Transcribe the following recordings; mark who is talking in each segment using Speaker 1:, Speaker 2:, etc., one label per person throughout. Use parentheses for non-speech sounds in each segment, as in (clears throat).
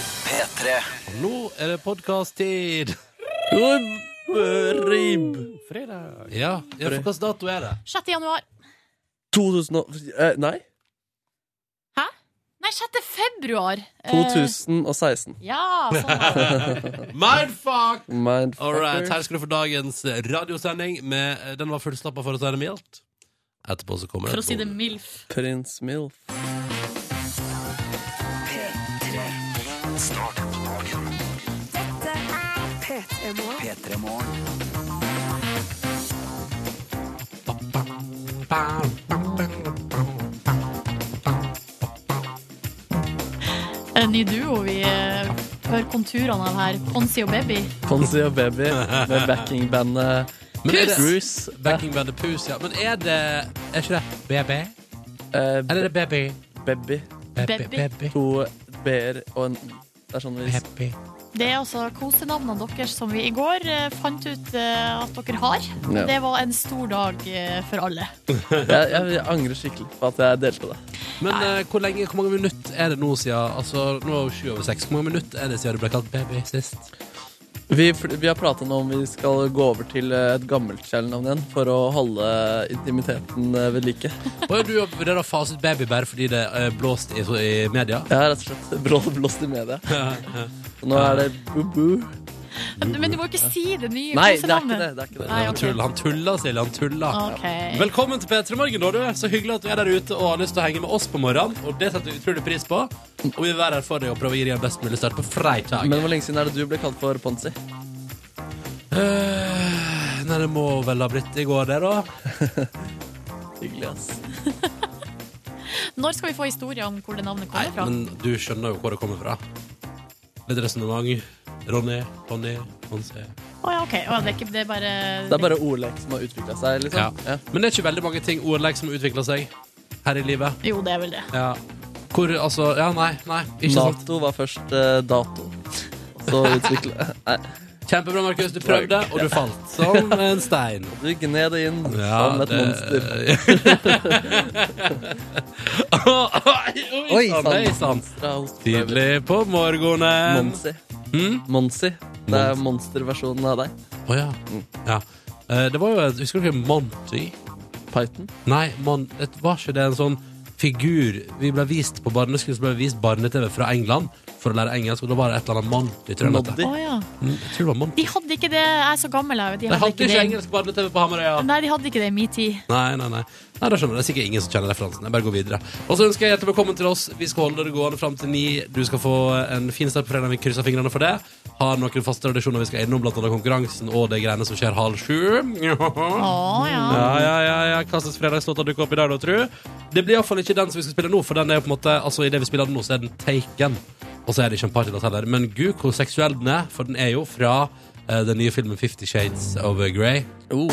Speaker 1: P3.
Speaker 2: Nå er det podkast-tid!
Speaker 3: God ribb.
Speaker 2: Ja, ja, for hvilken dato er det?
Speaker 4: 6. januar.
Speaker 3: 2000 og eh, Nei,
Speaker 4: Nei, 6. februar. Eh,
Speaker 3: 2016.
Speaker 4: ja, sånn var det.
Speaker 2: Mindfuck! All right,
Speaker 3: Mindfucker.
Speaker 2: her skal du få dagens radiosending. Med, eh, den var fullstappa for å si det mildt. Etterpå så kommer
Speaker 4: For å si det
Speaker 2: bonus.
Speaker 4: milf.
Speaker 3: Prins Milf.
Speaker 1: P3 Morgen.
Speaker 4: En ny duo vi eh, hører konturene av her. Ponsi og Baby.
Speaker 3: Ponzi og Baby med backingbandet
Speaker 2: Men er det-
Speaker 3: Bruce.
Speaker 2: Backing by the Poos, ja. Men er det Er ikke det BB?
Speaker 3: Eh,
Speaker 2: Eller er det Baby?
Speaker 3: Baby.
Speaker 2: Baby.
Speaker 4: Baby.
Speaker 2: Baby.
Speaker 3: To b-er og en Det er sånn vi
Speaker 2: Baby.
Speaker 4: Det er altså kosenavnene deres som vi i går eh, fant ut eh, at dere har.
Speaker 3: Ja.
Speaker 4: Det var en stor dag eh, for alle.
Speaker 3: jeg, jeg, jeg angrer skikkelig på at jeg delte det.
Speaker 2: Men eh, hvor, lenge, hvor mange minutter er det nå siden Altså, nå er det sju over seks. Hvor mange minutter er det siden du ble kalt Baby sist?
Speaker 3: Vi, fl- vi har pratet nå om vi skal gå over til eh, et gammelt kjælenavn igjen for å holde intimiteten eh, ved like.
Speaker 2: Og er du vurderer å fase ut Baby bare fordi det er blåst i, i (laughs) media?
Speaker 3: Jeg har rett og slett blå- blåst i media. Nå er det Bubu.
Speaker 4: Men du må ikke si det nye
Speaker 3: Nei, det er ikke det. det,
Speaker 4: kosenavnet.
Speaker 3: er ikke det.
Speaker 4: Nei,
Speaker 2: Han
Speaker 4: ok.
Speaker 2: tuller, han tuller, Silje. Han tuller.
Speaker 4: Ok.
Speaker 2: Velkommen til P3 Morgen, da, du. Så hyggelig at du er der ute og har lyst til å henge med oss på morgenen. Og det setter vi utrolig pris på. Og vi vil være her for deg og prøve å gi deg en best mulig start på fredag.
Speaker 3: Men hvor lenge siden er det du ble kalt for Ponzi?
Speaker 2: Øh, nei, det må vel ha blitt i går, det, da.
Speaker 3: Hyggelig, ass.
Speaker 4: Når skal vi få historie om hvor det navnet
Speaker 2: Nei,
Speaker 4: kommer fra?
Speaker 2: men du skjønner jo hvor det kommer fra. Litt resonnement. Ronny, Tonny, Monse.
Speaker 4: Å ja, OK. Å, ja, det, er ikke, det er bare
Speaker 3: Det er bare ordlek som har utvikla seg,
Speaker 2: Ja.
Speaker 3: liksom. Ja.
Speaker 2: Sånn. Men det er ikke veldig mange ting ordleik som utvikler seg her i livet.
Speaker 4: Jo, det er vel det.
Speaker 2: Ja. Hvor, altså Ja, nei, nei. Ikke sant.
Speaker 3: Nato var først eh, dato. Så utvikla Nei,
Speaker 2: Kjempebra, Markus. Du prøvde, og du falt som en stein.
Speaker 3: (laughs) du gned det inn
Speaker 2: Ja,
Speaker 3: som et
Speaker 2: det-
Speaker 3: monster.
Speaker 2: (laughs) Oi sann! Oi sann!
Speaker 3: Tidlig.
Speaker 2: Tidlig på morgenen.
Speaker 3: Monsi.
Speaker 2: Mm?
Speaker 3: Hmm? Monsi. Det er monsterversjonen av deg.
Speaker 2: Å ja. ja. Eh, Det var jo et Husker du ikke Monty?
Speaker 3: Python.
Speaker 2: Nei, man, det var ikke det en sånn figur Vi ble vist på barneskolen Så ble vi vist barne-TV fra England for å lære engelsk, og da var det et eller annet Monty. Tror jeg, det
Speaker 3: Noddy.
Speaker 2: heter.
Speaker 4: Å ja.
Speaker 2: Mm, jeg tror det var Monty.
Speaker 4: De hadde ikke det Jeg er så gammel, jeg. De
Speaker 2: De
Speaker 4: hadde
Speaker 2: hadde ikke
Speaker 4: ikke det.
Speaker 2: engelsk barne-TV på Hamarøya.
Speaker 4: Nei, de hadde ikke det i min tid.
Speaker 2: Nei, nei, nei. Nei, da skjønner jeg. Det er sikkert ingen som kjenner referansen. Jeg bare går videre. Og så ønsker jeg hjertelig velkommen til oss. Vi skal holde det gående fram til ni. Du skal få en fin start på fredagen. Vi krysser fingrene for det. Har noen faste tradisjoner vi skal innom, blant annet konkurransen og de greiene som skjer halv sju.
Speaker 4: Å
Speaker 2: Ja,
Speaker 4: ja.
Speaker 2: ja, ja. ja. Hva slags fredagslåter dukker opp i dag, da, tru? Det blir iallfall ikke den som vi skal spille nå, for den er jo på en måte Altså, i det vi spiller den nå, så er den taken. Og så er det ikke en partylåt heller. Men gud, hvor seksuell den er, for den er jo fra eh, den nye filmen Fifty Shades of Grey.
Speaker 3: Oh,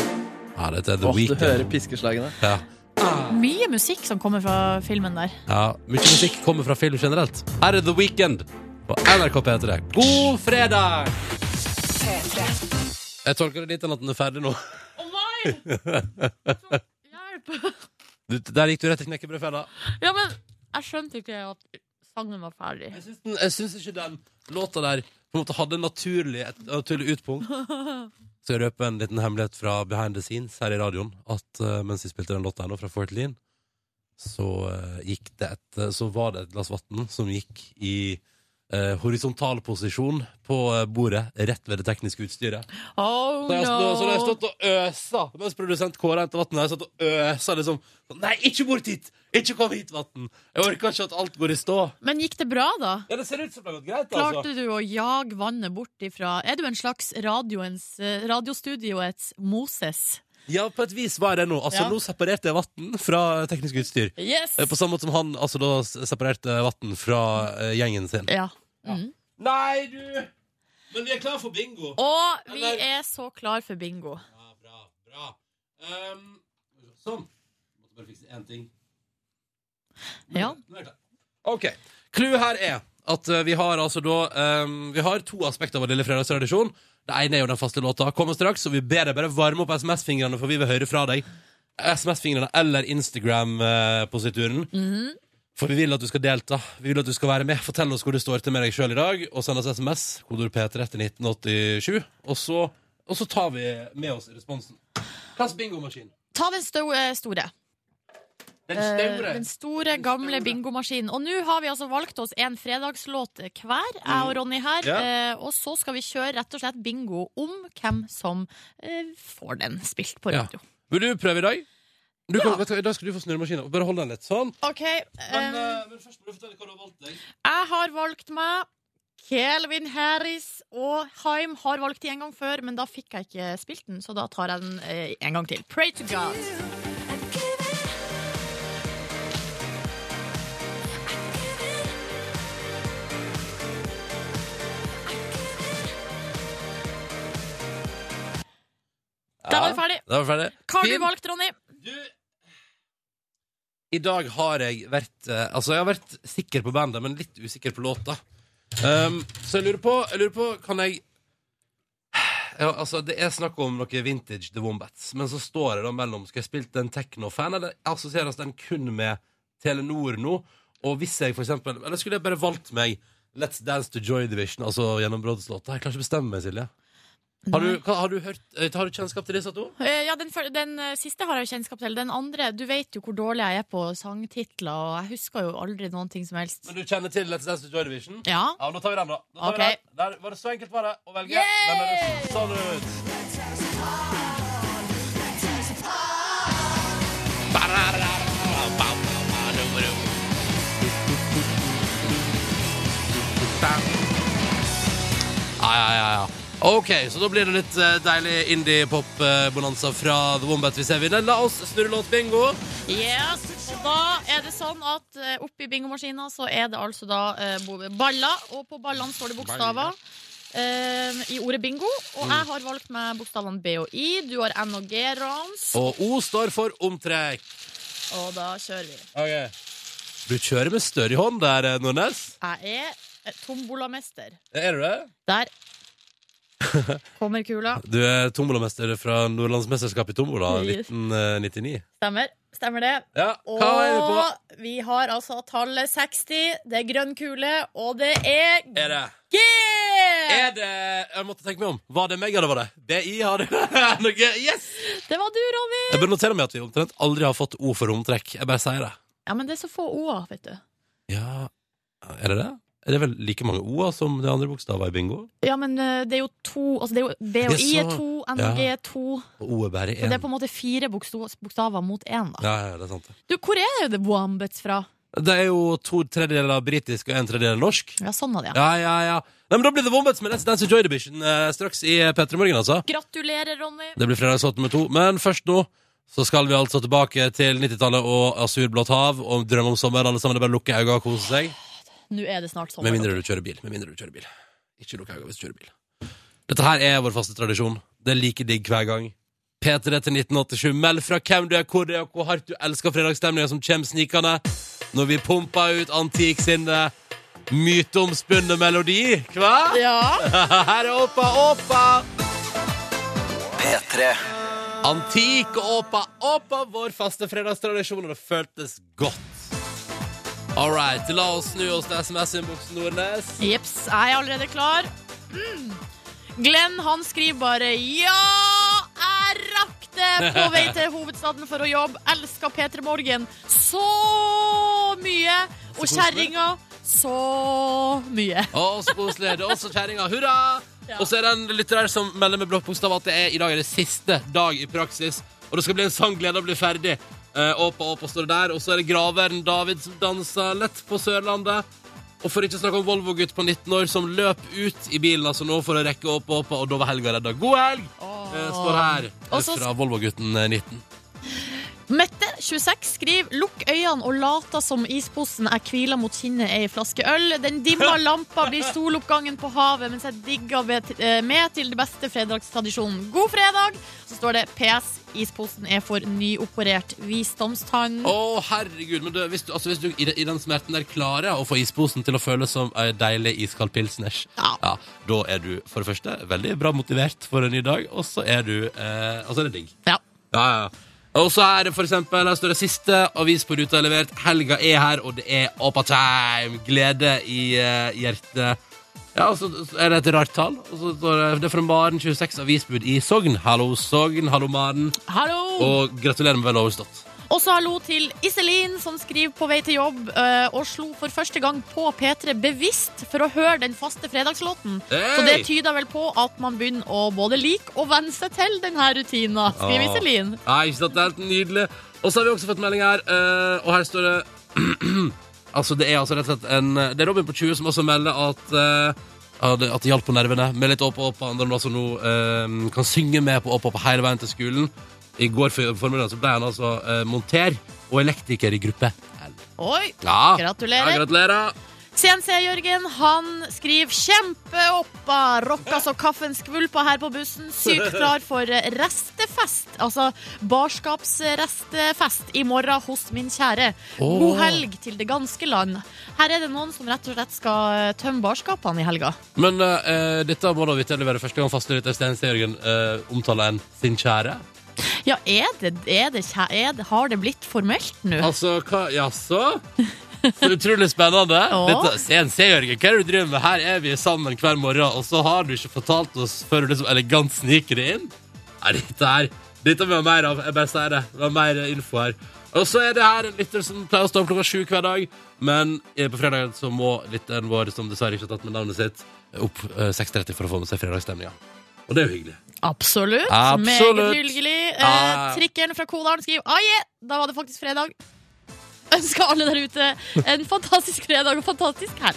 Speaker 2: Ja, dette er The
Speaker 3: åh, du
Speaker 2: Weeknd.
Speaker 3: hører piskeslagene.
Speaker 2: Ja.
Speaker 4: Mye musikk som kommer fra filmen der.
Speaker 2: Ja, Mye musikk kommer fra film generelt. Her er The Weekend på NRK P3. God fredag! Jeg tolker det litt enn at den er ferdig nå.
Speaker 4: (laughs) Å nei! Hjelp!
Speaker 2: Du, der gikk du rett til knekkebrødfella.
Speaker 4: Ja, men jeg skjønte ikke at sangen var ferdig.
Speaker 2: Jeg syns den- Jeg syns ikke den låta der på en måte hadde naturlig, et naturlig
Speaker 4: (laughs)
Speaker 2: utpunkt. Så jeg røper en liten hemmelighet fra behind the scenes her i radioen. At eh, mens vi spilte den låta her nå, fra Fort Lean, så, eh, gikk det et, eh, så var det et glass vann som gikk i eh, horisontal posisjon på eh, bordet rett ved det tekniske utstyret.
Speaker 4: Oh
Speaker 2: Så jeg, altså, har- så jeg har
Speaker 4: no!
Speaker 2: stått og øsa mens produsent Kåre hentet vann. Jeg har stått og øsa liksom Nei, ikke bort hit! Ikke kom hit, vann! Jeg orker ikke at alt går i stå.
Speaker 4: Men gikk det bra, da?
Speaker 2: Ja, det ser ut som det har gått greit, altså.
Speaker 4: Klarte du å jage vannet bort ifra Er du en slags radioens, eh, radiostudioets Moses?
Speaker 2: Ja, på et vis var jeg det nå. Altså,
Speaker 4: Ja.
Speaker 2: nå separerte jeg vann fra teknisk utstyr.
Speaker 4: Yes!
Speaker 2: Eh, På samme måte som han altså, da s- separerte vann fra eh, gjengen sin.
Speaker 4: Ja. Mm.
Speaker 2: Nei, du! Men vi er klar for bingo.
Speaker 4: Og vi er så klar for bingo.
Speaker 2: Ja, bra, bra. Um, sånn. Måtte bare fikse én ting.
Speaker 4: Ja.
Speaker 2: Nå er jeg klar. OK. Clouet her er at eh, vi har altså da ehm, Vi har to aspekter av vår lille fredagstradisjon. Det ene er jo den faste låta. Kommer straks, og vi ber deg bare varme opp SMS-fingrene, eh,
Speaker 4: Mhm.
Speaker 2: for vi vil høre fra deg. SMS-fingrene eller Instagram-posituren. For vi vil at du skal delta. Vi vil at du skal være med. Fortell oss hvor det står til med deg sjøl i dag, og send oss SMS. Kodord P3 til 1987. Og så, og så tar vi med oss responsen. Hvilken bingomaskin?
Speaker 4: Ta den stau- eh, store.
Speaker 2: Den
Speaker 4: Eh,
Speaker 2: store.
Speaker 4: Den store, gamle bingomaskinen. Og nå har vi altså valgt oss en fredagslåt hver, jeg og Ronny her.
Speaker 2: Mm. Ja.
Speaker 4: Eh, Og så skal vi kjøre rett og slett bingo om hvem som eh, får den spilt på
Speaker 2: Ja.
Speaker 4: radio.
Speaker 2: Vil du prøve i dag? Du kan,
Speaker 4: Ja.
Speaker 2: vet du, hva, I dag skal du få snurremaskina. Bare hold den litt sånn.
Speaker 4: OK.
Speaker 2: Men,
Speaker 4: eh,
Speaker 2: eh, men først må du fortelle hva du har valgt deg.
Speaker 4: Jeg har valgt meg Kelvin Harris og Haim har valgt de en gang før, men da fikk jeg ikke spilt den, så da tar jeg den eh, en gang til. Pray to God. Der var vi ferdig.
Speaker 2: Da var vi ferdig.
Speaker 4: Hva har du
Speaker 2: Fin.
Speaker 4: valgt, Ronny?
Speaker 2: Du I dag har jeg vært eh, Altså, jeg har vært sikker på bandet, men litt usikker på låta. Um, så jeg lurer på, jeg lurer på Kan jeg ja, altså, Det er snakk om noe vintage The Wombats, men så står jeg da mellom Skal jeg spille den techno-fan, eller assosieres den kun med Telenor nå? Og hvis jeg for eksempel Eller skulle jeg bare valgt meg Let's Dance to Joy Division, altså gjennombruddslåta? Jeg klarer ikke å bestemme meg, Silje. Har du, hva- har du, hørt, eh, har du kjennskap til disse to?
Speaker 4: Eh, Ja, den, fyr- den eh, siste har jeg jo kjennskap til. Den andre Du vet jo hvor dårlig jeg er på sangtitler, og jeg husker jo aldri noen ting som helst.
Speaker 2: Men du kjenner til Let's Dance to Joy Division?
Speaker 4: Ja.
Speaker 2: Ja, nå tar vi den, da. Nå tar
Speaker 4: Ok.
Speaker 2: vi den. Der var det så enkelt var det å velge.
Speaker 4: Yay!
Speaker 2: Den er det sånn ut. Ja, ja, ja, ja. Ok, så da blir det litt eh, deilig indie-pop-bonanza fra The Wombat hvis jeg vinner. La oss snurre låt bingo.
Speaker 4: Yes. Og da er det sånn at eh, oppi bingomaskina så er det altså da eh, bo- baller, og på ballene står det bokstaver. eh, I ordet bingo. Og jeg har valgt meg bokstavene B og I. Du har N og G, Rans.
Speaker 2: Og O står for omtrekk.
Speaker 4: Og da kjører vi.
Speaker 2: Du kjører med større hånd der, eh, Nordnes.
Speaker 4: Jeg er eh, tombolamester.
Speaker 2: Er du det?
Speaker 4: Der kommer kula.
Speaker 2: Du er tombolamester fra Nordlandsmesterskapet i tombola eh,
Speaker 4: Yes.
Speaker 2: 1999.
Speaker 4: Stemmer. Stemmer det.
Speaker 2: Ja,
Speaker 4: Og
Speaker 2: hva er vi på?
Speaker 4: vi har altså tallet 60. Det er grønn kule, og det er
Speaker 2: Er det,
Speaker 4: G!
Speaker 2: er det Jeg måtte tenke meg om. Var det meg, eller var det BI? (laughs) Har det noe? Yes!
Speaker 4: Det var du, Ronny.
Speaker 2: Jeg bør notere meg at vi omtrent aldri har fått O for romtrekk. Jeg bare sier det.
Speaker 4: Ja, men det er så få o-er, vet du.
Speaker 2: Ja, er det det? Er det vel like mange O-er som det andre bokstavet i bingo?
Speaker 4: Ja, men eh, det er jo to Altså, det er jo B og
Speaker 2: Det er
Speaker 4: I er
Speaker 2: så-
Speaker 4: to, N og G
Speaker 2: ja.
Speaker 4: er to.
Speaker 2: Og O er bare
Speaker 4: Så
Speaker 2: én.
Speaker 4: det er på en måte fire boksto- bokstaver mot én, da.
Speaker 2: Ja, ja, det er sant. det.
Speaker 4: Du, hvor er det The Wombats fra?
Speaker 2: Det er jo to tredjedeler britisk og en tredjedel norsk.
Speaker 4: Ja, sånn var det, ja.
Speaker 2: Ja, ja, ja. Nei, men Da blir det Wombats med Let's Dance to Joy Division eh, straks i P3 Morgen, altså.
Speaker 4: Gratulerer, Ronny.
Speaker 2: Det blir fredagslåt nummer to. Men først nå så skal vi altså tilbake til 90-tallet og azurblått hav og drømme om sommer. Alle sammen, det er bare å lukke øynene og kose seg.
Speaker 4: Nå er det snart sommer.
Speaker 2: Med mindre du kjører bil. Med mindre du kjører bil. Ikke lukk øynene hvis du kjører bil. Dette her er vår faste tradisjon. Det er like digg hver gang. P3 til 1987. Meld fra hvem du er, hvor du er, og hvor hardt du elsker fredagsstemninga som kommer snikende når vi pumper ut antik sin eh, myteomspunne melodi. Hva?
Speaker 4: Ja.
Speaker 2: (laughs) Her er Åpa, Åpa!
Speaker 1: P3
Speaker 2: Antik og Åpa. Åpa, vår faste fredagstradisjon, og det føltes godt. All right, la oss snu oss til SMS-innboksen, Nordnes.
Speaker 4: Jeps, jeg er allerede klar. Mm. Glenn, han skriver bare Ja, jeg rakk det på
Speaker 2: (laughs)
Speaker 4: vei til hovedstaden for å jobbe. Elska P3 Morgen så mye. Og
Speaker 2: koselig.
Speaker 4: kjerringa så mye.
Speaker 2: Å, så koselig. Det er også kjerringa. Hurra!
Speaker 4: Ja.
Speaker 2: Og så er det en lytter her som melder med blått bokstav at det er, i dag er det siste dag i praksis. Og det skal bli en sang glede å bli ferdig. Eh, Åpa, åpa står det der. Og så er det graveren David som danser lett på Sørlandet. Og for ikke å snakke om Volvo-gutt på 19 år som løp ut i bilen altså nå for å rekke Åpa, åpa, og da var helga redda. God helg! Eh, står her eh,
Speaker 4: Og så-
Speaker 2: fra Volvo-gutten eh, 19.
Speaker 4: Mette, 26, skriver Lukk øynene og later som isposen jeg hviler mot kinnet er ei flaske øl. Den dimma lampa blir soloppgangen på havet mens jeg digger ved- eh, med til det beste fredagstradisjonen. God fredag! Så står det PS. Isposen er for nyoperert visdomstann.
Speaker 2: Å, herregud. Men du, hvis du, altså, hvis du i, de- i den smerten der klarer å få isposen til å føles som ei deilig iskald pilsners,
Speaker 4: Ja.
Speaker 2: da er du for det første veldig bra motivert for en ny dag, og så er du eh, Altså, det er digg.
Speaker 4: Ja.
Speaker 2: Ja, ja. Og så er det for eksempel, her står det siste avis på ruta er levert. Helga er her, og det er Opatime. Glede i eh, hjertet. Ja, og så så er det et rart tall. Og så står det, det er fra Maren 26, avisbud i Sogn. Hallo, Sogn. Hallo, Maren.
Speaker 4: Hallo!
Speaker 2: Og gratulerer med vel overstått.
Speaker 4: Også hallo til Iselin, som skriver på vei til jobb eh, og slo for første gang på P3 bevisst for å høre den faste fredagslåten. Så det
Speaker 2: Hey!
Speaker 4: tyder vel på at man begynner å både like og venne seg til denne rutina, skriver
Speaker 2: Ja.
Speaker 4: Iselin.
Speaker 2: Nei, ikke sant, det er helt nydelig Og så har vi også fått melding her eh, Og her står det (clears throat) Altså, det er altså rett og slett en Det er Robin på 20 som også melder at eh, ja, det- At det hjalp på nervene Med litt opp og opp Andre altså nå som nå eh, kan synge med på opp og opp Hele veien til skolen I går for- formiddag så ble han altså eh, monter Og elektriker i gruppe L.
Speaker 4: Oi!
Speaker 2: Ja,
Speaker 4: Gratulerer.
Speaker 2: ja, gratulerer
Speaker 4: CNC-Jørgen han skriver 'kjempeoppa'. Rocka så kaffen skvulpa her på bussen. Sykt klar for restefest. Altså barskapsrestefest i morgen hos min kjære.
Speaker 2: Åh.
Speaker 4: God helg til det ganske land. Her er det noen som rett og slett skal tømme barskapene i helga.
Speaker 2: Men eh, dette må da vitterlig være første gang faste lytter Sten Jørgen eh, omtaler en sin kjære
Speaker 4: Ja, er det, er det, kjæ- er det Har det blitt formelt (laughs) nå?
Speaker 2: Altså, hva, jaså? Så utrolig spennende.
Speaker 4: Ja.
Speaker 2: Dette, CNC, Jørgen, hva er det du driver med? Her er vi sammen hver morgen, og så har du ikke fortalt oss før du liksom elegant sniker det inn? Nei, dette her Dette må vi ha mer av. Jeg bare sier det. Vi har mer info her. Og så er det her en lytter som pleier å stå opp klokka sju hver dag, men eh, på fredagen så må lytteren vår, som dessverre ikke har tatt med navnet sitt, opp eh, 6.30 for å få med seg fredagsstemninga. Og det er jo hyggelig.
Speaker 4: Absolutt.
Speaker 2: Absolutt.
Speaker 4: Meget hyggelig. Eh,
Speaker 2: Ja.
Speaker 4: trikkeren fra Kodalen skriver «Aje, da var det faktisk fredag. (laughs) Ønsker alle der ute en fantastisk fredag og fantastisk helg.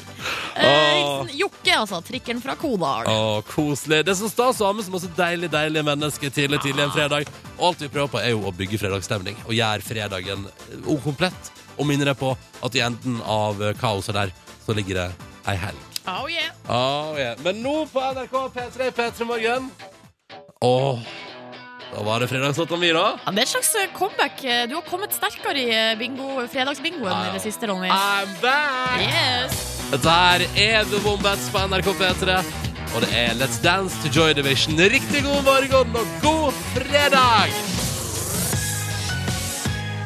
Speaker 4: Eh,
Speaker 2: Åh.
Speaker 4: hilsen Jokke, altså. Trikkeren fra Kodalen.
Speaker 2: Å, koselig. Det er så stas å ha med så masse deilig, deilige mennesker tidlig tidlig en fredag. Og alt vi prøver på, er jo å bygge fredagsstemning og gjøre fredagen ukomplett. Og minne deg på at i enden av eh, kaoset der, så ligger det ei helg.
Speaker 4: Oh, yeah.
Speaker 2: Oh, yeah. Men nå på NRK P3 P3 Morgen Åh, da var det fredagslåta mi, da.
Speaker 4: ja, det er et slags eh, comeback. Du har kommet sterkere i eh, bingo, fredagsbingoen
Speaker 2: Ja, Ah. ja.
Speaker 4: i det siste, Ronny.
Speaker 2: I'm back!
Speaker 4: Yes.
Speaker 2: Dette her er The Wombats på NRK P3. Og det er Let's Dance to Joy Division. Riktig god morgen og god fredag!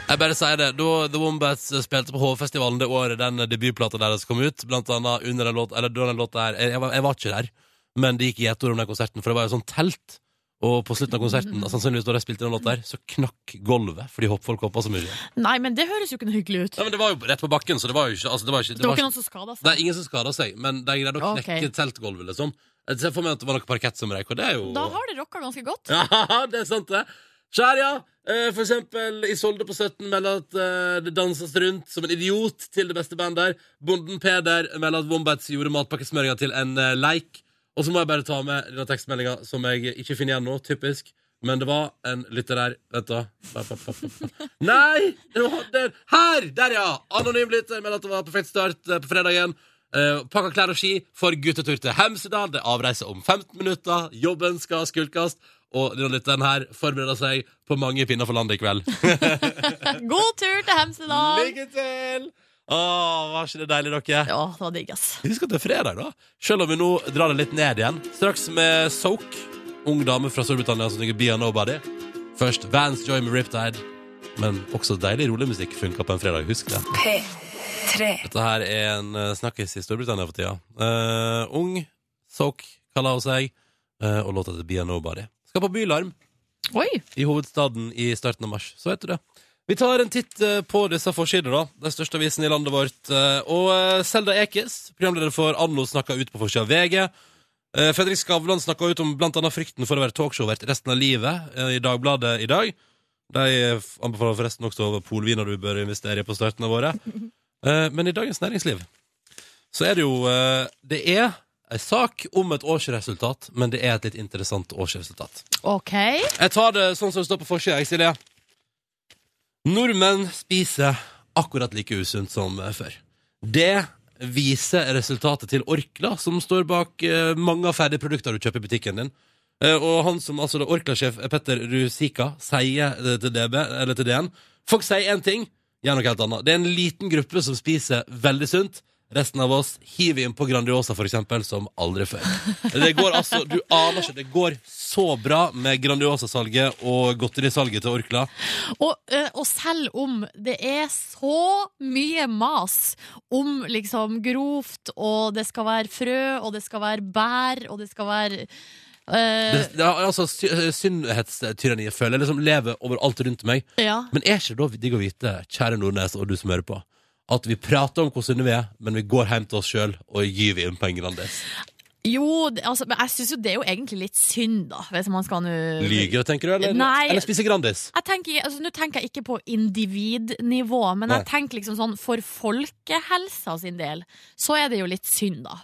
Speaker 2: Jeg bare sier det, Da The Wombats spilte på HV-festivalen det året den debutplata deres kom ut, blant annet under den låta, eller da den låta her, jeg, var- jeg var ikke der, men det gikk i ett ord om den konserten, for det var jo sånn telt. Og på slutten av konserten, sannsynligvis da de spilte den låta her, så knakk gulvet fordi hoppfolk hoppa så mye.
Speaker 4: Nei, men det høres jo ikke noe hyggelig ut.
Speaker 2: Nei, men Det var jo rett på bakken, så det var jo ikke, altså, det var ikke,
Speaker 4: Det var ikke noen som skada
Speaker 2: det er
Speaker 4: seg.
Speaker 2: ingen som skader seg, men de greide å knekke
Speaker 4: Ok.
Speaker 2: teltgulvet, liksom. Jeg ser for meg at det var noe parkett som røyk, og det er jo
Speaker 4: Da har det rocka ganske
Speaker 2: (laughs)
Speaker 4: godt.
Speaker 2: Ja, det er sant, det. Skjær, ja. Eh, For eksempel Isolde på 17 melder at eh, det danses rundt som en idiot til det beste bandet der. Bonden Peder melder at Wombats gjorde matpakkesmøringa til en eh, leik. Og så må jeg bare ta med denne tekstmeldinga, som jeg ikke finner igjen nå. Typisk. Men det var en lytter der Vent, da. Pa, pa, pa, pa, pa. Nei! Det var der. Her! Der, ja! Anonym lytter melder at det var perfekt start eh, på fredagen. Eh, pakka klær og ski for guttetur til Hemsedal. Det er avreise om 15 minutter. Jobben skal skulkes. Og denne lytteren her forbereder seg på mange pinner for landet i kveld.
Speaker 4: God tur til Hemsedal.
Speaker 2: Lykke til! Åh, var ikke det deilig, dere?
Speaker 4: Ja, det var digg, ass.
Speaker 2: Husk at det er fredag, da. Selv om vi nå drar det litt ned igjen. Straks med Soak, ung dame fra Storbritannia som synger Be A Nobody. Først Vans Joy med Riptide. Men også deilig rolig musikk funker på en fredag. Husk det.
Speaker 1: P3.
Speaker 2: Dette her er en eh, snakkis i Storbritannia for tida. Eh, ung, Soak kaller hun seg, eh, og låta til Be A Nobody. Skal på Bylarm
Speaker 4: Oi.
Speaker 2: i hovedstaden i starten av mars. Så vet du det. Vi tar en titt eh, på disse forsidene, da. Den største avisen i landet vårt. Eh, Og eh, Selda Ekiz, programleder for Anno, snakka ut på forsida av VG. Eh, Fredrik Skavlan snakka ut om blant annet frykten for å være talkshow-vert resten av livet eh, i Dagbladet i dag. De eh, f- anbefaler forresten også over polviner du bør investere i på starten av året. (laughs) Eh, Men i Dagens Næringsliv så er det jo eh, Det er ei sak om et årsresultat, men det er et litt interessant årsresultat.
Speaker 4: OK.
Speaker 2: Jeg tar det sånn som det står på forsida, jeg, Silje. Nordmenn spiser akkurat like usunt som eh, før. Det viser resultatet til Orkla, som står bak eh, mange av ferdige produkter du kjøper i butikken din. Eh, og han som altså det er Orkla-sjef eh, Petter Rusika sier det til DB, eller til DN Folk sier én ting, gjør noe helt annet. Det er en liten gruppe som spiser veldig sunt. Resten av oss hiver inn på Grandiosa, for eksempel, som aldri før. Det går altså, du aner ikke, det går så bra med Grandiosa-salget og godterisalget til Orkla.
Speaker 4: Og, eh, og selv om det er så mye mas om liksom grovt, og det skal være frø, og det skal være bær, og det skal være
Speaker 2: Det,
Speaker 4: eh,
Speaker 2: det er altså sy- Syndhetstyranniet føler jeg liksom lever overalt rundt meg.
Speaker 4: Ja.
Speaker 2: Men er ikke det da digg å vite, kjære Nordnes og du som hører på, at vi prater om hvor sunne vi er, men vi går hjem til oss sjøl og gyver inn på en Grandis?
Speaker 4: Jo, det- altså, men jeg syns jo det er jo egentlig litt synd, da, hvis man skal nå
Speaker 2: Lyger, tenker du, eller,
Speaker 4: Nei.
Speaker 2: eller spiser Grandis?
Speaker 4: Jeg tenker, altså, Nå tenker jeg ikke på individnivå, men
Speaker 2: Nei.
Speaker 4: jeg tenker liksom sånn for folkehelsa sin del, så er det jo litt synd, da.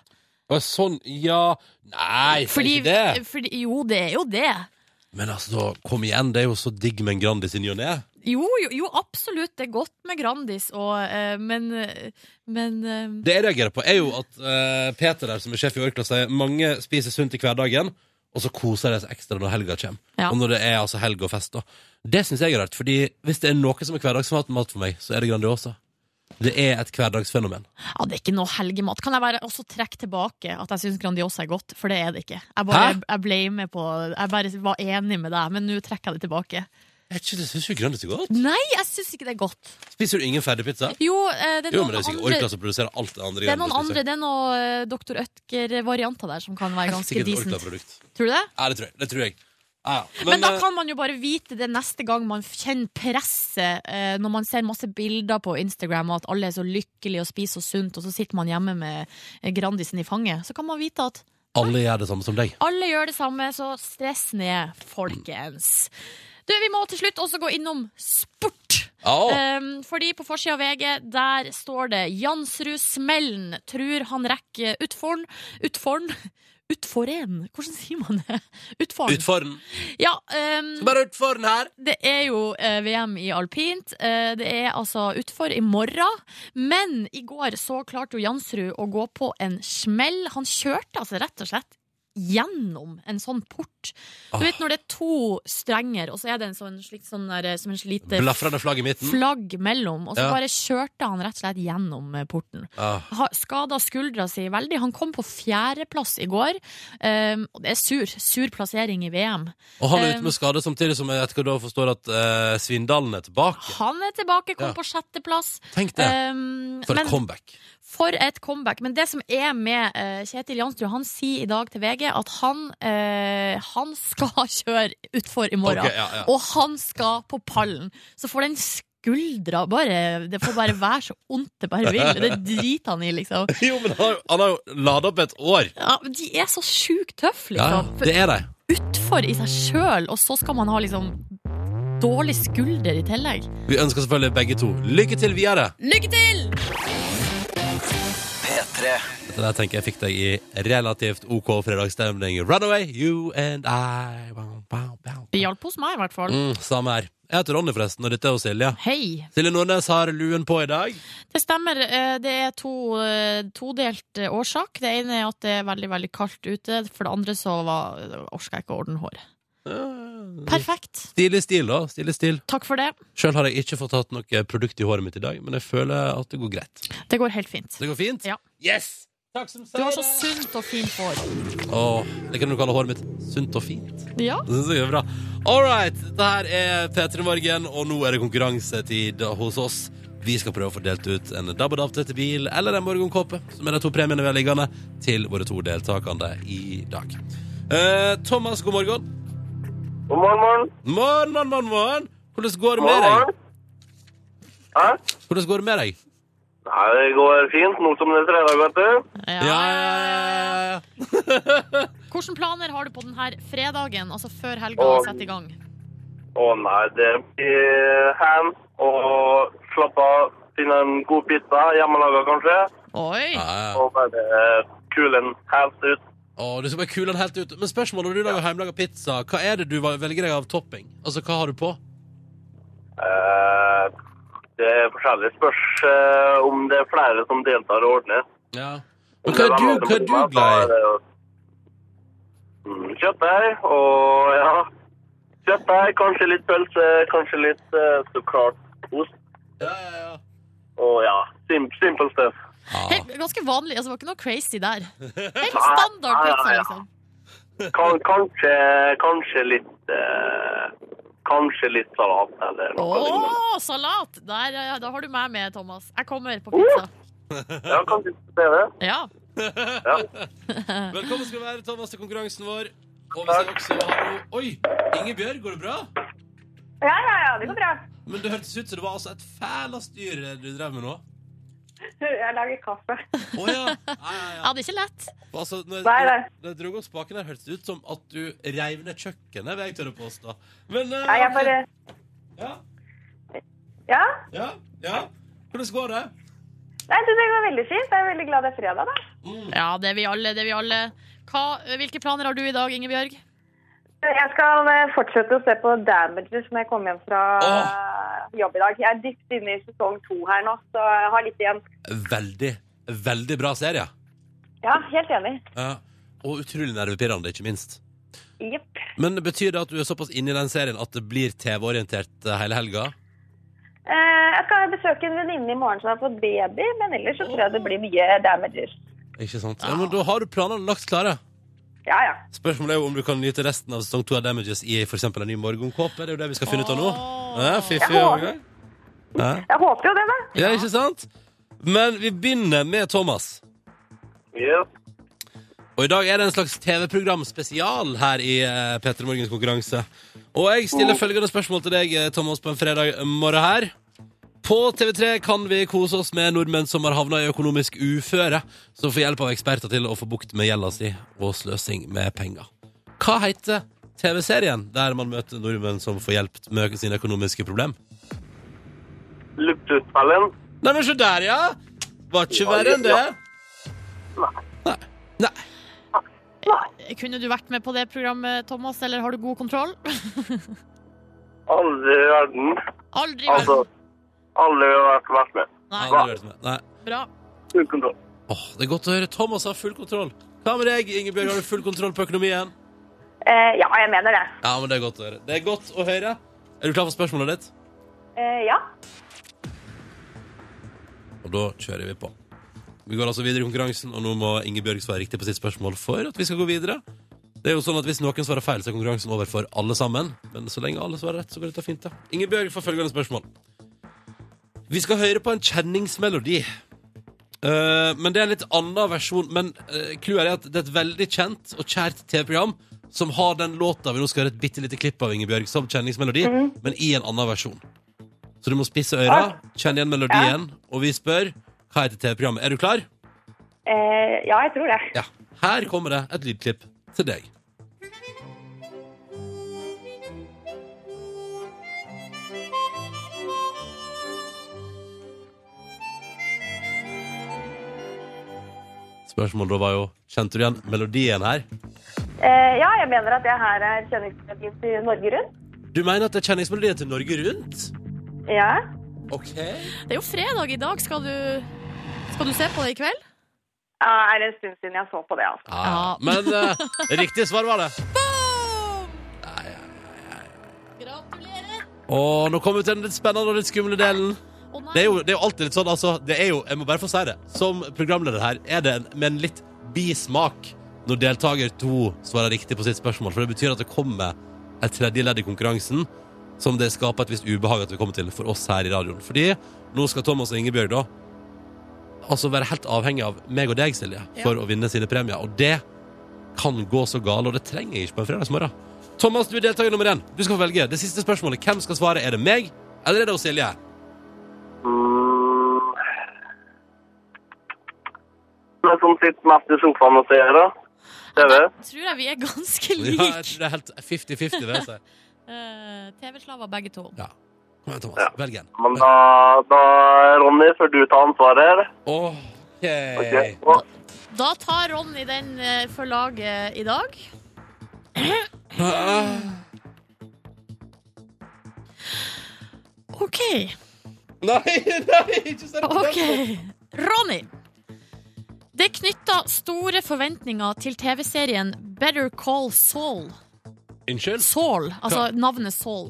Speaker 2: Og sånn, ja Nei, si
Speaker 4: Fordi,
Speaker 2: ikke det.
Speaker 4: fordi Jo, det er jo det.
Speaker 2: Men altså, da, kom igjen, det er jo så digg med en Grandis i ny og ne.
Speaker 4: Jo, jo, jo, absolutt. Det er godt med Grandis, og, eh, men, eh, men eh,
Speaker 2: Det jeg reagerer på, er jo at eh, Peter der, som er sjef i Orkla, sier mange spiser sunt i hverdagen, og så koser de seg ekstra når helga kommer.
Speaker 4: Ja.
Speaker 2: Og når det er altså helg og fest, da. Det syns jeg er rart, fordi hvis det er noe som er hverdagsmat mat for meg, så er det Grandiosa. Det er et hverdagsfenomen.
Speaker 4: ja, det er ikke noe helgemat. Kan jeg bare også trekke tilbake at jeg syns Grandiosa er godt? For det er det ikke. Jeg bare,
Speaker 2: Hæ?
Speaker 4: jeg, ble med på Jeg bare var enig med deg, men nå trekker jeg det tilbake.
Speaker 2: Er ikke det syns du Grandis er godt?
Speaker 4: Nei, jeg syns ikke det er godt.
Speaker 2: Spiser du ingen ferdigpizza?
Speaker 4: Jo, eh, det er
Speaker 2: Jo,
Speaker 4: noen
Speaker 2: men det er sikkert
Speaker 4: andre
Speaker 2: Orkla som produserer alt det andre.
Speaker 4: Det er noen
Speaker 2: Grandis
Speaker 4: andre,
Speaker 2: spiser.
Speaker 4: det er noen eh, Dr. Ødker-varianter der som kan være ganske
Speaker 2: Sikkert et
Speaker 4: decent.
Speaker 2: Orkla-produkt.
Speaker 4: Tror du det?
Speaker 2: Ja, det tror jeg. Det tror jeg. Ja, ja.
Speaker 4: Men, da
Speaker 2: eh,
Speaker 4: kan man jo bare vite det neste gang man kjenner presset, eh, når man ser masse bilder på Instagram og at alle er så lykkelige og spiser så sunt, og så sitter man hjemme med eh, Grandisen i fanget. Så kan man vite at
Speaker 2: alle gjør det samme som deg.
Speaker 4: alle gjør det samme, så stress ned, folkens. Du, vi må til slutt også gå innom sport. Um, fordi på forsida av VG der står det Jansrud Smellen tror han rekker utforen Utforen? Utforen? Hvordan sier man det? Utforen.
Speaker 2: Utfor den.
Speaker 4: Ja, um,
Speaker 2: Bare utfor den her!
Speaker 4: det er jo eh, VM i alpint. Eh, det er altså utfor i morgen. Men i går så klarte jo Jansrud å gå på en smell. Han kjørte altså rett og slett gjennom en sånn port. Du vet når det er to strenger, og så er det en sånn, slik, sånn der, som en lite
Speaker 2: Blafrende flagg i midten.
Speaker 4: flagg mellom, og så
Speaker 2: Ja.
Speaker 4: bare kjørte han rett og slett gjennom eh, porten.
Speaker 2: Ah.
Speaker 4: Skada skuldra si veldig. Han kom på fjerdeplass i går, um, og det er sur. Sur plassering i VM.
Speaker 2: Og han er
Speaker 4: Eh,
Speaker 2: ute med skade samtidig som jeg etterpå da forstår at eh, Svindalen er tilbake.
Speaker 4: Han er tilbake, kom
Speaker 2: Ja.
Speaker 4: på sjetteplass.
Speaker 2: Tenk det.
Speaker 4: Um,
Speaker 2: For
Speaker 4: men-
Speaker 2: et comeback.
Speaker 4: For et comeback. Men det som er med eh, Kjetil Jansrud, han sier i dag til VG at han, eh, han skal (laughs) kjøre utfor i morgen.
Speaker 2: Ok, ja, ja.
Speaker 4: Og han skal på pallen. Så får den skuldra bare Det får bare være så vondt det bare vil. Det driter han i, liksom.
Speaker 2: Jo, men han, har- han har jo lada opp et år.
Speaker 4: Ja, men de er så sjukt tøffe,
Speaker 2: Ja,
Speaker 4: liksom. For
Speaker 2: det er de.
Speaker 4: Utfor i seg sjøl, og så skal man ha liksom dårlig skulder i tillegg.
Speaker 2: Vi ønsker selvfølgelig begge to lykke til videre.
Speaker 4: Lykke til!
Speaker 1: P3
Speaker 2: Dette der tenker jeg fikk deg i relativt OK fredagsstemning. Runaway, you and I. Bow, bow, bow.
Speaker 4: Det hjalp hos meg, i hvert fall.
Speaker 2: Mm, samme her. Jeg heter Ronny, forresten, og dette er jo Silje.
Speaker 4: Hei.
Speaker 2: Silje Nordnes har luen på i dag.
Speaker 4: Det stemmer. Eh, Det er to eh, todelt eh, årsak. Det ene er at det er veldig veldig kaldt ute. For det andre så var, orsker jeg ikke å ordne håret. Perfekt.
Speaker 2: Stilig stil, da. Stilig stil.
Speaker 4: Takk for det.
Speaker 2: Sjøl har jeg ikke fått tatt noe produkt i håret mitt i dag, men jeg føler at det går greit.
Speaker 4: Det går helt fint.
Speaker 2: Det går fint?
Speaker 4: Ja.
Speaker 2: Yes! Takk som
Speaker 4: Du
Speaker 2: sier
Speaker 4: har
Speaker 2: det!
Speaker 4: så sunt og fint hår.
Speaker 2: Åh, det kan du kalle håret mitt sunt og fint.
Speaker 4: Ja.
Speaker 2: Det synes jeg er bra. All right, dette her er P3 Morgen, og nå er det konkurransetid hos oss. Vi skal prøve å få delt ut en dabbedavte til bil eller en morgenkåpe, som er de to premiene vi har liggende, til våre to deltakende i dag. Eh, Thomas, god morgen.
Speaker 5: God morgen, morgen.
Speaker 2: Morgen, morgen, morgen, morgen. Hvordan går det
Speaker 5: God
Speaker 2: med
Speaker 5: morgen.
Speaker 2: deg?
Speaker 5: Hæ?
Speaker 2: Hvordan går det med deg?
Speaker 5: Nei, det går fint. Nå som det er fredag, vet du.
Speaker 4: Ja,
Speaker 2: Ja,
Speaker 4: ja,
Speaker 2: ja,
Speaker 4: ja,
Speaker 2: ja,
Speaker 4: ja.
Speaker 2: ja, ja.
Speaker 4: Hvilke planer har du på denne fredagen, altså før helga
Speaker 5: Og-
Speaker 4: setter i gang?
Speaker 5: Å nei, det blir eh, ham og slappe av. Finne en god pizza, hjemmelaga kanskje.
Speaker 4: Oi!
Speaker 2: ja, ja.
Speaker 5: Og bare eh, kule den helt ut.
Speaker 2: Åh, du skal bare kule den helt ut. Men spørsmålet når du lager hjemmelaga pizza, hva er det du velger deg av topping? Altså, hva har du på?
Speaker 5: Eh, det er forskjellig. Spørs eh, om det er flere som deltar og ordner.
Speaker 2: Ja. Men hva er du, hva er du glad i?
Speaker 5: Mm, Kjøttdeig og ja. Kjøttdeig, kanskje litt pølse, kanskje litt eh, så klart ost
Speaker 2: Ja, ja, ja.
Speaker 5: og ja, sim simple stuff.
Speaker 2: Ja.
Speaker 4: Helt, ganske vanlig. Altså, det var ikke noe crazy der. Helt standard
Speaker 5: Nei, nei,
Speaker 4: pizza,
Speaker 5: nei.
Speaker 4: liksom.
Speaker 5: Kan, kanskje, kanskje litt eh, Kanskje litt salat eller noe lignende.
Speaker 4: Å, salat! Der, ja, da har du meg med, Thomas. Jeg kommer på pizza.
Speaker 5: Ja, kan diskutere det.
Speaker 4: Ja.
Speaker 2: Velkommen skal du være, Thomas, til konkurransen vår. Og vi ser også hallo. Oi! Ingebjørg, går det bra?
Speaker 6: Ja, ja, ja, det går bra.
Speaker 2: Men det hørtes ut som det var altså et fæla styr du drev med nå.
Speaker 6: Jeg lager kaffe.
Speaker 2: Å ja. Ja, ja, ja.
Speaker 4: ja, det er ikke lett.
Speaker 2: Altså, når,
Speaker 6: Nei, nei.
Speaker 2: når jeg dro opp spaken her, hørtes det ut som at du reiv ned kjøkkenet, vil jeg tørre å påstå. Men eh,
Speaker 6: Nei, jeg bare
Speaker 2: ja,
Speaker 6: Ja.
Speaker 2: ja, ja. Hvordan går det?
Speaker 6: Nei, du, det går veldig fint. Jeg er veldig glad det er fredag, da.
Speaker 4: Ja, det er vi alle. det er vi alle. Hva, hvilke planer har du i dag, Ingebjørg?
Speaker 6: Jeg skal eh, fortsette å se på Damages når jeg kommer hjem fra
Speaker 2: Åh.
Speaker 6: eh, jobb i dag. Jeg er dypt inne i sesong to her nå, så jeg har litt igjen.
Speaker 2: Veldig, veldig bra serie.
Speaker 6: Ja, helt enig.
Speaker 2: Ja. Og utrolig nervepirrende, ikke minst.
Speaker 6: Jepp.
Speaker 2: Men betyr det at du er såpass inne i den serien at det blir TV-orientert eh, hele helga?
Speaker 6: Eh, Jeg skal besøke en venninne i morgen som har fått baby, men ellers så tror jeg det blir mye Damages.
Speaker 2: Ikke sant? Ja, men da har du planene lagt klare.
Speaker 6: Ja, ja.
Speaker 2: Spørsmålet er jo om du kan nyte resten av sesong to av Damages i for eksempel en ny morgenkåpe. Det er jo det vi skal finne ut av nå. Ja, fiffig
Speaker 6: Jeg
Speaker 2: overgang. Ja.
Speaker 6: Jeg håper jo det, da.
Speaker 2: Ja, ikke sant? Men vi begynner med Thomas.
Speaker 5: Yes.
Speaker 2: Og i dag er det en slags TV-program spesial her i eh, P3 Morgens konkurranse. Og jeg stiller følgende spørsmål til deg, eh, Thomas, på en fredag morgen her. På TV3 kan vi kose oss med nordmenn som har havna i økonomisk uføre, som får hjelp av eksperter til å få bukt med gjelda si og sløsing med penger. Hva heter TV-serien der man møter nordmenn som får hjelp med sine økonomiske problem?
Speaker 5: Luksusfellen.
Speaker 2: Nei, men se der, ja! Var ikke
Speaker 5: Ja,
Speaker 2: verre enn det.
Speaker 5: ja.
Speaker 2: Nei. Nei.
Speaker 4: Kunne du vært med på det programmet, Thomas, eller har du god kontroll?
Speaker 5: Aldri i verden.
Speaker 4: Aldri vært
Speaker 5: Altså, aldri vært, vært med.
Speaker 2: Aldri
Speaker 4: Nei,
Speaker 2: vært med. Nei.
Speaker 4: bra.
Speaker 5: Full kontroll.
Speaker 2: Åh, det er godt å høre. Thomas har full kontroll. Hva med deg, Ingebjørg? Har du full kontroll på økonomien?
Speaker 6: Eh, ja, jeg mener det.
Speaker 2: Ja, men det er godt å høre. Det er godt å høre. Er du klar for spørsmålet ditt?
Speaker 6: Eh, ja.
Speaker 2: Og da kjører vi på. Vi går altså videre i konkurransen, og nå må Ingebjørg svare riktig på sitt spørsmål for at vi skal gå videre. Det er jo sånn at Hvis noen svarer feil, så er konkurransen over for alle sammen. Men så lenge alle svarer rett, så går dette fint. da. Ingebjørg får følgende spørsmål. Vi skal høre på en kjenningsmelodi. Eh, men det er en litt annen versjon. Men eh, clouet er at det er et veldig kjent og kjært TV-program som har den låta vi nå skal høre et bitte lite klipp av, Ingebjørg, som kjenningsmelodi, men i en annen versjon. Så du må spisse øra, kjenne igjen melodien, og vi spør hva heter TV-programmet. Er du klar?
Speaker 6: Eh, ja, jeg tror det.
Speaker 2: Ja. Her kommer det et lydklipp til deg. Spørsmålet da var jo Kjente du igjen melodien her?
Speaker 6: Eh, ja, jeg mener at det her er kjenningsmelodien til Norge Rundt.
Speaker 2: Du mener at det er kjenningsmelodien til Norge Rundt?
Speaker 6: Ja.
Speaker 2: OK.
Speaker 4: Det er jo fredag i dag. Skal du, skal du se på det i kveld?
Speaker 6: Ja, Ah, er det en stund siden jeg så på det, altså.
Speaker 2: Ja.
Speaker 4: Ja.
Speaker 2: Men eh, riktig svar var det.
Speaker 4: Boom! Gratulerer.
Speaker 2: Og nå kommer vi til den litt spennende og litt skumle delen.
Speaker 4: Å nei.
Speaker 2: Det er jo, det er jo alltid litt sånn, altså. Det er jo, jeg må bare få si det. Som programleder her er det en, med en litt bismak når deltaker to svarer riktig på sitt spørsmål. For det betyr at det kommer et tredje ledd i konkurransen som det skaper et visst ubehag at vi kommer til for oss her i radioen. Fordi nå skal Thomas og Ingebjørg da altså være helt avhengig av meg og deg, Silje, for å vinne sine premier. Og det kan gå så gale, og det trenger jeg ikke på en fredagsmorgen. Thomas, du er deltaker nummer én. Du skal få velge det siste spørsmålet. Hvem skal svare? Er det meg, eller er det hos Silje?
Speaker 5: Mm. Den som sitter mest i sofaen og ser da. TV.
Speaker 4: Tror jeg vi er ganske
Speaker 2: Ja, jeg
Speaker 4: like.
Speaker 2: tror det er helt 50-50, vil jeg si.
Speaker 4: Eh, TV-slaver begge to.
Speaker 2: Ja. Kom igjen, Thomas.
Speaker 5: Ja.
Speaker 2: Velg en.
Speaker 5: Men da, da Ronny, får du ta ansvaret her.
Speaker 2: OK.
Speaker 5: Ok, og-
Speaker 4: Da tar Ronny den eh, for laget i dag.
Speaker 2: Ah,
Speaker 4: OK.
Speaker 2: Nei, nei, ikke se på
Speaker 4: ok. Ronny. Det er knytta store forventninger til TV-serien Better Call Saul.
Speaker 2: Unnskyld?
Speaker 4: Saul, altså navnet Saul.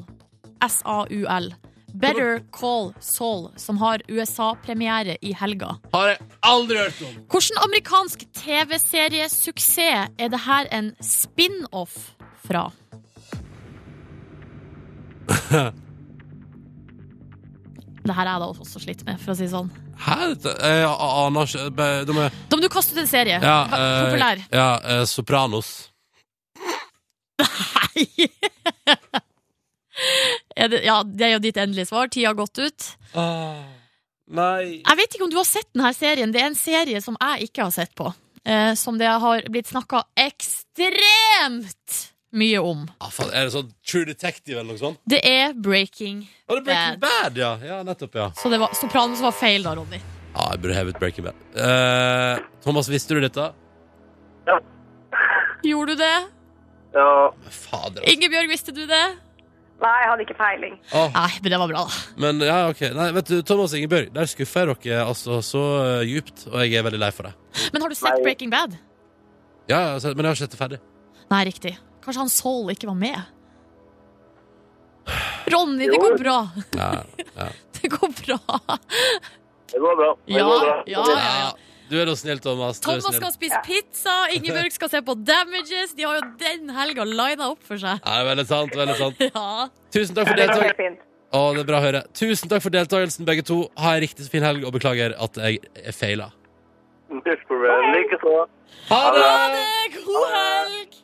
Speaker 4: S-A-U-L. Better Call Saul, som har USA-premiere i helga.
Speaker 2: Har jeg aldri hørt om!
Speaker 4: Hvilken amerikansk TV-seriesuksess er det her en spin-off
Speaker 2: (laughs)
Speaker 4: fra? Det her er jeg da også slitt med, for å si det sånn.
Speaker 2: Hæ? Dette- eh, Jeg aner ikke Be- de er,
Speaker 4: Da må du kaste ut en serie.
Speaker 2: ja, eh, (laughs)
Speaker 4: Populær.
Speaker 2: ja, eh, Sopranos.
Speaker 4: Nei! (laughs) Er det, ja, det er jo ditt endelige svar. Tida har gått ut.
Speaker 2: nei
Speaker 4: Jeg vet ikke om du har sett denne serien. Det er en serie som jeg ikke har sett på. eh, som det har blitt snakka ekstremt mye om.
Speaker 2: ah, faen, Er det sånn True Detective eller noe sånt?
Speaker 4: Det er Breaking.
Speaker 2: Var det Breaking Bad, ja? Ja, nettopp, ja.
Speaker 4: Så det var Sopranos var feil da, Ronny.
Speaker 2: Ja, jeg burde hevet Breaking Bad. Eh, Thomas, visste du dette?
Speaker 4: Gjorde du det?
Speaker 5: Ja.
Speaker 2: Fader, altså.
Speaker 4: Ingebjørg, visste du det?
Speaker 6: Nei, jeg hadde ikke peiling.
Speaker 2: Åh,
Speaker 4: Nei, men det var bra, da.
Speaker 2: men ja, ok. Nei, vet du, Thomas og Ingebjørg, der skuffer jeg dere altså så eh, djupt, og jeg er veldig lei for det.
Speaker 4: Men har du sett
Speaker 5: Nei.
Speaker 4: Breaking Bad?
Speaker 2: Ja, ja, altså, men jeg har ikke sett det ferdig.
Speaker 4: Nei, riktig. Kanskje han Saul ikke var med? Ronny, det går bra.
Speaker 2: Ja,
Speaker 4: (laughs) Det går bra.
Speaker 5: Det går bra. Det
Speaker 4: Ja,
Speaker 5: går bra.
Speaker 4: Ah, ja,
Speaker 2: ja,
Speaker 4: ja. ja.
Speaker 2: Du er da snill, Thomas. Du er
Speaker 4: Thomas
Speaker 2: snill.
Speaker 4: skal spise pizza, Ingeborg skal se på Damages. De har jo den helga lina opp for seg. (laughs)
Speaker 2: Ja, veldig sant, veldig sant.
Speaker 4: Ja.
Speaker 2: Tusen takk for
Speaker 6: Det går
Speaker 2: deltakelsen.
Speaker 6: helt fint.
Speaker 2: Å, det er bra å høre. Tusen takk for deltakelsen, begge to. Ha en riktig fin helg, og beklager at jeg feila.
Speaker 5: Null problem. Likeså.
Speaker 2: Ha det!
Speaker 4: Ha det! God helg!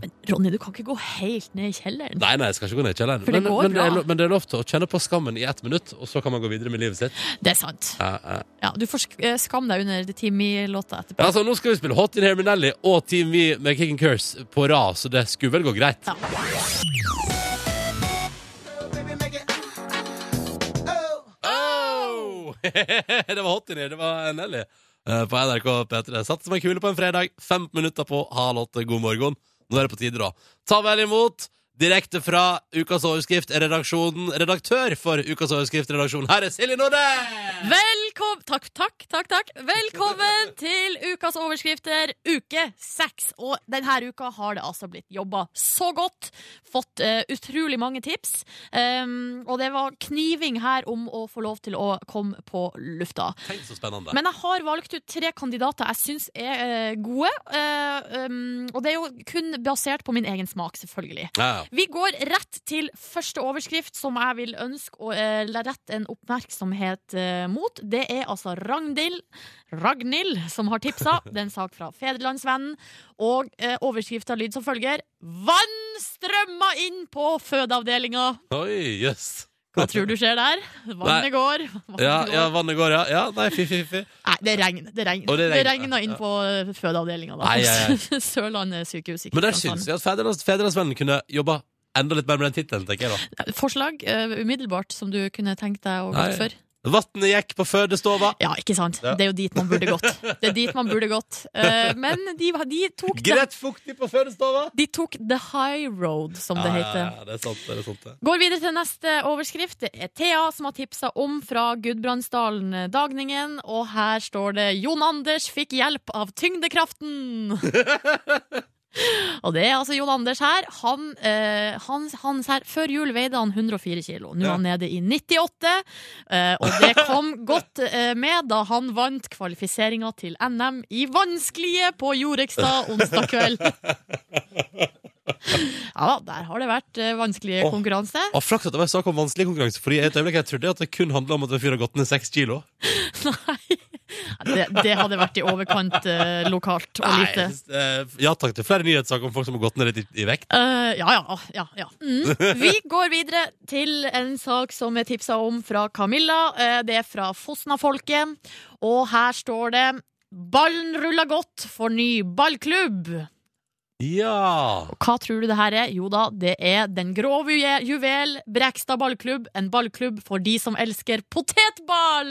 Speaker 4: Men Ronny, du kan ikke gå helt ned i kjelleren.
Speaker 2: Nei, nei, jeg skal ikke gå ned i kjelleren.
Speaker 4: For det
Speaker 2: Men,
Speaker 4: går
Speaker 2: men, det er,
Speaker 4: bra.
Speaker 2: lo- men det er lov til å kjenne på skammen i ett minutt, og så kan man gå videre med livet sitt.
Speaker 4: Det er sant.
Speaker 2: Ja, ja.
Speaker 4: Ja, du får sk- eh, skamme deg under The Timmy-låta etterpå.
Speaker 2: Ja, altså, nå skal vi spille Hot in Here med Nelly og Team V med Kick and Curse på rad, så det skulle vel gå greit.
Speaker 4: Ja.
Speaker 2: Oh! (laughs) det var Hot in Here, det var Nelly eh, på NRK P3. Satt som en kule på en fredag, fem minutter på halv åtte. God morgen. Nå er det på tide, da. Ta vel imot, direkte fra Ukas overskrift, redaksjonen, redaktør for Ukas overskrift, redaksjonen. Her er Silje Nordnes!
Speaker 4: Velkommen Takk, takk, takk, takk. Velkommen til ukas overskrifter, uke seks. Og denne uka har det altså blitt jobba så godt. Fått eh, utrolig mange tips. Um, og det var kniving her om å få lov til å komme på lufta.
Speaker 2: Tenk så spennende.
Speaker 4: Men jeg har valgt ut tre kandidater jeg syns er eh, gode. eh, um, og det er jo kun basert på min egen smak, selvfølgelig.
Speaker 2: ja, ja.
Speaker 4: Vi går rett til første overskrift, som jeg vil ønske å eh, rette en oppmerksomhet eh, mot. Det er altså Ragnhild, Ragnhild som har tipsa.
Speaker 2: (laughs)
Speaker 4: Det er en sak fra Federlandsvennen. Og eh, overskrifta lyd som følger. Vann strømma inn på fødeavdelinga!
Speaker 2: Oi, jøss. (laughs)
Speaker 4: Hva tror du skjer der? Vannet går. Vannet
Speaker 2: Ja,
Speaker 4: går.
Speaker 2: ja, vannet går, ja. ja nei, fy, fy, fy.
Speaker 4: Nei, det regner. Det regner,
Speaker 2: Og det
Speaker 4: det
Speaker 2: regner,
Speaker 4: regner inn
Speaker 2: ja.
Speaker 4: på eh, fødeavdelinga, da.
Speaker 2: Ai, ai,
Speaker 4: (laughs) Sørlandet sykehus. ikke
Speaker 2: Men der
Speaker 4: sant?
Speaker 2: syns jeg at Fedrelands- Fedrelandsvennen kunne jobba enda litt mer med den tittelen, tenker jeg da.
Speaker 4: Forslag eh, umiddelbart som du kunne tenkt deg å gå
Speaker 2: Nei.
Speaker 4: for?
Speaker 2: Vatnet gikk på fødestova.
Speaker 4: Ja, ikke sant?
Speaker 2: Ja.
Speaker 4: Det er jo dit man burde gått. Det er dit man burde gått. Eh, men de, de, tok det,
Speaker 2: Greit fuktig på fødestova!
Speaker 4: de tok the high road, som det heter.
Speaker 2: Ja, det er sant, det er sant. det.
Speaker 4: Går videre til neste overskrift. Det er Thea som har tipsa om fra Gudbrandsdalen eh, Dagningen. Og her står det 'Jon Anders fikk hjelp av tyngdekraften'. (laughs) og det er altså Jon Anders her. Han, eh, han, han her før jul veide han 104 kilo. Nå er han nede i 98. Eh, og det kom godt eh, med da han vant kvalifiseringa til NM i vanskelige på Jorekstad onsdag kveld. Ja, der har det vært eh, vanskelige
Speaker 2: Åh.
Speaker 4: konkurranse.
Speaker 2: Og Flaks at det var en sak om vanskelig konkurranse, Fordi i et øyeblikk jeg trodde at det kun handla om at en fyr har gått ned seks kilo.
Speaker 4: (laughs) Nei. Det, det hadde vært i overkant eh, lokalt og lite.
Speaker 2: Nei, eh, ja takk til flere nyhetssaker om folk som har gått ned litt i, i vekt.
Speaker 4: Eh, ja, ja, ja, ja. Mm. Vi går videre til en sak som er tipsa om fra Camilla. Eh, det er fra Fosna-folket. Og her står det 'Ballen ruller godt for ny ballklubb'.
Speaker 2: Ja!
Speaker 4: Og Hva tror du det her er? Jo da, det er Den grove ju- juvel, Brekstad ballklubb. En ballklubb for de som elsker potetball!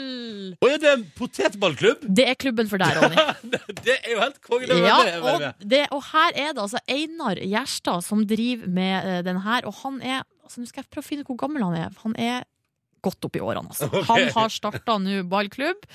Speaker 2: Og er det en potetballklubb?
Speaker 4: Det er klubben for deg, Ronny.
Speaker 2: (laughs) Det er jo helt konge! det var
Speaker 4: Ja,
Speaker 2: det jeg var
Speaker 4: og,
Speaker 2: med.
Speaker 4: det, og her er det altså Einar Gjerstad som driver med eh, den her, og han er altså, Nå skal jeg prøve å finne ut hvor gammel han er. Han er godt opp i årene, altså. Han har starta nå ballklubb.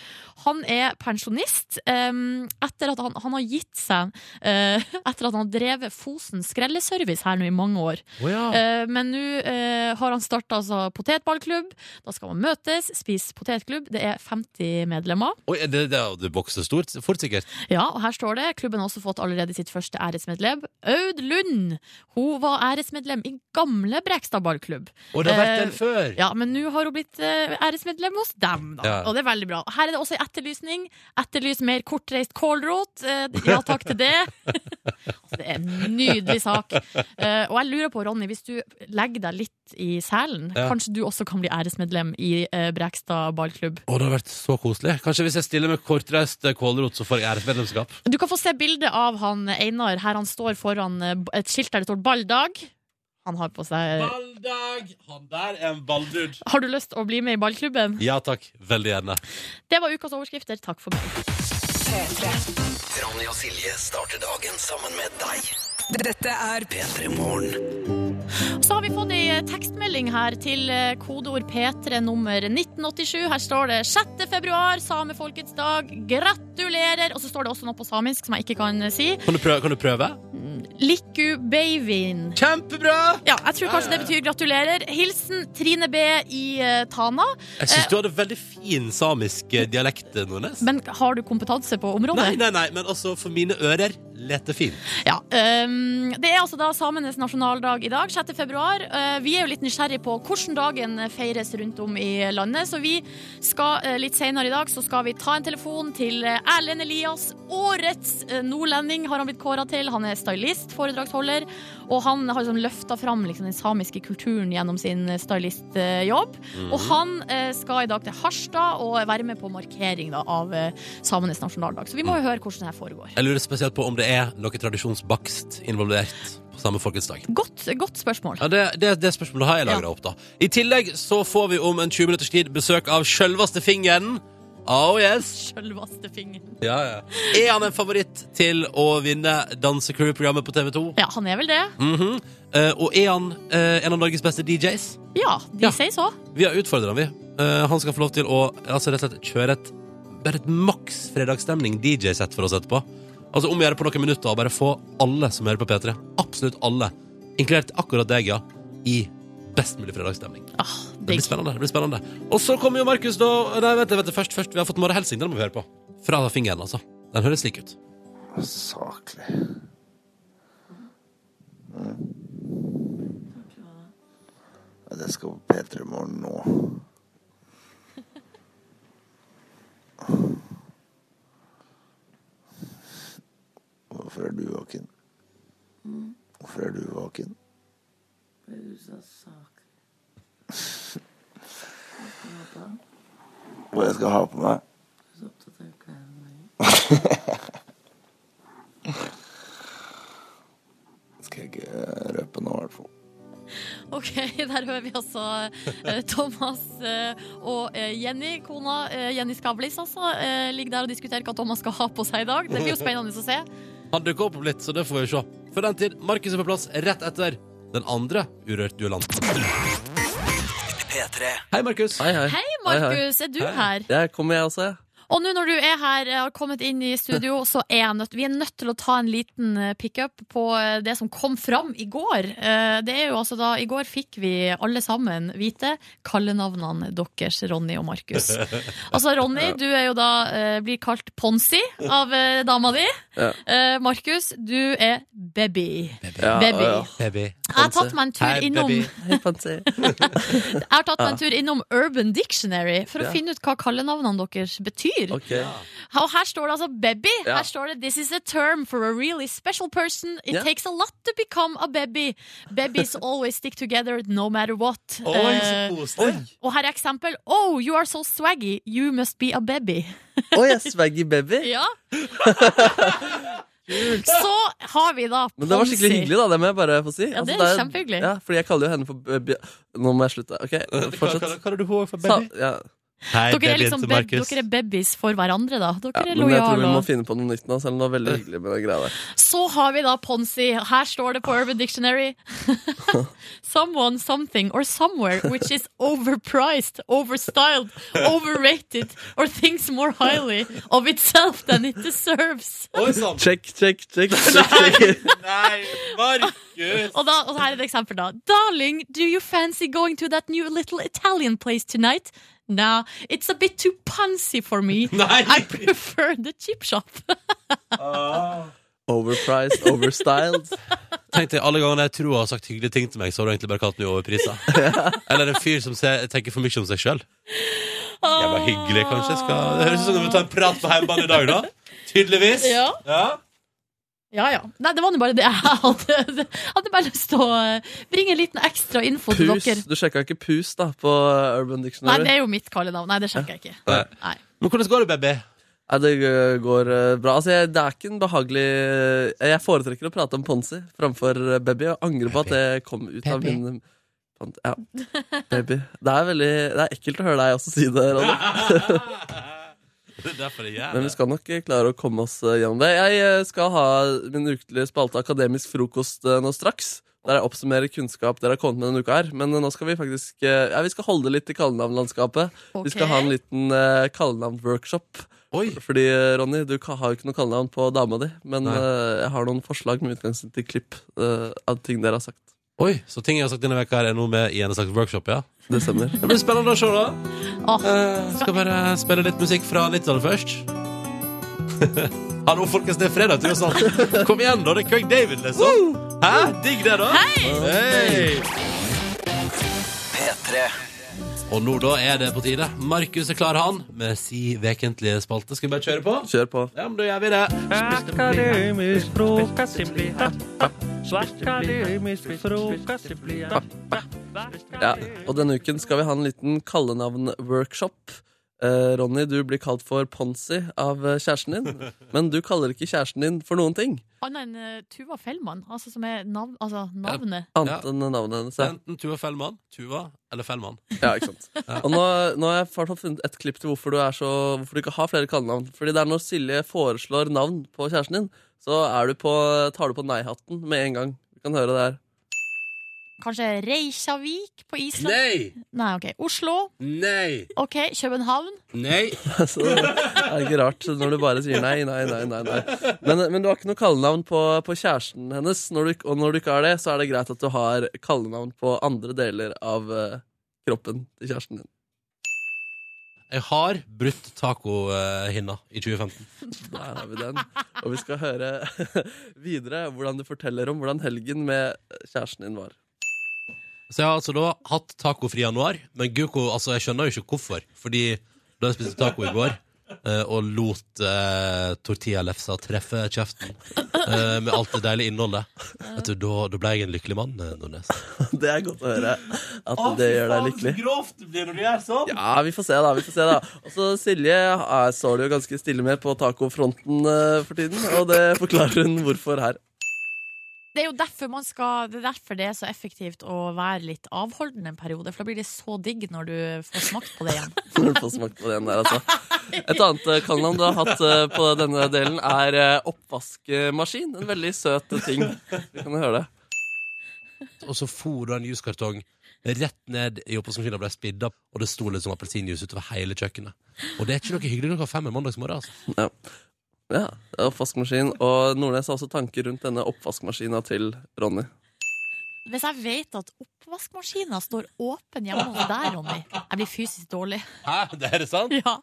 Speaker 4: Han er pensjonist em, etter at han, han har gitt seg eh, (laughs) etter at han har drevet Fosen skrelleservice her nå i mange år.
Speaker 2: Å ja.
Speaker 4: Eh, men nå eh, har han starta altså potetballklubb. Da skal man møtes, spise potetklubb. Det er 50 medlemmer.
Speaker 2: Oi, er det, det, er- det vokser stort, fort sikkert.
Speaker 4: Ja, og her står det Klubben har også fått allerede sitt første æresmedlem Aud Lund Hun var æresmedlem i gamle Brekstad ballklubb
Speaker 2: Og det har vært
Speaker 4: Eh,
Speaker 2: den før!
Speaker 4: Ja, men nå har hun blitt eh, æresmedlem hos dem da
Speaker 2: Ja.
Speaker 4: Og det er veldig bra Her er det også en etterlysning Etterlys mer kortreist kålrot Eh, Ja, takk til det (laughs) altså, Det er en nydelig sak Eh, Og jeg lurer på, Ronny, hvis du legger deg litt i selen
Speaker 2: Ja.
Speaker 4: Kanskje du også kan bli æresmedlem i eh, Brekstad ballklubb
Speaker 2: Å, det har vært så koselig. Kanskje hvis jeg stiller med kortreist eh, kålrot, så får jeg æresmedlemskap.
Speaker 4: Du kan få se bilde av han Einar her han står foran eh, et skilt der det står 'Balldag'. Han har på seg
Speaker 2: Balldag! Han der er en balldud.
Speaker 4: Har du lyst å bli med i ballklubben?
Speaker 2: Ja takk. Veldig gjerne.
Speaker 4: Det var ukas overskrifter. Takk for meg.
Speaker 1: Ronny og Silje starter dagen sammen med deg. Dette er P3 Morgen.
Speaker 4: Så har vi fått ei eh, tekstmelding her til eh, kodeord P3 nummer 1987. Her står det 6. februar, samefolkets dag. Gratulerer! Og så står det også noe på samisk som jeg ikke kan eh, si.
Speaker 2: Kan du prøve? Kan du prøve?
Speaker 4: Likku beivin.
Speaker 2: Kjempebra!
Speaker 4: Ja, jeg tror kanskje det betyr gratulerer. Hilsen Trine B i eh, Tana.
Speaker 2: Jeg syns du hadde veldig fin samisk eh, dialekt, Nordnes.
Speaker 4: Men har du kompetanse på området?
Speaker 2: Nei, nei, nei, men altså, for mine ører leter fint.
Speaker 4: Ja, øhm, Det er altså da samenes nasjonaldag i dag, 6. februar. Eh, vi er jo litt nysgjerrige på hvordan dagen eh, feires rundt om i landet, så vi skal eh, litt senere i dag så skal vi ta en telefon til eh, Erlend Elias. Årets eh, nordlending har han blitt kåra til. Han er stylist, foredragsholder, og han har liksom løfta fram liksom, den samiske kulturen gjennom sin eh, stylistjobb. Og han eh, skal i dag til Harstad og være med på markering da, av eh, samenes nasjonaldag. Så vi må jo høre hvordan det her foregår.
Speaker 2: Jeg lurer spesielt på om det er noe tradisjonsbakst involvert på samme folkets dag.
Speaker 4: Godt, godt spørsmål.
Speaker 2: Ja, det, det, det spørsmålet har jeg lagra opp, da. I tillegg så får vi om en 20 minutters tid besøk av sjølveste fingeren. Oh yes!
Speaker 4: Sjølveste fingeren.
Speaker 2: Ja, ja. Er han en favoritt til å vinne Dansecrew-programmet på TV2?
Speaker 4: Ja, han er vel det.
Speaker 2: Mhm. Eh, og er han eh, en av Norges beste DJs?
Speaker 4: Ja, de
Speaker 2: Ja.
Speaker 4: sier så.
Speaker 2: Vi har utfordra han, vi. Eh, han skal få lov til å altså, rett og slett kjøre et bare et maks fredagsstemning DJ-sett for oss etterpå. Altså om å gjøre på noen minutter og bare få alle som hører på P3, absolutt alle, inkludert akkurat deg, ja, i best mulig fredagsstemning.
Speaker 4: Ah,
Speaker 2: Det
Speaker 4: digg.
Speaker 2: blir spennende. det blir spennende Og så kommer jo Markus, da. Nei, vent, vent, først, først. Vi har fått Mare Helsing. Den må vi høre på. Fra fingeren, altså. Den høres slik ut.
Speaker 7: Saklig. Ja, det skal på P3 Morgen nå. Hvorfor er du våken? Hvorfor er du våken? Hva jeg skal ha på meg? Skal jeg ikke røpe nå, i hvert fall.
Speaker 4: Ok, (laughs) der hører vi altså eh, Thomas eh, og eh, Jenny, kona eh, Jenny Skavlis, altså, eh, ligger der og diskuterer hva Thomas skal ha på seg i dag. Det blir jo spennende å se.
Speaker 2: Han dukker opp om litt, så det får vi se. For den tid, Markus er på plass rett etter den andre Urørt duellanten.
Speaker 1: P3.
Speaker 2: Hei, Markus.
Speaker 3: Hei, hei.
Speaker 4: Hei, Markus, er du
Speaker 2: Hei.
Speaker 4: her?
Speaker 3: Jeg kommer, jeg også. jeg.
Speaker 4: Og nå når du er her eh, har kommet inn i studio, så er jeg nødt, vi er nødt til å ta en liten eh, pickup på eh, det som kom fram i går. Eh, Det er jo altså da, I går fikk vi alle sammen vite kallenavnene deres, Ronny og Markus. Altså, Ronny, du er jo da, eh, blir kalt Ponsi av eh, dama di.
Speaker 3: Ja.
Speaker 4: Eh, Markus, du er Baby.
Speaker 3: Ja,
Speaker 4: Baby.
Speaker 3: ja, ja.
Speaker 2: Baby.
Speaker 4: Jeg har tatt meg en
Speaker 2: Hei,
Speaker 4: tur innom eh,
Speaker 2: baby.
Speaker 3: Hei, Pansy.
Speaker 4: Jeg har tatt meg en tur innom Urban Dictionary for å
Speaker 3: Ja.
Speaker 4: finne ut hva kallenavnene deres betyr.
Speaker 3: Ok.
Speaker 4: Og her står det altså baby.
Speaker 3: Ja.
Speaker 4: Her står det 'This is a term for a really special person. It
Speaker 3: Ja.
Speaker 4: takes a lot to become a baby.
Speaker 3: (laughs)
Speaker 4: Babies always stick together no matter what'.
Speaker 2: Oi, så
Speaker 4: Eh,
Speaker 2: koselig.
Speaker 4: og her er eksempel. 'Oh, you are so swaggy. You must be a baby'.
Speaker 3: Oi, jeg er swaggy baby.
Speaker 4: (laughs) Ja. Så har vi da
Speaker 3: Men det var skikkelig
Speaker 4: Ponsi.
Speaker 3: hyggelig, da. Det må jeg bare få si.
Speaker 4: Ja, det er kjempehyggelig.
Speaker 3: Ja, fordi jeg kaller jo henne for baby eh, Nå må jeg slutte. Ok,
Speaker 2: Hva
Speaker 3: fortsett.
Speaker 2: kaller du henne for
Speaker 3: Sa,
Speaker 2: baby?
Speaker 3: ja.
Speaker 2: Nei,
Speaker 4: Dere er,
Speaker 2: det
Speaker 4: liksom
Speaker 2: begynte
Speaker 4: bab-
Speaker 2: Markus.
Speaker 4: dere er babies for hverandre, da.
Speaker 3: Ja,
Speaker 4: Dere er
Speaker 3: men jeg tror vi
Speaker 4: lojale.
Speaker 3: må
Speaker 4: og-
Speaker 3: finne på noe nytt nå, selv om det var veldig hyggelig med den greia der.
Speaker 4: Så har vi da Ponsi. Her står det på Urban Dictionary. (laughs) Someone, something or somewhere which is overpriced, overstyled, overrated or thinks more highly of itself than it deserves.
Speaker 2: Oi sann!
Speaker 3: Check, check, (laughs) check. check, check.
Speaker 2: Nei, Markus!
Speaker 4: Og, da, og her er et eksempel, da. Darling, do you fancy going to that new little Italian place tonight? Nah, it's a bit too poncy for me.
Speaker 2: (laughs) Nei!
Speaker 4: I prefer the chip shop.
Speaker 3: Overpriced,
Speaker 4: (laughs)
Speaker 3: overstyled.
Speaker 2: Tenk deg, alle gangene jeg tror jeg har sagt hyggelige ting til meg, så har du egentlig bare kalt meg overprisa.
Speaker 4: (laughs)
Speaker 2: Eller en fyr som ser, tenker for mye om seg sjøl. Jævla er hyggelig, kanskje. jeg Skal... Det høres ut som du vil ta en prat på hjemmebane i dag, da. Tydeligvis.
Speaker 4: Ja.
Speaker 2: ja.
Speaker 4: Ja, ja. Nei, det var nå bare det jeg hadde. (laughs) Jeg hadde bare lyst til å eh, bringe en liten ekstra info til
Speaker 3: Pus.
Speaker 4: dere.
Speaker 3: Du sjekka ikke pus da på eh, Urban
Speaker 4: Nei, det
Speaker 3: Dictionary?
Speaker 4: er jo mitt kallenavn. Nei, det sjekker jeg ikke.
Speaker 2: Nei.
Speaker 4: Nei.
Speaker 2: Men hvordan går det, baby?
Speaker 3: Nei, det eh, går eh, bra. Altså, jeg, det er ikke en behagelig eh, Jeg foretrekker å prate om Ponsi framfor eh, baby. Jeg angrer på at det kom ut av
Speaker 4: Baby.
Speaker 3: min Pon- Ja, baby. Det er veldig Det er ekkelt å høre deg også si det, (laughs) Ronny.
Speaker 2: Det er derfor jeg gjør
Speaker 3: Men vi
Speaker 2: det.
Speaker 3: skal nok eh, klare å komme oss eh, gjennom det. Jeg eh, skal ha min ukelige spalte Akademisk frokost eh, nå straks. Der jeg oppsummerer kunnskap dere har kommet med denne uka her. Men eh, nå skal vi faktisk eh, Ja, vi skal holde litt i kallenavnlandskapet.
Speaker 4: Ok.
Speaker 3: Vi skal ha en liten eh, kallenavn-workshop.
Speaker 2: Oi!
Speaker 3: Fordi, eh, Ronny, du ka- har jo ikke noe kallenavn på dama di. Men
Speaker 2: Nei.
Speaker 3: eh, jeg har noen forslag med utgangspunkt i klipp eh, av ting dere har sagt.
Speaker 2: Oi, Så ting jeg har sagt denne veka her er nå med i en slags workshop, ja?
Speaker 3: Det stemmer.
Speaker 2: Det blir spennende å se, da.
Speaker 4: Åh.
Speaker 2: Eh, skal bare spille litt musikk fra 90-tallet (laughs) først. Hallo, folkens, det er fredag, tross alt. Kom igjen, da. Det er Craig David, liksom. Hæ? Digg det, da. Hei!
Speaker 1: P3.
Speaker 2: Og nå, da, er det på tide. Markus er klar, han, med si vekentlige spalte. Skal vi bare kjøre på?
Speaker 3: Kjør på.
Speaker 2: Ja, men da gjør vi det.
Speaker 8: Eh,
Speaker 9: Akademisk frokost det blir Akademisk frokost det blir
Speaker 3: Ja, og denne uken skal vi ha en liten kallenavn-workshop. Eh, Ronny, du blir kalt for Ponsi av eh, kjæresten din. Men du kaller ikke kjæresten din for noen ting
Speaker 4: Annet enn eh, Tuva Fellmann, altså som er navn, altså navnet.
Speaker 3: annet
Speaker 2: Ja.
Speaker 3: enn navnet hennes. Ja.
Speaker 2: Enten Tuva Fellmann, Tuva eller Fellmann.
Speaker 3: Ja, ikke sant? Og nå, nå har jeg i hvert fall funnet et klipp til hvorfor du, er så, hvorfor du ikke har flere kallenavn. Fordi det er når Silje foreslår navn på kjæresten din, så er du på, tar du på nei-hatten med en gang. Du kan høre det her.
Speaker 4: Kanskje Reykjavik på Island?
Speaker 2: Nei!
Speaker 4: Nei, ok. Oslo?
Speaker 2: Nei!
Speaker 4: Ok. København?
Speaker 2: Nei!
Speaker 3: Så det er ikke rart når du bare sier nei, nei, nei. nei, nei. Men, men du har ikke noe kallenavn på, på kjæresten hennes, når du, ikk- og når du ikke har det, så er det greit at du har kallenavn på andre deler av eh, kroppen til kjæresten din.
Speaker 2: Jeg har brutt tacohinna i 2015.
Speaker 3: Der har vi den. Og vi skal høre (laughs) videre hvordan du forteller om hvordan helgen med eh, kjæresten din var.
Speaker 2: Så jeg har altså da hatt tacofri januar, men Guko, altså jeg skjønner jo ikke hvorfor. Fordi da jeg spiste taco i går eh, og lot eh, tortillalefsa treffe kjeften eh, med alt det deilige innholdet, vet du, da, da ble jeg en lykkelig mann. eh, Nordnes.
Speaker 3: Det er godt å høre at det gjør deg lykkelig.
Speaker 2: grovt det blir når du gjør sånn!
Speaker 3: Ja, vi får se, da. vi får se da Og så Silje er, står det jo ganske stille med på tacofronten eh, for tiden, og det forklarer hun hvorfor her.
Speaker 4: Det er jo derfor, man skal, det er derfor det er så effektivt å være litt avholdende en periode. For da blir det så digg når du får smakt på det igjen.
Speaker 3: Når du får smakt på den der, altså. Et annet eh, kallenavn du har hatt eh, på denne delen, er eh, oppvaskmaskin. En veldig søt ting. Vi kan jo høre det.
Speaker 2: Og så for da en juskartong rett ned i oppvaskmaskinen og ble spidda, og det sto litt sånn appelsinjuice utover hele kjøkkenet. Og det er ikke noe hyggelig klokka fem en mandagsmorgen, altså.
Speaker 3: Ja, oppvaskmaskin. Og Nordnes har også tanker rundt denne oppvaskmaskina til Ronny.
Speaker 4: Hvis jeg vet at oppvaskmaskinen står åpen hjemme hos deg, Ronny Jeg blir fysisk dårlig.
Speaker 2: Hæ, det er det sant?
Speaker 4: (laughs) Ja.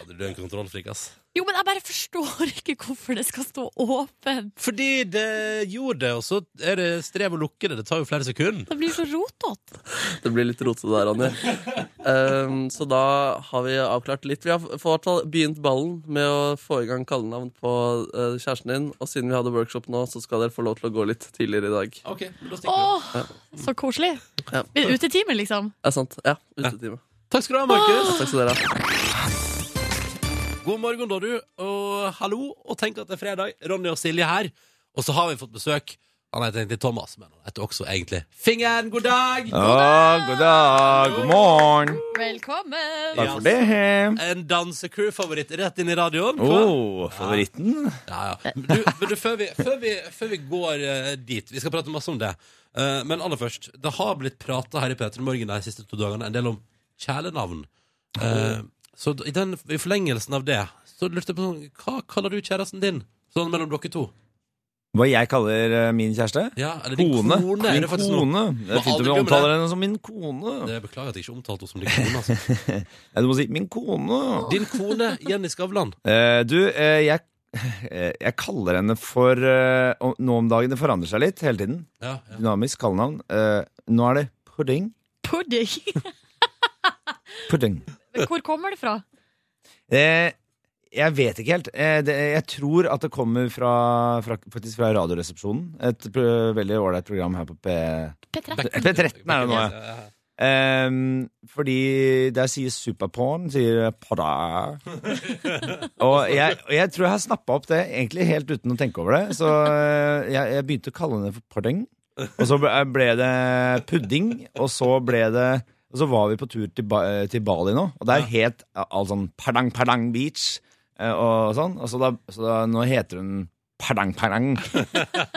Speaker 2: Hadde du er en kontrollfrik, ass.
Speaker 4: Jo, men jeg bare forstår ikke hvorfor det skal stå åpen.
Speaker 2: Fordi det gjorde det, og så er det strev å lukke det. Det tar jo flere sekunder.
Speaker 4: Det blir så rotete.
Speaker 3: Det blir litt rotete der, Ronny. Ehm, så da har vi avklart litt. Vi har i hvert fall begynt ballen med å få i gang kallenavn på eh, kjæresten din. Og siden vi hadde workshop nå, så skal dere få lov til å gå litt tidligere i dag.
Speaker 2: Ok, da
Speaker 4: Åh, så koselig.
Speaker 3: Ja.
Speaker 4: Utetime, liksom.
Speaker 3: Er det sant? Ja. Utetime.
Speaker 2: Takk skal du ha, Markus.
Speaker 3: Takk skal dere ha.
Speaker 2: God morgen, da, du. Og hallo, og tenk at det er fredag. Ronny og Silje her. Og så har vi fått besøk Han heter egentlig Thomas, men han heter også egentlig Fingeren. God dag!
Speaker 10: Ja, god dag, god morgen.
Speaker 4: Velkommen!
Speaker 10: Takk for det.
Speaker 2: En dansecrew-favoritt rett inn i radioen.
Speaker 10: Å,
Speaker 7: Oh.
Speaker 10: Oh, favoritten.
Speaker 2: Ja, ja. Men Du, men du, før, vi, før, vi, før vi går eh, dit Vi skal prate masse om det. Eh, men aller først, det har blitt prata her i P3 Morgen de siste to dagene en del om kjælenavn. Eh, så d- i, den, i forlengelsen av det Så lurte jeg på sånn, hva kaller du kjæresten din? Sånn mellom dere to.
Speaker 10: Hva jeg kaller eh, min kjæreste?
Speaker 2: Ja, eller din
Speaker 10: Kone.
Speaker 2: kone, er
Speaker 10: Min
Speaker 2: det faktisk noe.
Speaker 10: kone. Det
Speaker 2: Må
Speaker 10: er fint
Speaker 2: aldri
Speaker 10: om jeg
Speaker 2: glemme
Speaker 10: omtaler
Speaker 2: det.
Speaker 10: henne som min kone.
Speaker 2: Det Beklager at jeg ikke omtalte henne som din kone.
Speaker 10: (laughs)
Speaker 2: Altså.
Speaker 10: Ja, du må si 'min kone'.
Speaker 2: Din kone Jenny Skavlan.
Speaker 10: Eh, du, eh, jeg, eh, jeg kaller henne for eh, om- Nå om dagen, det forandrer seg litt hele tiden.
Speaker 2: Ja, ja.
Speaker 10: Dynamisk kallenavn. Eh, nå er det pudding.
Speaker 4: Pudding!
Speaker 10: Pudding.
Speaker 4: (laughs) Hvor kommer det fra?
Speaker 10: Eh, jeg vet ikke helt. Eh, det, jeg tror at det kommer fra, fra, faktisk fra Radioresepsjonen. Et pro, veldig ålreit program her på P...
Speaker 4: P13.
Speaker 10: P13 er det nå, ja.
Speaker 2: ja.
Speaker 10: Ehm, fordi der sier superporn, sier (laughs) pada. og, jeg, og jeg tror jeg har snappa opp det egentlig helt uten å tenke over det. Så eh, jeg, jeg begynte å kalle henne for pudding. Og så ble, eh, ble det pudding, og så ble det Og så var vi på tur til, ba, eh, til Bali nå, og der het alt sånn Padang Padang Beach eh, og sånn. Og så da, så da nå heter hun Padang Padang. (laughs)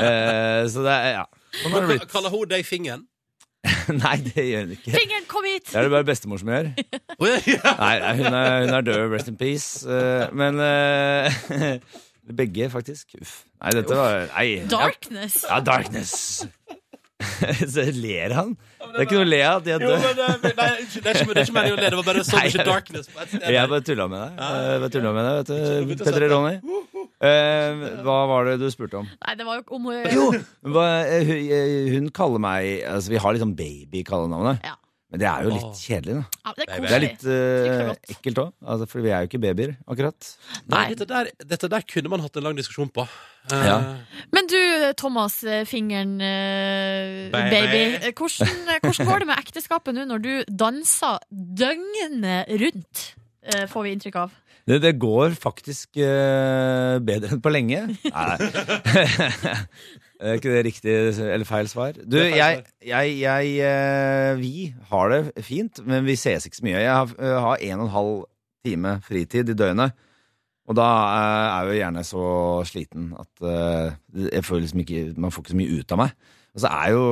Speaker 10: Eh, så det er Ja. Sånn har det
Speaker 2: Ka-
Speaker 10: blitt.
Speaker 2: Kaller hun deg fingeren?
Speaker 10: (laughs) Nei, det gjør hun ikke.
Speaker 4: Fingeren, kom hit!
Speaker 10: Det er det bare bestemor som gjør.
Speaker 2: Å, ja, ja. (laughs)
Speaker 10: Nei, nei, hun er, hun er død. Rest in peace. Eh, Men eh, (laughs) Begge, faktisk. Uff. Nei, dette var Nei.
Speaker 4: Darkness!
Speaker 10: Ja, darkness. (laughs) Så ler han. Det er ikke noe å le av at de er
Speaker 2: Jo,
Speaker 10: døde.
Speaker 2: men eh, men- nei, unnskyld, det er ikke det er ikke meningen å le. Det var bare sånn
Speaker 10: Nei,
Speaker 2: ikke
Speaker 10: jeg-
Speaker 2: darkness på et sted.
Speaker 10: Jeg bare tulla med deg. Jeg bare tulla med deg, vet du.
Speaker 2: å
Speaker 10: Petter Ronny. Eh, Hva var det du spurte om?
Speaker 4: Nei, det var jo om eh,
Speaker 10: Jo, hva, eh, hun, eh, hun kaller meg Altså, vi har litt sånn baby-kallenavnet.
Speaker 4: Ja.
Speaker 10: Men det er jo
Speaker 2: Åh.
Speaker 10: litt kjedelig, da.
Speaker 4: ja, Det
Speaker 2: Det
Speaker 4: er
Speaker 10: Det er
Speaker 4: koselig.
Speaker 10: litt eh,
Speaker 4: Trygt og godt.
Speaker 10: ekkelt òg, altså, for vi er jo ikke babyer, akkurat.
Speaker 2: Nei,
Speaker 4: Nei.
Speaker 2: dette der, dette der kunne man hatt en lang diskusjon på. Eh,
Speaker 10: Ja.
Speaker 4: Men du, Thomas, eh, fingeren eh,
Speaker 2: Baby.
Speaker 4: baby. Eh, Hvordan, eh, hvordan går det med ekteskapet nå når du danser døgnet rundt? eh, Får vi inntrykk av.
Speaker 10: Det, det går faktisk eh, bedre enn på lenge. Nei. (laughs) er ikke det riktig eller feil svar? Du,
Speaker 2: Det er feil
Speaker 10: jeg,
Speaker 2: svar.
Speaker 10: jeg, jeg eh, Vi har det fint, men vi ses ikke så mye. Jeg har, eh, har en og en halv time fritid i døgnet. Og da eh, er jeg jo gjerne så sliten at eh, jeg føler liksom ikke Man får ikke så mye ut av meg. Og så er jo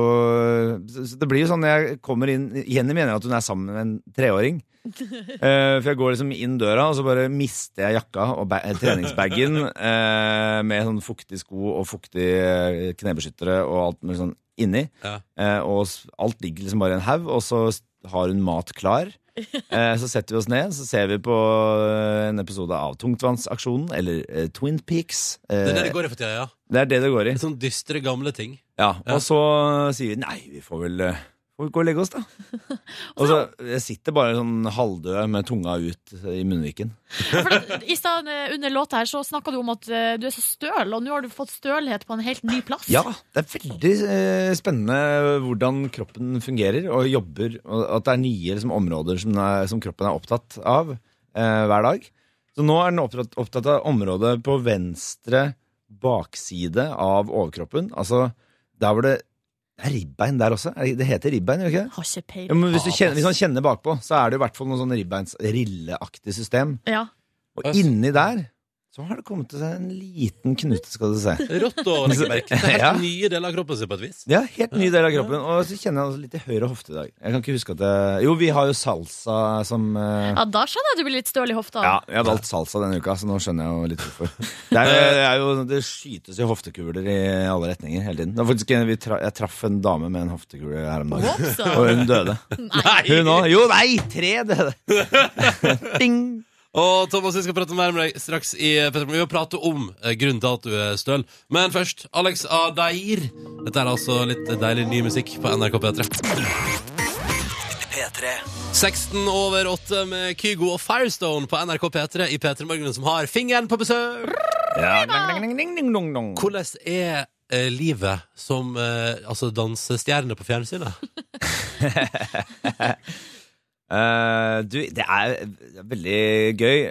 Speaker 10: så- så Det blir jo sånn når jeg kommer inn Jenny mener jo at hun er sammen med en treåring. Eh, for jeg går liksom inn døra, og så bare mister jeg jakka og ba- eh, treningsbagen
Speaker 2: (laughs)
Speaker 10: eh, med sånn fuktig sko og fuktig eh, knebeskyttere og alt mulig sånn inni.
Speaker 2: Ja.
Speaker 10: Eh, og s- alt ligger liksom bare i en haug, og så s- har hun mat
Speaker 2: (laughs)
Speaker 10: klar. Eh, så setter vi oss ned, så ser vi på eh, en episode av Tungtvannsaksjonen, eller eh, Twin Peaks.
Speaker 2: Det er det
Speaker 10: Eh,
Speaker 2: det går i for tida, ja.
Speaker 10: det er det det går i.
Speaker 2: Det er Sånne dystre, gamle ting.
Speaker 10: Ja,
Speaker 2: Ja.
Speaker 10: og så sier vi nei, vi får vel eh, får vi gå og legge oss,
Speaker 2: (laughs)
Speaker 10: da. Og så jeg sitter bare sånn halvdød med tunga ut i munnviken.
Speaker 4: For det, I stedet eh, under låta her så snakka du om at eh, du er så støl, og nå har du fått stølhet på en helt ny plass.
Speaker 10: Ja, det er veldig eh, spennende hvordan kroppen fungerer og jobber, og at det er nye liksom, områder som, den er, som kroppen er opptatt av eh, hver dag. Så nå er den opptatt, opptatt av området på venstre bakside av overkroppen. Altså der hvor det det er ribbein der også. Er det- Det heter ribbein, gjør det ikke det?
Speaker 4: Har ikke
Speaker 10: Ja,
Speaker 4: peiling.
Speaker 10: men hvis, du kjenner, hvis man kjenner bakpå, så er det jo i hvert fall noe sånn ribbeins rilleaktig system.
Speaker 4: Ja.
Speaker 10: Og
Speaker 2: Yes.
Speaker 10: inni der så har det kommet til seg en liten knute, skal du se.
Speaker 2: Rått å legge merke til. Helt
Speaker 10: (laughs) Ja.
Speaker 2: nye deler av kroppen sin, på et vis.
Speaker 10: Ja, helt ny del av kroppen. Og så kjenner jeg også litt i høyre hofte i dag. Jeg kan ikke huske at jeg... Jo, vi har jo salsa som eh,
Speaker 4: ja, da skjønner jeg at du blir litt støl i hofta.
Speaker 10: Ja, jeg har valgt salsa denne uka, så nå skjønner jeg jo litt (laughs) hvorfor. Det, er, jo- det, er jo, det skytes jo hoftekuler i alle retninger hele tiden. Det var faktisk, en- vi tra, jeg traff en dame med en hoftekule her om dagen.
Speaker 4: Whoops,
Speaker 10: (laughs)
Speaker 4: da.
Speaker 10: Og hun døde.
Speaker 4: Nei.
Speaker 10: Hun òg. Jo, nei! Tre døde! Ding!
Speaker 2: Og Thomas, vi skal prate mer med deg straks i eh, Petter Vi vil prate om eh, grunnen til at du er støl. Men først, Alex Adair. Dette er altså litt deilig ny musikk på NRK P3.
Speaker 1: P3.
Speaker 2: 16 over 8 med Kygo og Firestone på NRK P3 i P3 Morgen, som har fingeren på besøk.
Speaker 10: Ja, ding, ding, ding, ding, dong, dong.
Speaker 2: Hvordan er eh, livet som eh, altså dansestjerne på fjernsynet?
Speaker 10: Eh, du, det er veldig gøy.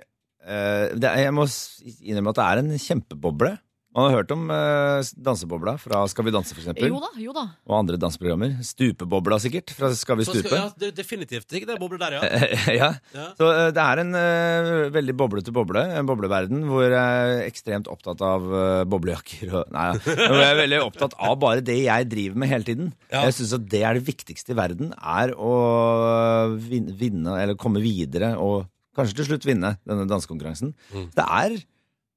Speaker 10: Eh, det er, jeg må s- innrømme at det er en kjempeboble. Man har hørt om eh, dansebobla fra Skal vi danse, for eksempel.
Speaker 4: Jo da, jo da.
Speaker 10: Og andre danseprogrammer. Stupebobla, sikkert, fra Skal vi
Speaker 2: Så skal,
Speaker 10: stupe.
Speaker 2: ja, det, definitivt. Ikke det boblet der,
Speaker 10: Eh,
Speaker 2: ja.
Speaker 10: (laughs) ja.
Speaker 2: Ja.
Speaker 10: Så eh, det er en eh, veldig boblete boble, en bobleverden, hvor jeg er ekstremt opptatt av eh, boblejakker. Og, nei, ja. hvor jeg er veldig opptatt av bare det jeg driver med hele tiden.
Speaker 2: Ja.
Speaker 10: Jeg syns at det er det viktigste i verden, er å eh, vin- vinne, eller komme videre, og kanskje til slutt vinne denne dansekonkurransen.
Speaker 2: Mm.
Speaker 10: Det er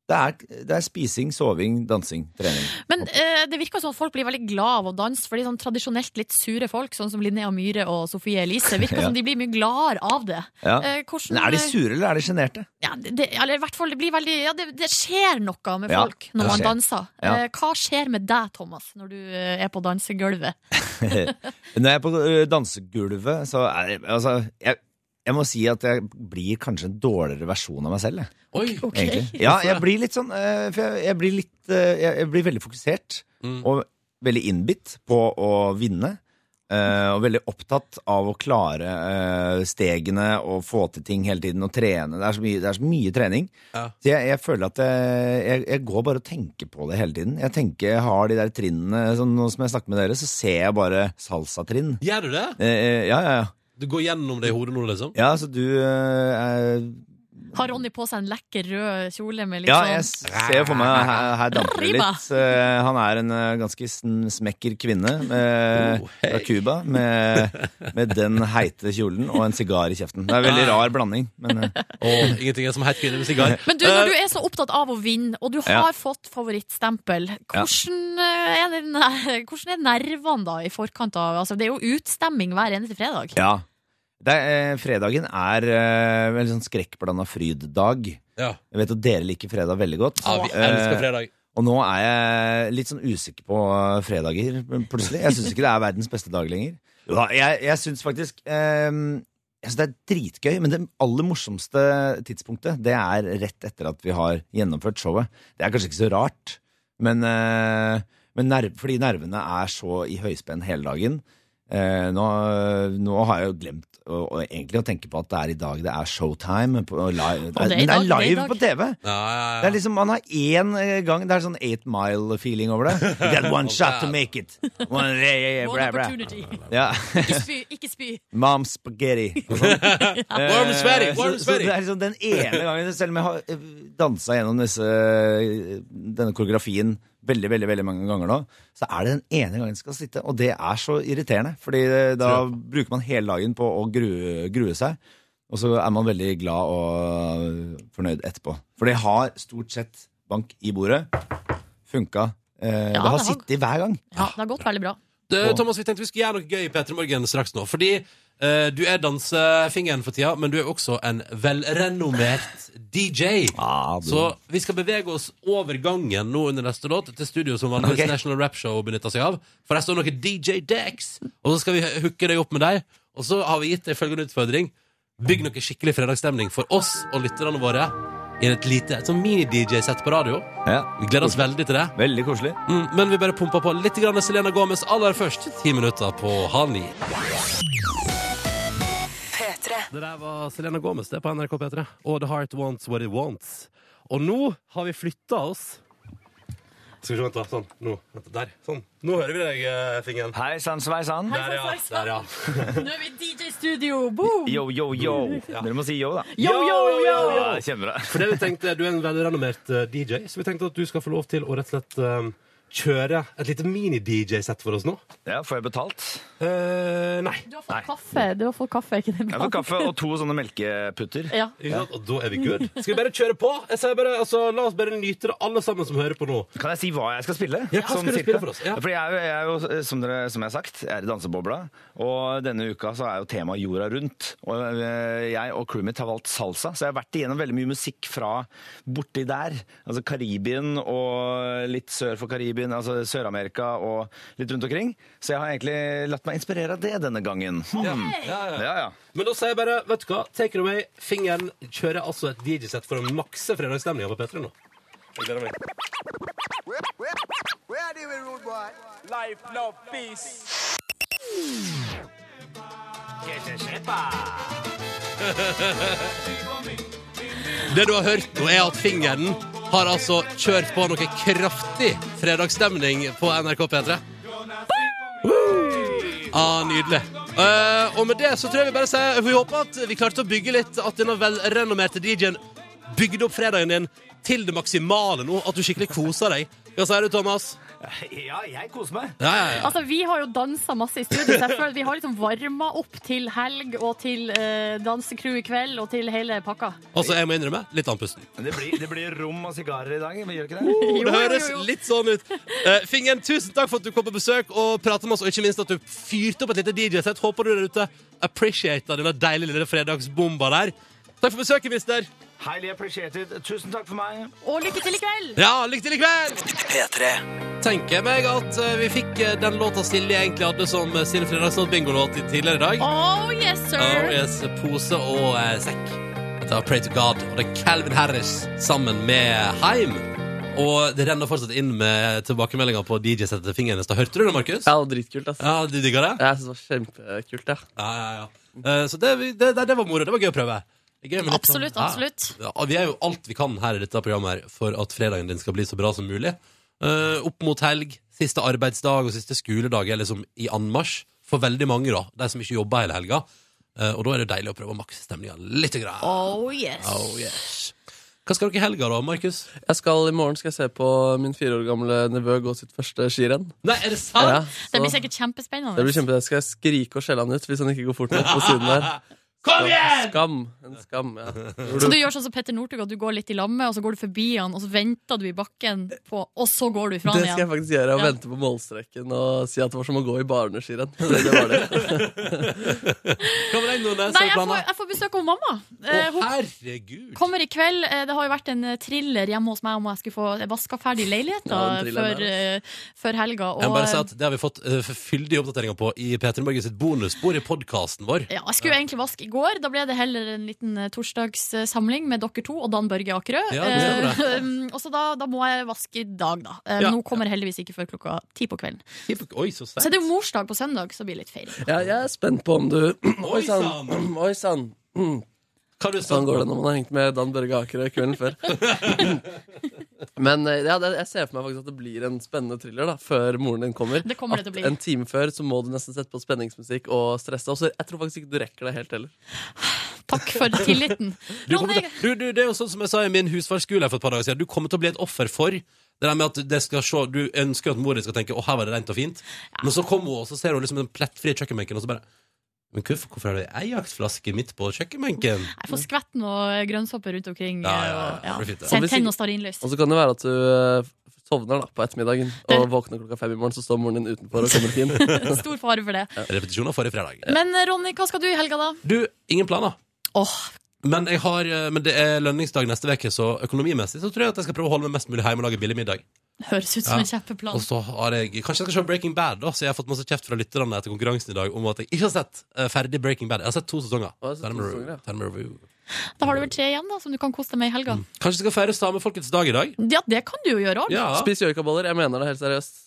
Speaker 10: det er, det er spising, soving, dansing, trening.
Speaker 4: Men eh, det virker som at folk blir veldig glad av å danse, for de er sånn tradisjonelt litt sure folk, sånn som Linnea Myhre og Sofie Elise, virker
Speaker 10: Ja.
Speaker 4: som de blir mye gladere av det.
Speaker 10: Ja.
Speaker 4: Eh, hvordan-
Speaker 10: Men er de sure, eller er de sjenerte?
Speaker 4: Ja, det, det- eller i hvert fall, det blir veldig Ja, det, det skjer noe med
Speaker 10: Ja,
Speaker 4: folk når
Speaker 10: det
Speaker 4: man
Speaker 10: skjer.
Speaker 4: danser.
Speaker 10: Ja.
Speaker 4: Eh, hva skjer med deg, Thomas, når du eh, er på dansegulvet?
Speaker 10: Når jeg er på ø, dansegulvet, så er jeg, altså, jeg, jeg må si at jeg blir kanskje en dårligere versjon av meg selv. jeg,
Speaker 2: Oi!
Speaker 4: Ok.
Speaker 10: egentlig. Ja, jeg blir litt sånn ø, For jeg, jeg blir litt ø, jeg, jeg blir veldig fokusert
Speaker 2: Mm.
Speaker 10: og veldig innbitt på å vinne. ø, og veldig opptatt av å klare ø, stegene og få til ting hele tiden og trene. Det er så mye, det er så mye trening.
Speaker 2: Ja.
Speaker 10: Så jeg, jeg føler at jeg, jeg, jeg går bare og tenker på det hele tiden. Jeg tenker, jeg har de der trinnene sånn, Nå som jeg snakker med dere, så ser jeg bare salsatrinn.
Speaker 2: Gjør du det?
Speaker 10: Eh, eh, ja, ja, ja.
Speaker 2: Du går gjennom det i hodet nå, liksom?
Speaker 10: Ja, så du eh, er-
Speaker 4: (laughs) Har Ronny på seg en lekker rød kjole med litt
Speaker 10: Ja,
Speaker 4: sånn
Speaker 10: jeg ser for meg her, her damper det
Speaker 4: Arriba.
Speaker 10: litt. Eh, han er en eh, ganske sn- smekker kvinne med,
Speaker 2: Oh, hei.
Speaker 10: fra Cuba med, med den heite kjolen og en sigar i kjeften. Det er en veldig rar blanding. Men, eh,
Speaker 2: Åh, ingenting er som heit kvinne med sigar.
Speaker 4: (laughs) Men du, når du er så opptatt av å vinne, og du
Speaker 10: Ja.
Speaker 4: har fått favorittstempel, hvordan, eh, er det, ne- (laughs) hvordan er nervene da i forkant av altså, Det er jo utstemming hver eneste fredag.
Speaker 10: ja. Det er, eh, fredagen er eh, veldig sånn skrekkblanda fryddag.
Speaker 2: Ja.
Speaker 10: Jeg vet at dere liker fredag veldig godt. Eh,
Speaker 2: ja, vi elsker fredag.
Speaker 10: Og nå er jeg litt sånn usikker på eh, fredager, men plutselig. Jeg syns ikke det er verdens beste dag
Speaker 4: (laughs)
Speaker 10: lenger. Jo da, jeg, jeg syns faktisk eh, Jeg synes det er dritgøy, men det aller morsomste tidspunktet, det er rett etter at vi har gjennomført showet. Det er kanskje ikke så rart, men, eh, men nerv, fordi nervene er så i høyspenn hele dagen. Eh, nå, nå har jeg jo glemt å, å, egentlig å tenke på at det er i dag det er showtime. På, og live,
Speaker 4: Og det er i
Speaker 10: men det er
Speaker 4: dag, det er i
Speaker 10: live
Speaker 4: dag.
Speaker 10: på TV!
Speaker 2: Ja, ja,
Speaker 10: Det
Speaker 2: ja.
Speaker 10: er liksom, Man har én eh, gang Det er sånn eight mile-feeling
Speaker 4: (laughs)
Speaker 10: over det. You got one shot to make it. One, yeah, yeah, yeah,
Speaker 4: Oh, One
Speaker 10: bra, bra.
Speaker 4: opportunity.
Speaker 10: Ja.
Speaker 4: Ikke spy, ikke spy.
Speaker 10: Mom
Speaker 2: (laughs)
Speaker 10: spaghetti. og sånn. Eh,
Speaker 2: Warm spaghetti, warm
Speaker 10: så, så
Speaker 2: spaghetti.
Speaker 10: det er liksom den
Speaker 2: (laughs)
Speaker 10: ene gangen, selv om jeg har eh, dansa gjennom disse, eh, denne koreografien veldig veldig, veldig mange ganger nå, så er det den ene gangen jeg skal sitte. Og det er så irriterende, Fordi eh, da bruker man hele dagen på å grue, grue seg. Og så er man veldig glad og eh, fornøyd etterpå. For det har stort sett bank i bordet. Funka. Eh,
Speaker 4: Ja,
Speaker 10: det har
Speaker 4: det har-
Speaker 10: sittet hver gang.
Speaker 4: Ja, det har gått veldig bra.
Speaker 2: Du, Thomas, vi tenkte vi skulle gjøre noe gøy i P3 Morgen straks nå. Fordi eh, du er dansefingeren for tida, men du er også en velrenommert DJ.
Speaker 10: Ah,
Speaker 2: Så vi skal bevege oss over gangen nå under neste låt til studio som vanligvis
Speaker 10: Ok.
Speaker 2: National Rap Show benytter seg av. For der står noen DJ Dex, og så skal vi hooke deg opp med deg. Og så har vi gitt deg følgende utfordring. Bygg noe skikkelig fredagsstemning for oss og lytterne våre i et lite et sånn mini-DJ-sett på radio.
Speaker 10: ja.
Speaker 2: Vi gleder oss veldig til det.
Speaker 10: Veldig koselig.
Speaker 2: Mm, men vi bare pumper på litt grann Selena Gomez aller først. Ti minutter på halv ni. Det der var Selena Gomez det på NRK P3. Og The Heart Wants What It Wants. Og nå har vi flytta oss. Skal vi se, vent da. Sånn. Nå. Vent, der. Sånn. Nå hører vi deg, eh, fingeren.
Speaker 10: Hei sann, sveisann.
Speaker 2: Der, ja.
Speaker 4: sånn,
Speaker 2: Der, ja.
Speaker 4: Nå er vi i DJ-studio, boom!
Speaker 10: Yo, yo, yo. Dere må si yo, da.
Speaker 4: Yo, yo, yo!
Speaker 10: Ja, kjempebra.
Speaker 2: For det vi tenkte, Du er en velrenommert eh, DJ, så vi tenkte at du skal få lov til å rett og slett eh, kjøre et lite mini-DJ-sett for oss nå.
Speaker 10: Ja, får jeg betalt?
Speaker 2: Eh, nei.
Speaker 4: Du har fått kaffe, du har fått kaffe, er ikke det
Speaker 10: Jeg
Speaker 4: bra?
Speaker 10: får kaffe og to sånne melkeputter.
Speaker 4: Ja.
Speaker 2: Ikke sant? Og da er vi good. Skal vi bare kjøre på? Jeg sier bare, altså, la oss bare nyte det, alle sammen som hører på nå.
Speaker 10: Kan jeg si hva jeg skal spille?
Speaker 2: Ja, hva
Speaker 10: Sånn
Speaker 2: skal du
Speaker 10: cirka?
Speaker 2: spille for oss? Ja.
Speaker 10: Fordi jeg er jo, jeg er jo som, dere, som jeg har sagt, jeg er i dansebobla. Og denne uka så er jo temaet jorda rundt. Og eh, jeg og crewet mitt har valgt salsa, så jeg har vært igjennom veldig mye musikk fra borti der. Altså Karibien og litt sør for Karibien, altså Sør-Amerika og litt rundt omkring. Så jeg har egentlig latt meg inspirere av det denne gangen. Hmm. Ja, ja.
Speaker 2: Men da sier jeg bare, vet du hva, take it away. Fingeren kjører altså et DJ-sett for å makse fredagsstemninga på P3 nå. Jeg gleder meg. Det du har hørt nå, er at fingeren har altså kjørt på noe kraftig fredagsstemning på NRK P3. Ah, nydelig. Eh, og med det så tror jeg vi bare sier Vi håper at vi klarte å bygge litt At denne velrenommerte DJ-en bygde opp fredagen din til det maksimale nå. At du skikkelig koser deg. Hva sier du, Thomas?
Speaker 11: (laughs) Ja, jeg koser meg.
Speaker 2: Ja, ja, ja.
Speaker 12: Altså, Vi har jo dansa masse i studio. så jeg føler Vi har liksom varma opp til helg og til eh, dansecrew i kveld og til hele pakka.
Speaker 2: Altså, jeg må innrømme, litt andpusten.
Speaker 11: Det blir, det blir rom og sigarer i dag, men gjør ikke det?
Speaker 2: Oh, det høres litt sånn ut. Eh, Fingen, tusen takk for at du kom på besøk og pratet med oss, og ikke minst at du fyrte opp et lite DJ-sett. Håper du der ute appreciater denne deilige lille fredagsbomba der. Takk for besøket, mister.
Speaker 11: (laughs) Highly appreciated. Tusen takk for meg.
Speaker 12: Og lykke til i kveld!
Speaker 2: Ja, lykke til i kveld! P3. Tenker meg at eh, vi fikk eh, den låta Silje egentlig hadde som eh, sin fredagslåt-bingolåt tidligere i dag.
Speaker 12: Oh yes, sir!
Speaker 2: Oh, yes, pose og eh, sekk. Dette var Pray to God, og det er Calvin Harris sammen med Heim. Og det renner fortsatt inn med tilbakemeldinger på DJ-settet til Fingernes. Da hørte du det, Markus?
Speaker 3: Ja, det var dritkult, ass.
Speaker 2: Ja, du digga det?
Speaker 3: Jeg synes det var kjempekult, ja.
Speaker 2: Ja, ja, ja. Eh, så det, det, det, det var moro. Det var gøy å prøve. Det er gøy med litt sånn-
Speaker 4: Absolutt, absolutt.
Speaker 2: Ja. Ja, vi er jo alt vi kan her i dette programmet her for at fredagen din skal bli så bra som mulig. Eh, opp mot helg, siste arbeidsdag og siste skoledag er liksom i anmarsj. For veldig mange, da. De som ikke jobber hele helga. Eh, og da er det deilig å prøve å makse stemninga litt. Grann.
Speaker 4: Oh yes.
Speaker 2: Oh, yes. Hva skal dere i helga, da, Markus?
Speaker 3: Jeg skal, I morgen skal jeg se på min fire år gamle nevø gå sitt første skirenn.
Speaker 2: Nei, er det sant?
Speaker 3: Ja,
Speaker 4: Det blir
Speaker 3: så-
Speaker 4: sikkert kjempespennende.
Speaker 3: det blir kjempe, jeg skal skrike og skjelle han ut hvis han ikke går fort nok på siden der.
Speaker 2: Kom igjen!
Speaker 3: Skam. En skam, ja.
Speaker 4: Så du gjør sånn som Petter Northug, at du går litt i lamme, og så går du forbi han, og så venter du i bakken, på, og så går du ifra
Speaker 3: Det
Speaker 4: han
Speaker 3: skal jeg
Speaker 4: igjen.
Speaker 3: faktisk gjøre. Og
Speaker 4: Ja.
Speaker 3: vente på målstreken og si at det var som å gå i barneskirenn. Det, det var det.
Speaker 2: (laughs) Hva med deg, Nordnes? Har du
Speaker 4: Nei, jeg får,
Speaker 2: planer?
Speaker 4: jeg får besøk av mamma.
Speaker 2: Å,
Speaker 4: Eh, hun
Speaker 2: herregud!
Speaker 4: kommer i kveld. Eh, Det har jo vært en eh, thriller hjemme hos meg om jeg skulle få vaska ferdig
Speaker 3: Ja,
Speaker 4: leiligheten
Speaker 3: den thrilleren
Speaker 4: før, eh, før helga.
Speaker 2: Jeg må bare si
Speaker 4: eh,
Speaker 2: at Det har vi fått eh, fyldige oppdateringer på i P3 Morgen sitt bonusbord i podkasten vår.
Speaker 4: eh, ja, jeg skulle jo egentlig vaske i går. Da ble det heller en liten eh, torsdagssamling med dere to og Dan Børge Akerø.
Speaker 2: Ja, det stemmer det.
Speaker 4: Eh, (laughs) um, og så da, da må jeg vaske i dag, da. Eh,
Speaker 2: Ja.
Speaker 4: Nå kommer jeg heldigvis ikke før klokka ti på kvelden.
Speaker 2: Oi, så
Speaker 4: Så
Speaker 2: sterkt.
Speaker 4: det er jo morsdag på søndag, så det blir litt feiring.
Speaker 3: Ja, jeg er spent på om du Oi
Speaker 2: sann.
Speaker 3: sann! Oi sann!
Speaker 2: Hva er det du spent
Speaker 3: Sånn går det når man har hengt med Dan Børge Akerø kvelden før.
Speaker 2: (laughs)
Speaker 3: Men eh, ja, det, jeg ser for meg faktisk at det blir en spennende thriller da før moren din kommer.
Speaker 4: Det kommer det
Speaker 3: At
Speaker 4: til å bli.
Speaker 3: En time før så må du nesten sette på spenningsmusikk og stresse. Og så jeg tror faktisk ikke du rekker det helt heller.
Speaker 4: Takk for tilliten.
Speaker 2: (laughs) Du kommer til, du, du, det er jo sånn som jeg sa i min husfarskole for et par dager siden. Du kommer til å bli et offer for det der med at det skal se, du ønsker at mor din skal tenke 'Å, her var det rent og fint', men så kommer hun, og så ser hun liksom den plettfrie kjøkkenbenken, og så bare Men hvorfor, hvorfor er det ei jaktflaske midt på kjøkkenbenken?
Speaker 4: Jeg får skvetten og grønnsåper rundt omkring. eh,
Speaker 2: Ja, ja, ja. Det blir
Speaker 4: Og,
Speaker 2: fint, det.
Speaker 4: Så
Speaker 3: Og
Speaker 4: jeg
Speaker 3: hvis
Speaker 4: tenner
Speaker 3: ikke-
Speaker 4: og stearinlys.
Speaker 2: (laughs)
Speaker 3: Og så kan det være at du eh, sovner da på ettermiddagen
Speaker 4: Det-
Speaker 3: og våkner klokka fem i morgen, så står moren din utenfor og kommer ikke inn.
Speaker 4: Stor fare for det.
Speaker 2: Repetisjoner forrige fredag.
Speaker 4: Men eh, Ronny, hva skal du i helga, da?
Speaker 2: Du, ingen planer.
Speaker 4: Åh,
Speaker 2: Men, jeg har, eh, men det er lønningsdag neste uke, så økonomimessig så tror jeg at jeg skal prøve å holde meg mest mulig hjemme og lage billig middag.
Speaker 4: Høres ut som
Speaker 2: Ja.
Speaker 4: en kjempeplan.
Speaker 2: Og så har jeg, Kanskje jeg skal se Breaking Bad, da så jeg har fått masse kjeft fra lytterne etter konkurransen i dag om at jeg ikke har sett eh, ferdig Breaking Bad. Jeg har sett to sesonger.
Speaker 3: Å, jeg har sett
Speaker 2: Tell
Speaker 3: to
Speaker 2: me review.
Speaker 3: sesonger, ja.
Speaker 2: Tell me review.
Speaker 4: Da har du vel tre igjen, da, som du kan kose deg med i helga.
Speaker 2: Kanskje vi skal feire samefolkets dag i dag?
Speaker 4: Ja, det kan du jo gjøre òg.
Speaker 2: Mm. Ja,
Speaker 3: Spis joikaboller. Jeg mener det helt seriøst.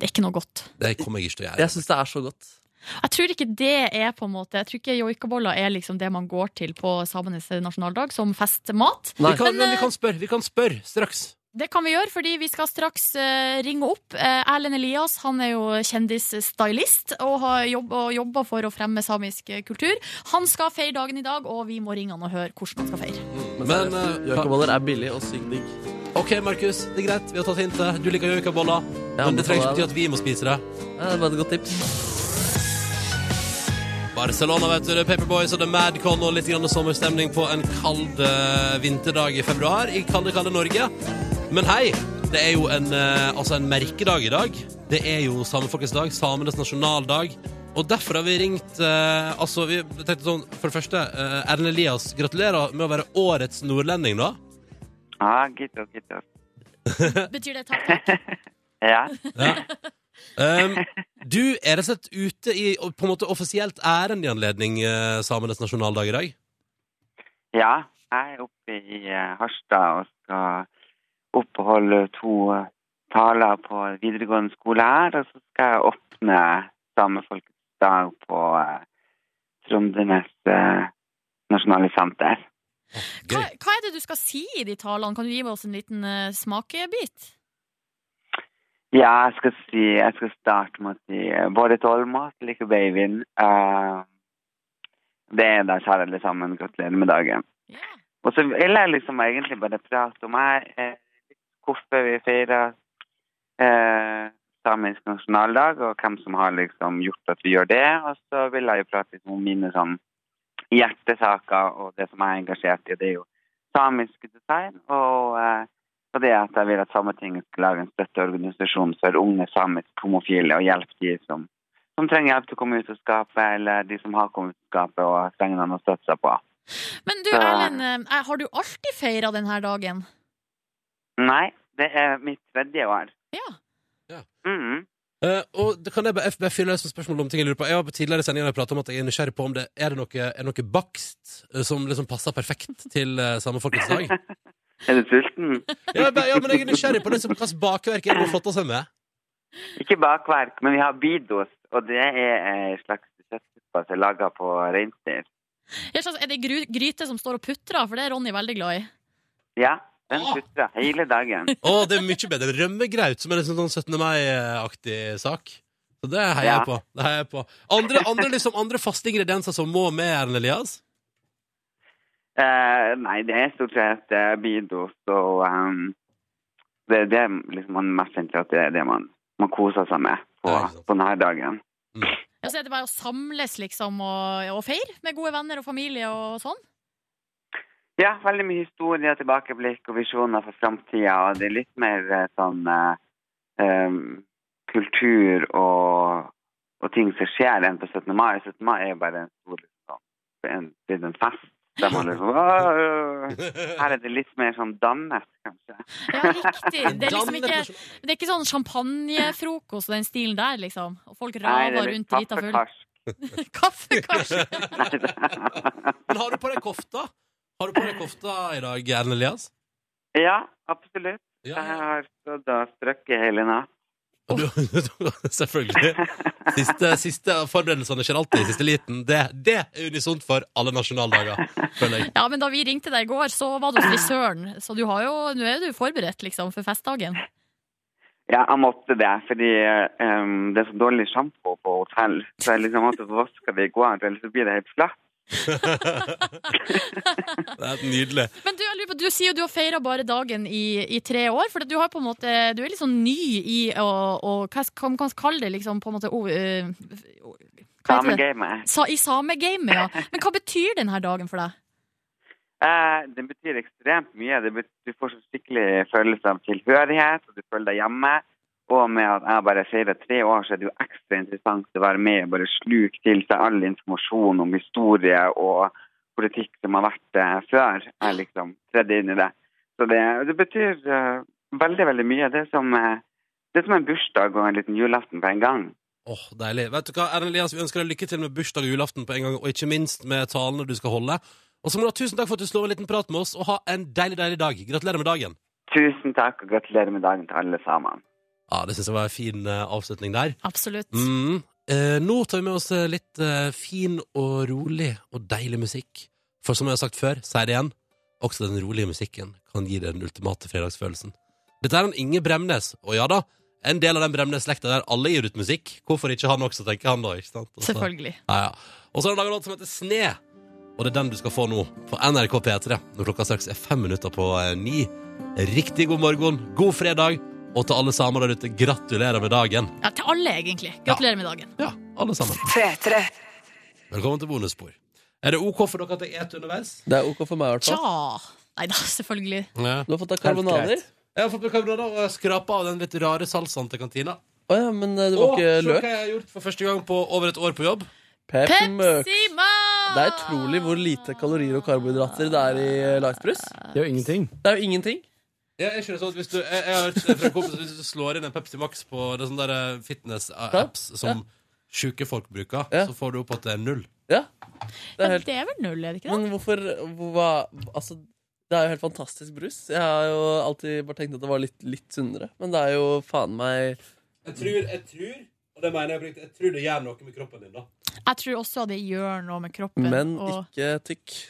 Speaker 4: Det er ikke noe godt.
Speaker 2: Det kommer jeg ikke til å gjøre.
Speaker 3: Jeg syns det er så godt.
Speaker 4: Jeg tror ikke det er på en måte Jeg tror ikke joikaboller er liksom det man går til på samenes nasjonaldag, som festmat.
Speaker 2: Vi
Speaker 3: Nei.
Speaker 2: kan, men
Speaker 4: eh,
Speaker 2: vi kan spørre vi kan spørre straks.
Speaker 4: Det kan vi gjøre, fordi vi skal straks eh, ringe opp. Eh, Erlend Elias han er jo kjendisstylist og har jobb, og jobber for å fremme samisk eh, kultur. Han skal feire dagen i dag, og vi må ringe han og høre hvordan han skal feire.
Speaker 2: (laughs)
Speaker 3: Men,
Speaker 2: Men,
Speaker 3: seriøst,
Speaker 2: eh,
Speaker 3: joikaboller er billig og sykt digg.
Speaker 2: OK, Markus. Det er greit. Vi har tatt hintet. Du liker joikaboller.
Speaker 3: Ja,
Speaker 2: men det trenger ikke
Speaker 3: boller.
Speaker 2: bety at vi må spise det.
Speaker 3: Ja, det var et godt tips.
Speaker 2: Barcelona, vet du. det er Paperboys og The Madcon og litt grann sommerstemning på en kald eh, vinterdag i februar i kalde, kalde Norge. Men hei, det er jo en, eh, altså en merkedag i dag. Det er jo samefolkets dag, samenes nasjonaldag. Og derfor har vi ringt eh, Altså, vi tenkte sånn, for det første, eh, Erlend Elias, gratulerer med å være årets nordlending, da.
Speaker 11: Ja, gitt og gitt
Speaker 4: Betyr det takk? takk?
Speaker 11: Ja.
Speaker 2: (laughs) Ja. Um, du er rett og slett ute i og på en måte offisielt ærend i anledning eh, samenes nasjonaldag i dag.
Speaker 11: ja. Jeg er oppe i eh, Harstad og skal oppholde to eh, taler på videregående skole her. Og så skal jeg åpne Samefolkets dag på eh, Trondenes eh, nasjonale senter.
Speaker 4: Hva, hva er det du skal si i de talene? Kan du gi oss en liten eh, smakebit?
Speaker 11: Ja, jeg skal si Jeg skal starte med å si eh, både tålmat og like babyen. Eh, det er da, kjære alle sammen, gratulerer med dagen. Og så vil jeg liksom egentlig bare prate om jeg, eh, hvorfor vi feirer eh, samisk nasjonaldag, og hvem som har liksom gjort at vi gjør det. Og så vil jeg jo prate litt om mine sånn hjertesaker og det som jeg er engasjert i. Det er jo samisk design og eh, og det at jeg vil at Sametinget skal lage en støtteorganisasjon for unge samisk homofile og hjelpe de som, som trenger hjelp til å komme ut av skapet, eller de som har kommet ut av skapet og trenger noen å støtte seg på.
Speaker 4: Men du,
Speaker 11: Så-
Speaker 4: Erlend, eh, eh, har du alltid feira denne dagen?
Speaker 11: Nei, det er mitt tredje år. Mhm.
Speaker 2: Eh, og det kan jeg bare, jeg bare fylle løs med spørsmål om ting jeg lurer på. Jeg har på tidligere sendinger pratet om at jeg er nysgjerrig på om det er det noe, er det noe bakst eh, som liksom passer perfekt til uh, samefolkets
Speaker 11: (laughs)
Speaker 2: dag.
Speaker 11: Er du sulten?
Speaker 2: Ja, jeg bare- ja, men jeg er nysgjerrig på det som hva slags bakverk er det man flotter seg med.
Speaker 11: Ikke bakverk, men vi har bidos, og det er en slags kjøttsuppe som er laga på reinsdyr.
Speaker 4: Jeg skjønner, Er det gru- gryte som står og putrer? For det er Ronny veldig glad i.
Speaker 11: Ja, den sutrer hele dagen.
Speaker 2: Å, det er mye bedre enn rømmegraut, som er liksom sånn 17. mai-aktig sak. Så det heier
Speaker 11: Ja.
Speaker 2: jeg på. Det heier jeg på. Andre, andre, liksom, andre faste ingredienser som må med, Erlend Elias?
Speaker 11: Eh, nei, det er stort sett eh, bidos og ehm, det, det er liksom man mest interessert i, det er det man, man koser seg med på, på denne dagen.
Speaker 4: Ja, så er det bare å samles liksom og, og feire med gode venner og familie og sånn?
Speaker 11: Ja, veldig mye historie, tilbakeblikk og visjoner for framtida. Og det er litt mer eh, sånn eh, ehm, kultur og, og ting som skjer enn på 17. mai. 17. mai er jo bare en stor liksom, en, det er en fest. Der man liksom, «Åh!» her er det litt mer sånn dannet, kanskje.
Speaker 4: Ja,
Speaker 11: (laughs)
Speaker 4: riktig. Det er liksom ikke, det er ikke sånn champagnefrokost og den stilen der, liksom. Og folk
Speaker 11: Nei,
Speaker 4: raver
Speaker 11: det er litt
Speaker 4: rundt drita full.
Speaker 11: kaffekarsk.
Speaker 4: (laughs)
Speaker 2: (laughs) Men har du på deg kofta? Har du på deg kofta i dag, Erlend Elias?
Speaker 11: (laughs) Ja, absolutt. Jeg har stått og strøkket hele natt.
Speaker 2: Og du, (laughs) selvfølgelig. Siste, siste forberedelsene skjer alltid i siste liten. Det, det er unisont for alle nasjonaldager, føler jeg.
Speaker 4: Ja, men da vi ringte deg i går, så var du hos frisøren, så du har jo, nå er du forberedt liksom for festdagen.
Speaker 11: Ja, jeg måtte det, fordi ehm, det er så dårlig sjampo på hotell. Så jeg liksom måtte vaske det i går, ellers så blir det helt flatt.
Speaker 2: Det er nydelig.
Speaker 4: Men du, jeg lurer på, du sier jo du har feira bare dagen i, i tre år, for du har på en måte Du er litt sånn ny i å å- Hva skal hva man kalle det, liksom? På en måte oh, eh, hva heter det?
Speaker 11: Samegamet.
Speaker 4: Sa, I samegamet, ja. Men hva betyr denne dagen for deg?
Speaker 11: Eh, det betyr ekstremt mye. Det bet- du får så skikkelig følelse av tilhørighet, og du føler deg hjemme. Og med at jeg bare feirer tre år, så er det jo ekstra interessant å være med og bare sluke til seg all informasjon om historie og politikk som har vært eh, før. Jeg liksom tredde inn i det. Så det, det betyr eh, veldig, veldig mye. Det er, som, eh, det er som en bursdag og en liten julaften på en gang.
Speaker 2: Åh, deilig. Vet du hva, Erlend Elias, vi ønsker deg lykke til med bursdag og julaften på en gang, og ikke minst med talene du skal holde. Og så må du ha tusen takk for at du slo en liten prat med oss, og ha en deilig, deilig dag. Gratulerer med dagen.
Speaker 11: Tusen takk, og gratulerer med dagen til alle sammen.
Speaker 2: Ja, Ah, det syns jeg var en fin eh, avslutning der.
Speaker 4: Absolutt.
Speaker 2: Mm. Eh, nå tar vi med oss eh, litt eh, fin og rolig og deilig musikk. For som jeg har sagt før, sier det igjen, også den rolige musikken kan gi deg den ultimate fredagsfølelsen. Dette er han Inge Bremnes, og ja da, en del av den Bremnes-slekta der alle gir ut musikk. Hvorfor ikke han også, tenker han da, ikke sant? Og så-
Speaker 4: Selvfølgelig.
Speaker 2: Ja, ja. Og så har han laga en låt som heter Sne, og det er den du skal få nå på NRK P3 når klokka straks er fem minutter på eh, ni. Riktig god morgen, god fredag, og til alle samer der ute, gratulerer med dagen.
Speaker 4: Ja, til alle, egentlig. Gratulerer med dagen.
Speaker 2: Ja, alle sammen. Velkommen til bonusspor. Er det OK for dere at jeg et underveis?
Speaker 3: Det er OK for meg, i hvert fall.
Speaker 4: Tja. Nei da, selvfølgelig.
Speaker 3: Du har fått deg karbonader.
Speaker 2: Jeg har fått med karbonader og skrapa av den litt rare salsaen til kantina.
Speaker 3: Å ja, men eh, det
Speaker 2: Å,
Speaker 3: var ikke
Speaker 2: se
Speaker 3: løk.
Speaker 2: hva jeg har gjort for første gang på over et år på jobb.
Speaker 3: Pepsi Max.
Speaker 4: Max!
Speaker 3: Det er utrolig hvor lite kalorier og karbohydrater det er i eh, lightbrus. Det er jo ingenting. Det er jo ingenting.
Speaker 2: Ja, jeg, skjønner sånn at hvis du, jeg, jeg har hørt fra en kompis at hvis du slår inn en Pepsi Max på det sånne der eh, fitness-apps som sjuke folk bruker, så får du opp at det er null.
Speaker 3: Ja.
Speaker 4: Ja, det er vel null, er det ikke det?
Speaker 3: Men hvorfor hva, Altså, det er jo helt fantastisk brus. Jeg har jo alltid bare tenkt at det var litt, litt sunnere, men det er jo faen meg
Speaker 2: Jeg tror, jeg tror, og det mener jeg oppriktig, jeg tror det gjør noe med kroppen din, da.
Speaker 4: Jeg tror også det gjør noe med kroppen.
Speaker 3: Men
Speaker 4: og...
Speaker 3: ikke tykk.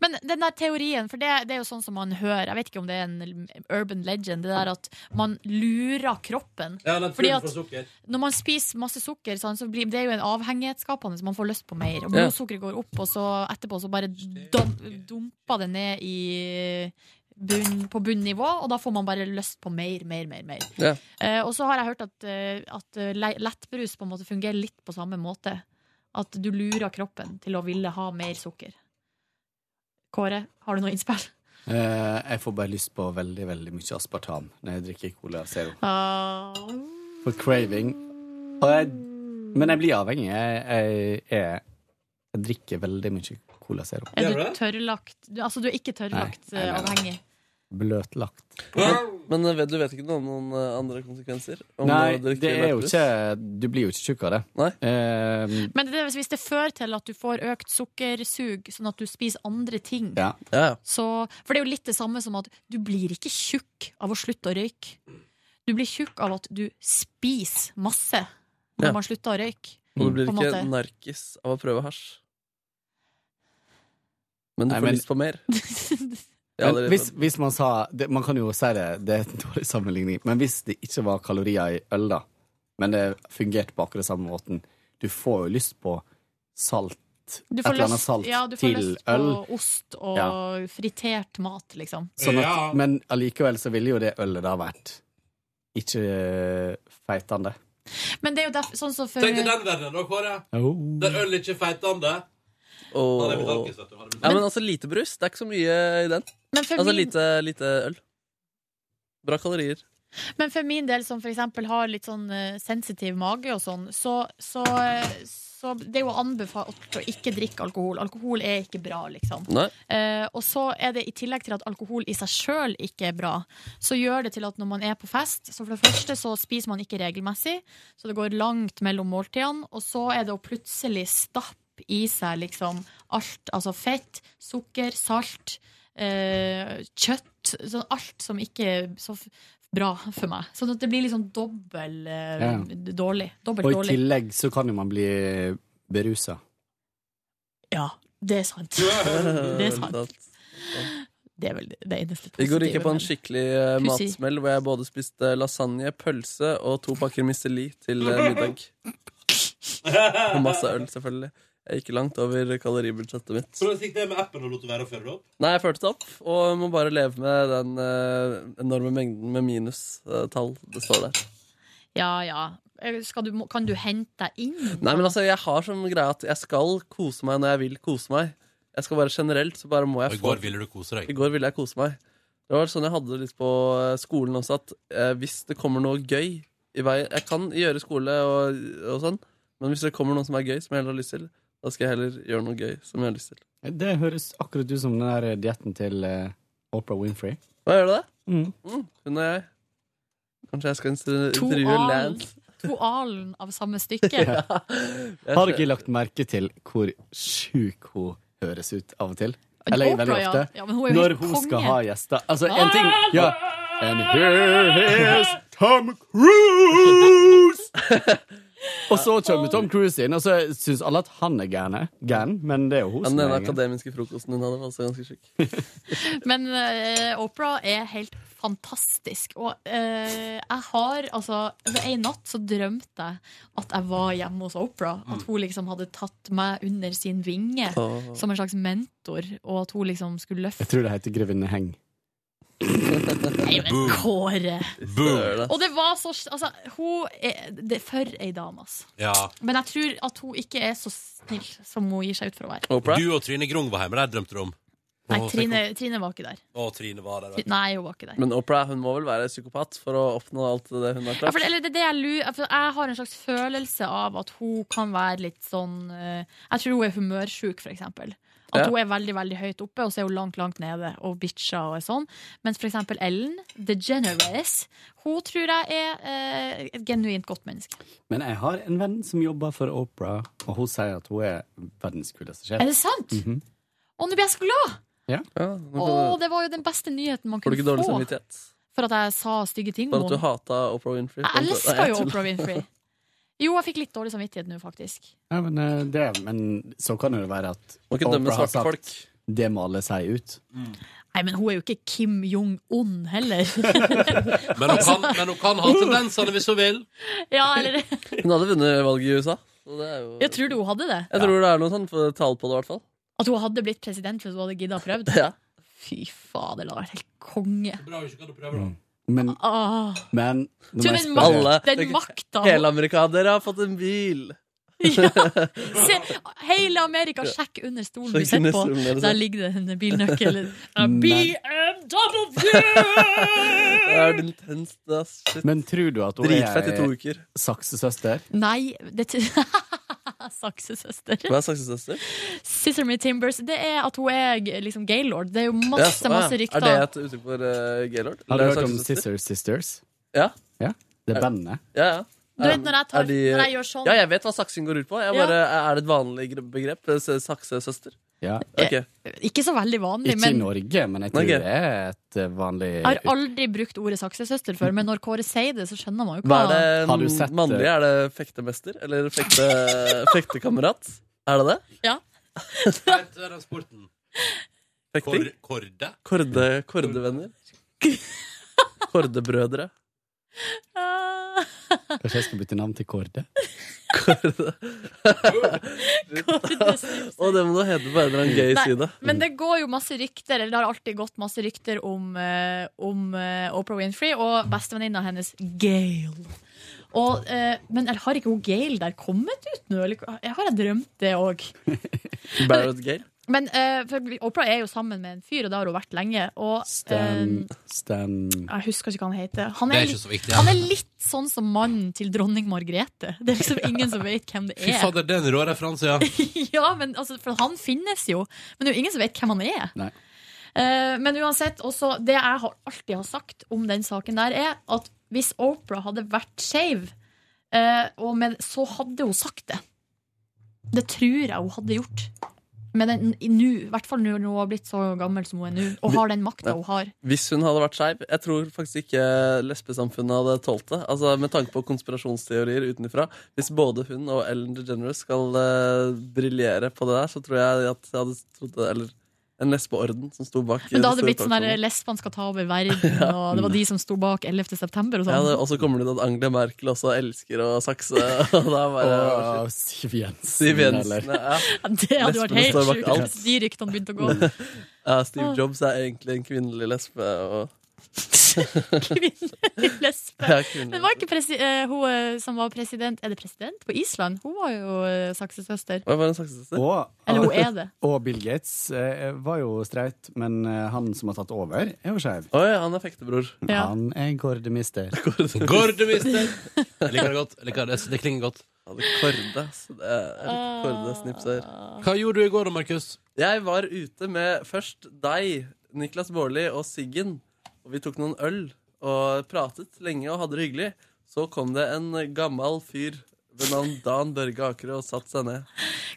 Speaker 4: Men den der teorien, for det, det er jo sånn som man hører Jeg vet ikke om det er en urban legend, det der at man lurer kroppen.
Speaker 2: Ja, den
Speaker 4: Fordi
Speaker 2: full
Speaker 4: at
Speaker 2: for sukker.
Speaker 4: når man spiser masse sukker, sånn, så blir det er jo en avhengighetsskapende, så man får lyst på mer. Og
Speaker 2: Ja.
Speaker 4: blodsukkeret går opp, og så etterpå så bare dam- dumper det ned i bunn, på bunnivå, og da får man bare lyst på mer, mer, mer. mer.
Speaker 3: Ja.
Speaker 4: Eh, og så har jeg hørt at, eh, at eh, le- lettbrus på en måte fungerer litt på samme måte. At du lurer kroppen til å ville ha mer sukker. Kåre, har du noe innspill?
Speaker 8: Eh, jeg får bare lyst på veldig veldig mye aspartam når jeg drikker Cola Zero. For craving. Og jeg, men jeg blir avhengig. Jeg, jeg, jeg, jeg drikker veldig mye Cola Zero.
Speaker 4: Er du tørrlagt? Du, altså, du er ikke tørrlagt
Speaker 8: Nei, nei,
Speaker 4: eh,
Speaker 8: nei.
Speaker 4: avhengig.
Speaker 8: Bløtlagt.
Speaker 3: Men eh, vet- du vet ikke noe om noen eh, andre konsekvenser? Om eh,
Speaker 8: Nei,
Speaker 3: å drikke
Speaker 8: det er jo
Speaker 3: lettbrus?
Speaker 8: ikke Du blir jo ikke tjukk av det. Eh,
Speaker 4: Men det, hvis det fører til at du får økt sukkersug, sånn at du spiser andre ting
Speaker 8: ja.
Speaker 4: så, For det er jo litt det samme som at du blir ikke tjukk av å slutte å røyke. Du blir tjukk av at du spiser masse når
Speaker 3: Ja.
Speaker 4: man slutter å røyke. (laughs)
Speaker 8: Mm.
Speaker 3: Og du blir
Speaker 4: på en
Speaker 3: ikke
Speaker 4: måte.
Speaker 3: narkis av å prøve hasj. Men du
Speaker 8: Nei,
Speaker 3: får
Speaker 8: men-
Speaker 3: lyst på mer. Ja,
Speaker 8: Men
Speaker 3: det-
Speaker 8: hvis, hvis man sa det, Man kan jo si det, det er en dårlig sammenligning, men hvis det ikke var kalorier i øl, da, men det fungerte på akkurat samme måten Du får jo lyst på salt,
Speaker 4: Du
Speaker 8: et
Speaker 4: får
Speaker 8: eller annet
Speaker 4: lyst-
Speaker 8: salt
Speaker 4: ja, du får
Speaker 8: til
Speaker 4: lyst
Speaker 8: øl.
Speaker 4: på ost og
Speaker 8: Ja.
Speaker 4: fritert mat, liksom.
Speaker 8: Sånn at, Men allikevel så ville jo det ølet da vært ikke eh, feitende.
Speaker 4: Men det er jo derfor, sånn som for
Speaker 2: Tenk deg den verden, da, Kåre. Der øl ikke er feitende.
Speaker 3: Og...
Speaker 2: Hadde jeg blitt alkis, vet du, hadde jeg blitt
Speaker 3: Ja, men
Speaker 2: alkis.
Speaker 3: altså lite brus, det er ikke så mye i den.
Speaker 4: Men for
Speaker 3: Altså
Speaker 4: min-
Speaker 3: lite, lite øl. Bra kalorier.
Speaker 4: Men for min del, som for eksempel har litt sånn eh, sensitiv mage og sånn, så, så, eh, så det er jo anbefalt å ikke drikke alkohol. Alkohol er ikke bra, liksom.
Speaker 3: Nei.
Speaker 4: Eh, og så er det i tillegg til at alkohol i seg sjøl ikke er bra, så gjør det til at når man er på fest, så for det første så spiser man ikke regelmessig, så det går langt mellom måltidene, og så er det å plutselig stappe i seg liksom alt, altså fett, sukker, salt, eh, kjøtt, sånn alt som ikke er så f- bra for meg. Sånn at det blir liksom dobbel eh,
Speaker 8: Ja.
Speaker 4: dårlig. Dobbelt
Speaker 8: Og i
Speaker 4: dårlig.
Speaker 8: tillegg så kan jo man bli berusa.
Speaker 4: Ja, det er
Speaker 3: (laughs)
Speaker 4: sant. det er sant. Det er vel det eneste positive.
Speaker 3: I går gikk jeg på en
Speaker 4: men-
Speaker 3: skikkelig eh,
Speaker 4: Pussy.
Speaker 3: matsmell hvor jeg både spiste lasagne, pølse og to pakker Misteli til eh, middag. Og masse øl, selvfølgelig. Jeg gikk langt over kaloribudsjettet mitt.
Speaker 2: Hvordan gikk det med appen og lot det være å føre det opp?
Speaker 3: Nei, jeg førte det opp, og må bare leve med den eh, enorme mengden med minustall det står der.
Speaker 4: Ja, ja. Eh, Skal du, må- kan du hente deg inn?
Speaker 3: Nei, men altså, jeg har som greie at jeg skal kose meg når jeg vil kose meg. Jeg skal bare generelt, så bare må jeg
Speaker 2: Og i går ville du kose deg.
Speaker 3: I går ville jeg kose meg. Det var sånn jeg hadde det litt på eh, skolen også, at eh, hvis det kommer noe gøy i vei Jeg kan gjøre skole og, og sånn, men hvis det kommer noe som er gøy, som jeg heller har lyst til, da skal jeg heller gjøre noe gøy som jeg har lyst til.
Speaker 8: Det høres akkurat ut som den der dietten til eh, Oprah Winfrey.
Speaker 3: Hva gjør du det? Mm, hun og jeg. Kanskje jeg skal instru-
Speaker 4: To
Speaker 3: intervjue
Speaker 4: alen-
Speaker 3: Lance.
Speaker 4: To alen av samme stykke.
Speaker 8: (laughs) Ja. Har dere lagt merke til hvor sjuk hun høres ut av og til? Eller
Speaker 4: Oprah,
Speaker 8: veldig
Speaker 4: ja.
Speaker 8: ofte.
Speaker 4: Ja, men hun er jo
Speaker 8: Når
Speaker 4: helt
Speaker 8: hun
Speaker 4: konge. Ah!
Speaker 8: skal ha gjester. Altså, en ting ja. And here is Tom
Speaker 3: (laughs)
Speaker 8: Cruise! og så kommer Tom Cruise inn, og så syns alle at han er gæren. Gæren, men det er jo hun
Speaker 3: Den
Speaker 8: som
Speaker 3: ene
Speaker 8: er gæren.
Speaker 3: akademiske frokosten hun hadde, var også ganske sjuk.
Speaker 4: Men eh, Oprah er helt fantastisk. Og eh, jeg har altså altså, En natt så drømte jeg at jeg var hjemme hos Oprah. At hun liksom hadde tatt meg under sin vinge
Speaker 8: Mm. Åh.
Speaker 4: som en slags mentor, og at hun liksom skulle løfte
Speaker 8: Jeg tror det heter Grevinne Heng.
Speaker 4: Nei, men Kåre!
Speaker 8: Boom.
Speaker 4: Og det var så Altså, hun er det, er For ei dame, altså.
Speaker 2: Ja.
Speaker 4: Men jeg tror at hun ikke er så snill som hun gir seg ut for å være.
Speaker 2: Du og Trine Grung var hjemme, der drømte du om.
Speaker 4: Nei,
Speaker 2: Å,
Speaker 4: Trine, Trine var ikke der.
Speaker 2: Å, Trine var der.
Speaker 4: Tri- Nei, hun var ikke der.
Speaker 3: Men Oprah hun må vel være psykopat for å oppnå alt det hun har
Speaker 4: Ja, for, det-
Speaker 3: klart?
Speaker 4: eller det, er det jeg, lurer, for jeg har en slags følelse av at hun kan være litt sånn eh, Jeg tror hun er humørsjuk, for eksempel. At
Speaker 13: Ja.
Speaker 4: hun er veldig veldig høyt oppe, og så er hun langt langt nede og bitcha og er sånn. Mens for eksempel Ellen DeGeneres, hun tror jeg er eh, et genuint godt menneske.
Speaker 8: Men jeg har en venn som jobber for Opera, og hun sier at hun er verdens kuleste sjef.
Speaker 4: Er det sant?
Speaker 8: Mhm.
Speaker 4: Å, nå blir jeg så glad!
Speaker 8: Ja.
Speaker 4: Å, det var jo den beste nyheten man
Speaker 3: Får du
Speaker 4: kunne
Speaker 3: ikke dårlig
Speaker 4: få.
Speaker 3: samvittighet?
Speaker 4: For at jeg sa stygge ting
Speaker 3: For
Speaker 4: om
Speaker 3: at du
Speaker 4: henne.
Speaker 3: hata Oprah Winfrey?
Speaker 4: Jeg elsker jo
Speaker 3: tuller.
Speaker 4: Oprah Winfrey. Jo, jeg fikk litt dårlig samvittighet nå, faktisk.
Speaker 8: Ja, men, eh, det, men så kan det jo være at
Speaker 3: Må ikke dømme
Speaker 8: Oprah har
Speaker 3: svarte
Speaker 8: sagt-
Speaker 3: folk.
Speaker 14: Det må alle si ut.
Speaker 4: Nei, men hun er jo ikke Kim Jong-un heller.
Speaker 2: Men hun kan, men hun kan ha tendensene hvis hun vil.
Speaker 4: (laughs) ja, eller
Speaker 3: Hun hadde vunnet valget i USA.
Speaker 4: (laughs) Jeg tror du hun hadde det.
Speaker 3: Jeg tror det er noe sånn for tall på det, i hvert fall.
Speaker 4: At hun hadde blitt president hvis hun hadde gidda å prøve det.
Speaker 3: Ja.
Speaker 4: Fy fader, det hadde vært helt konge.
Speaker 2: Mm.
Speaker 14: Men,
Speaker 4: Ah.
Speaker 14: men nå må jeg
Speaker 4: Tror den
Speaker 14: spørre-
Speaker 4: makt- Alle- den makta- (laughs)
Speaker 3: Hele amerikanere har fått en bil!
Speaker 4: Se, hele Amerika, sjekk under stolen du
Speaker 3: Sjekk under
Speaker 4: sitter på.
Speaker 3: stolen, er det
Speaker 4: Der
Speaker 3: sant?
Speaker 4: ligger det en bilnøkkel. A
Speaker 14: Nei.
Speaker 4: BMW!
Speaker 3: Det er den tenste, ass. Shit.
Speaker 14: Men tror du at hun
Speaker 3: Dritfett i to
Speaker 14: er saksesøster?
Speaker 4: Nei, det (laughs) t- Saksesøster.
Speaker 14: Hva er saksesøster?
Speaker 4: Sister Me Timbers. Det er at hun er g- liksom gaylord. Det er jo
Speaker 3: Ja,
Speaker 4: masse,
Speaker 3: ah, ja.
Speaker 4: masse rykter.
Speaker 3: Er det et uttrykk for eh, gaylord?
Speaker 14: Har du
Speaker 3: Eller
Speaker 14: hørt om sånn
Speaker 3: saksesøster?
Speaker 14: Sister Sisters?
Speaker 3: Ja.
Speaker 14: ja. Det
Speaker 3: Er-
Speaker 14: er bandet.
Speaker 3: Ja, ja.
Speaker 4: Du vet når jeg tar-
Speaker 3: Er de-
Speaker 4: når jeg gjør sånn.
Speaker 3: Ja, jeg vet hva saksing går ut på. Jeg
Speaker 4: Ja.
Speaker 3: bare, Er det et vanlig gre- begrep? Eh, S- Saksesøster?
Speaker 14: Ja.
Speaker 4: Eh,
Speaker 3: Ok.
Speaker 4: Ikke så veldig vanlig,
Speaker 14: Ikke i
Speaker 4: men
Speaker 14: Norge, men jeg tror
Speaker 3: Norge.
Speaker 14: det er et eh, vanlig
Speaker 4: jeg har aldri brukt ordet saksesøster før. Men når Kåre sier det, så skjønner man jo
Speaker 3: Hva er det
Speaker 14: Har du sett eh, det?
Speaker 3: mannlige? Er det fektemester? Eller fekte, fektekamerat? Er det det?
Speaker 4: Ja.
Speaker 3: Fekting?
Speaker 2: Korde?
Speaker 3: Korde, kordevenner? Kordebrødre? (laughs)
Speaker 4: Ah.
Speaker 14: Kanskje jeg skal bytte navn til Kårde?
Speaker 3: Å, det må du hete på en eller annen gøy
Speaker 4: Nei,
Speaker 3: side.
Speaker 4: Men det går jo masse rykter, eller det har alltid gått masse rykter om, eh, om eh, Oprah Winfrey og bestevenninna hennes Gail. Og, eh, men eller har ikke hun Gail der kommet ut nå? Eller, har jeg drømt det òg?
Speaker 3: Barrett Gale?
Speaker 4: Men eh, for Oprah er jo sammen med en fyr, og det har hun vært lenge. Og
Speaker 14: Stan,
Speaker 4: eh,
Speaker 14: Stan
Speaker 4: jeg husker ikke hva han heter. Han
Speaker 14: Det er
Speaker 4: er,
Speaker 14: ikke
Speaker 4: litt-
Speaker 14: så viktig,
Speaker 4: han
Speaker 14: ja.
Speaker 4: er litt sånn som mannen til dronning Margrethe. Det
Speaker 14: (laughs)
Speaker 4: er liksom ingen som vet hvem det
Speaker 2: Fy
Speaker 4: er.
Speaker 2: fader, det er en rå referanse, ja.
Speaker 4: (laughs) ja, men altså, for han finnes jo. Men det er jo ingen som vet hvem han er.
Speaker 14: Nei.
Speaker 4: Eh, men uansett, også, det jeg har alltid har sagt om den saken der, er at hvis Oprah hadde vært skeiv, eh, og med- så hadde hun sagt det. Det tror jeg hun hadde gjort. Men den, i, nå, i hvert fall nå når hun har blitt så gammel som hun er nå, og har den makta hun har.
Speaker 3: Hvis hun hadde vært skeiv Jeg tror faktisk ikke lesbesamfunnet hadde tålt det. Altså Med tanke på konspirasjonsteorier utenfra. Hvis både hun og Ellen DeGeneres skal eh, briljere på det der, så tror jeg at jeg hadde trodd det Eller en lesbeorden som sto bak. eh,
Speaker 4: Men da
Speaker 3: de
Speaker 4: hadde det blitt
Speaker 3: store
Speaker 4: sånn der
Speaker 3: talkshowene.
Speaker 4: lesbene skal ta over
Speaker 3: (laughs)
Speaker 4: verden, og det var de som sto bak 11. september og
Speaker 3: ja, det,
Speaker 4: sånn.
Speaker 3: Og så kommer det ut at Angela Merkel også elsker å sakse. (laughs) Og da bare
Speaker 14: og Siv Jensen.
Speaker 3: Siv Jensen.
Speaker 14: eller?
Speaker 3: Ja.
Speaker 4: (laughs) Det hadde vært
Speaker 3: Lesbene
Speaker 4: helt
Speaker 3: står bak
Speaker 4: sjukt
Speaker 3: alt.
Speaker 4: hvis de ryktene begynte å
Speaker 3: (laughs)
Speaker 4: gå.
Speaker 3: Ja, Steve Jobs er egentlig en kvinnelig lesbe. Og... (laughs)
Speaker 4: lesbe.
Speaker 3: Ja, kvinnelig.
Speaker 4: Men var ikke presi eh, hun eh, som var president Er det president på Island? Hun var jo eh, saksesøster.
Speaker 3: Hva var det en saksesøster?
Speaker 14: Og,
Speaker 4: Eller hun er det.
Speaker 14: og Bill Gates eh, var jo streit, men eh, han som har tatt over, er jo skeiv.
Speaker 3: Oi, han er fektebror.
Speaker 4: Ja.
Speaker 14: Han er gordemister.
Speaker 2: Gordeminister! Jeg liker det godt. Jeg liker det. det klinger godt.
Speaker 3: Korde, ass. Det er korde snipser.
Speaker 2: Hva gjorde du i går da, Markus?
Speaker 3: Jeg var ute med først deg, Niklas Baarli og Siggen. Og vi tok noen øl og pratet lenge og hadde det hyggelig. Så kom det en gammel fyr ved navn Dan Børge Akerø og satte seg ned.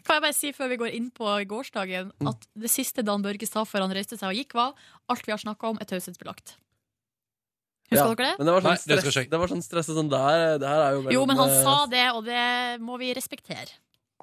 Speaker 4: Kan jeg bare si før vi går inn på gårsdagen,
Speaker 3: Mm.
Speaker 4: at det siste Dan Børge sa før han reiste seg og gikk, var alt vi har snakka om, er taushetsbelagt. Husker dere det?
Speaker 3: Men det var
Speaker 2: Nei,
Speaker 3: sånn
Speaker 2: det skal
Speaker 3: stress, det var sånn stresset sånn der, det her er jo
Speaker 4: Jo, men han
Speaker 3: mellom, eh,
Speaker 4: sa det, og det må vi respektere.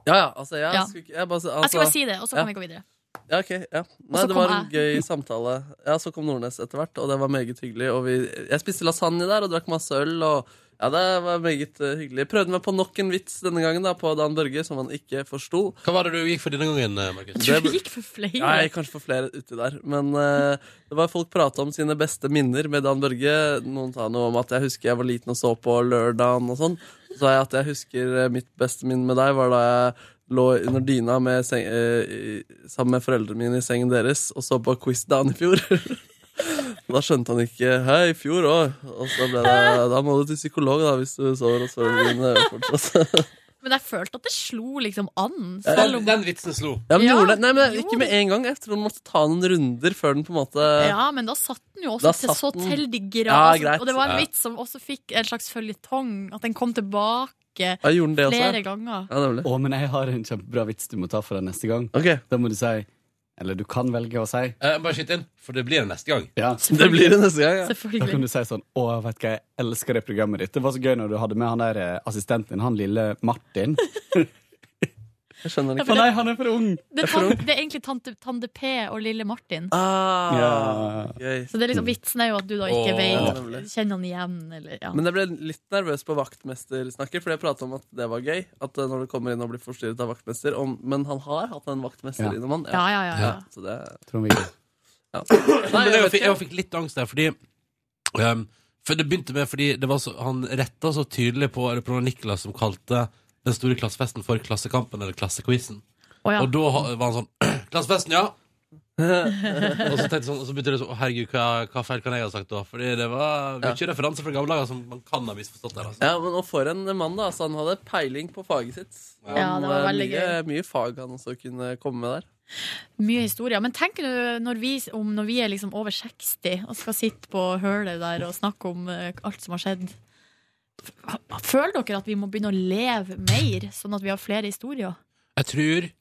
Speaker 3: Ja, ja, altså, jeg,
Speaker 4: Ja.
Speaker 3: Skulle, ikke- jeg, bare, altså,
Speaker 4: Jeg skal bare si det, og så
Speaker 3: ja.
Speaker 4: kan vi gå videre.
Speaker 3: Ja, ok, ja. Nei,
Speaker 4: så
Speaker 3: det
Speaker 4: kom
Speaker 3: var en
Speaker 4: jeg.
Speaker 3: gøy samtale. Ja, så kom Nordnes etter hvert, og det var meget hyggelig. Og vi, jeg spiste lasagne der og drakk masse øl, og ja, det var meget eh, hyggelig. Jeg prøvde meg på nok en vits denne gangen, da, på Dan Børge, som han ikke forsto.
Speaker 2: Hva var det du gikk for denne gangen, eh, Markus?
Speaker 3: Det-
Speaker 4: Du gikk for flere.
Speaker 3: Nei, kanskje for flere uti der. Men eh, det var folk prata om sine beste minner med Dan Børge. Noen sa noe om at jeg husker jeg var liten og så på lørdagen og sånn. Så sa jeg at jeg husker eh, mitt beste minne med deg var da jeg lå under dyna med seng, eh, i- sammen med foreldrene mine i sengen deres og så på Quizdagen i fjor. (laughs) Da skjønte han ikke 'hei, i fjor òg'. Og så ble det 'da må du til psykolog da hvis du sover hos foreldrene dine fortsatt'. (laughs)
Speaker 4: Men jeg følte at det slo liksom an.
Speaker 3: Ja,
Speaker 4: Selv om
Speaker 2: Den vitsen slo.
Speaker 3: Ja, men
Speaker 4: Ja,
Speaker 3: gjorde det. Nei, men
Speaker 4: gjorde
Speaker 3: Ikke med en gang. Jeg tror man måtte ta noen runder før den på en måte
Speaker 4: Ja, men da satt den jo også
Speaker 3: Da
Speaker 4: til
Speaker 3: satt
Speaker 4: så
Speaker 3: den.
Speaker 4: til de
Speaker 3: Ja,
Speaker 4: grader.
Speaker 3: greit.
Speaker 4: og det var en
Speaker 3: Ja.
Speaker 4: vits som også fikk en slags føljetong. At den kom tilbake
Speaker 3: Ja, gjorde den det også, ja?
Speaker 4: flere ganger.
Speaker 14: Å, men jeg har en kjempebra vits du må ta for deg neste gang.
Speaker 4: (laughs)
Speaker 14: Da må du si Eller du kan velge å si.
Speaker 2: Eh, bare skyt inn, for det blir det neste gang.
Speaker 14: Ja.
Speaker 3: Det blir det neste gang, ja.
Speaker 14: Da kan du si sånn Å, vet du hva, jeg elsker det programmet ditt. Det var så gøy når du hadde med han der eh, assistenten din, han lille Martin.
Speaker 3: Jeg skjønner
Speaker 4: Ja,
Speaker 3: det
Speaker 4: for
Speaker 3: ikke.
Speaker 4: det- Å nei,
Speaker 14: han er for ung!
Speaker 4: Det er, tan det er egentlig tante, tante P og lille Martin.
Speaker 3: Ah,
Speaker 4: Så det er liksom Vitsen er jo at du da ikke
Speaker 3: Mm. Åh.
Speaker 4: vet Kjenner han igjen, eller ja.
Speaker 3: Men jeg ble litt nervøs på vaktmestersnakket, fordi jeg prata om at det var gøy. At eh, når du kommer inn og blir forstyrret av vaktmester om, Men han har hatt en vaktmester
Speaker 2: Ja.
Speaker 3: innom han.
Speaker 4: Ja, ja, ja, ja.
Speaker 3: så det
Speaker 14: Trond-Viggo.
Speaker 3: Ja.
Speaker 2: Men jeg, fikk, jeg fikk litt angst der, fordi ehm, For det begynte med Fordi det var så, han retta så tydelig på reporter Niklas, som kalte den store klassefesten for Klassekampen eller Klassequizen.
Speaker 4: Å, ja.
Speaker 2: Og da ha- var han sånn (clears throat) Klassefesten, ja! (laughs) og så tenkte jeg sånn, og så begynte det sånn Å, herregud, hva, hva feil kan jeg ha sagt da? Fordi det var mye referanser fra gamle dager som man kan ha misforstått der. Altså.
Speaker 3: Ja, men og for en mann, da. Så han hadde peiling på faget sitt.
Speaker 4: Ja, det var
Speaker 3: eh,
Speaker 4: veldig
Speaker 3: mye, mye fag han også kunne komme med der.
Speaker 4: Mye historier. Men tenk nå når vi, om når vi er liksom over 60 og skal sitte på hølet der og snakke om eh, alt som har skjedd. F- Føler dere at vi må begynne å leve mer, sånn at vi har flere historier?
Speaker 2: Jeg tror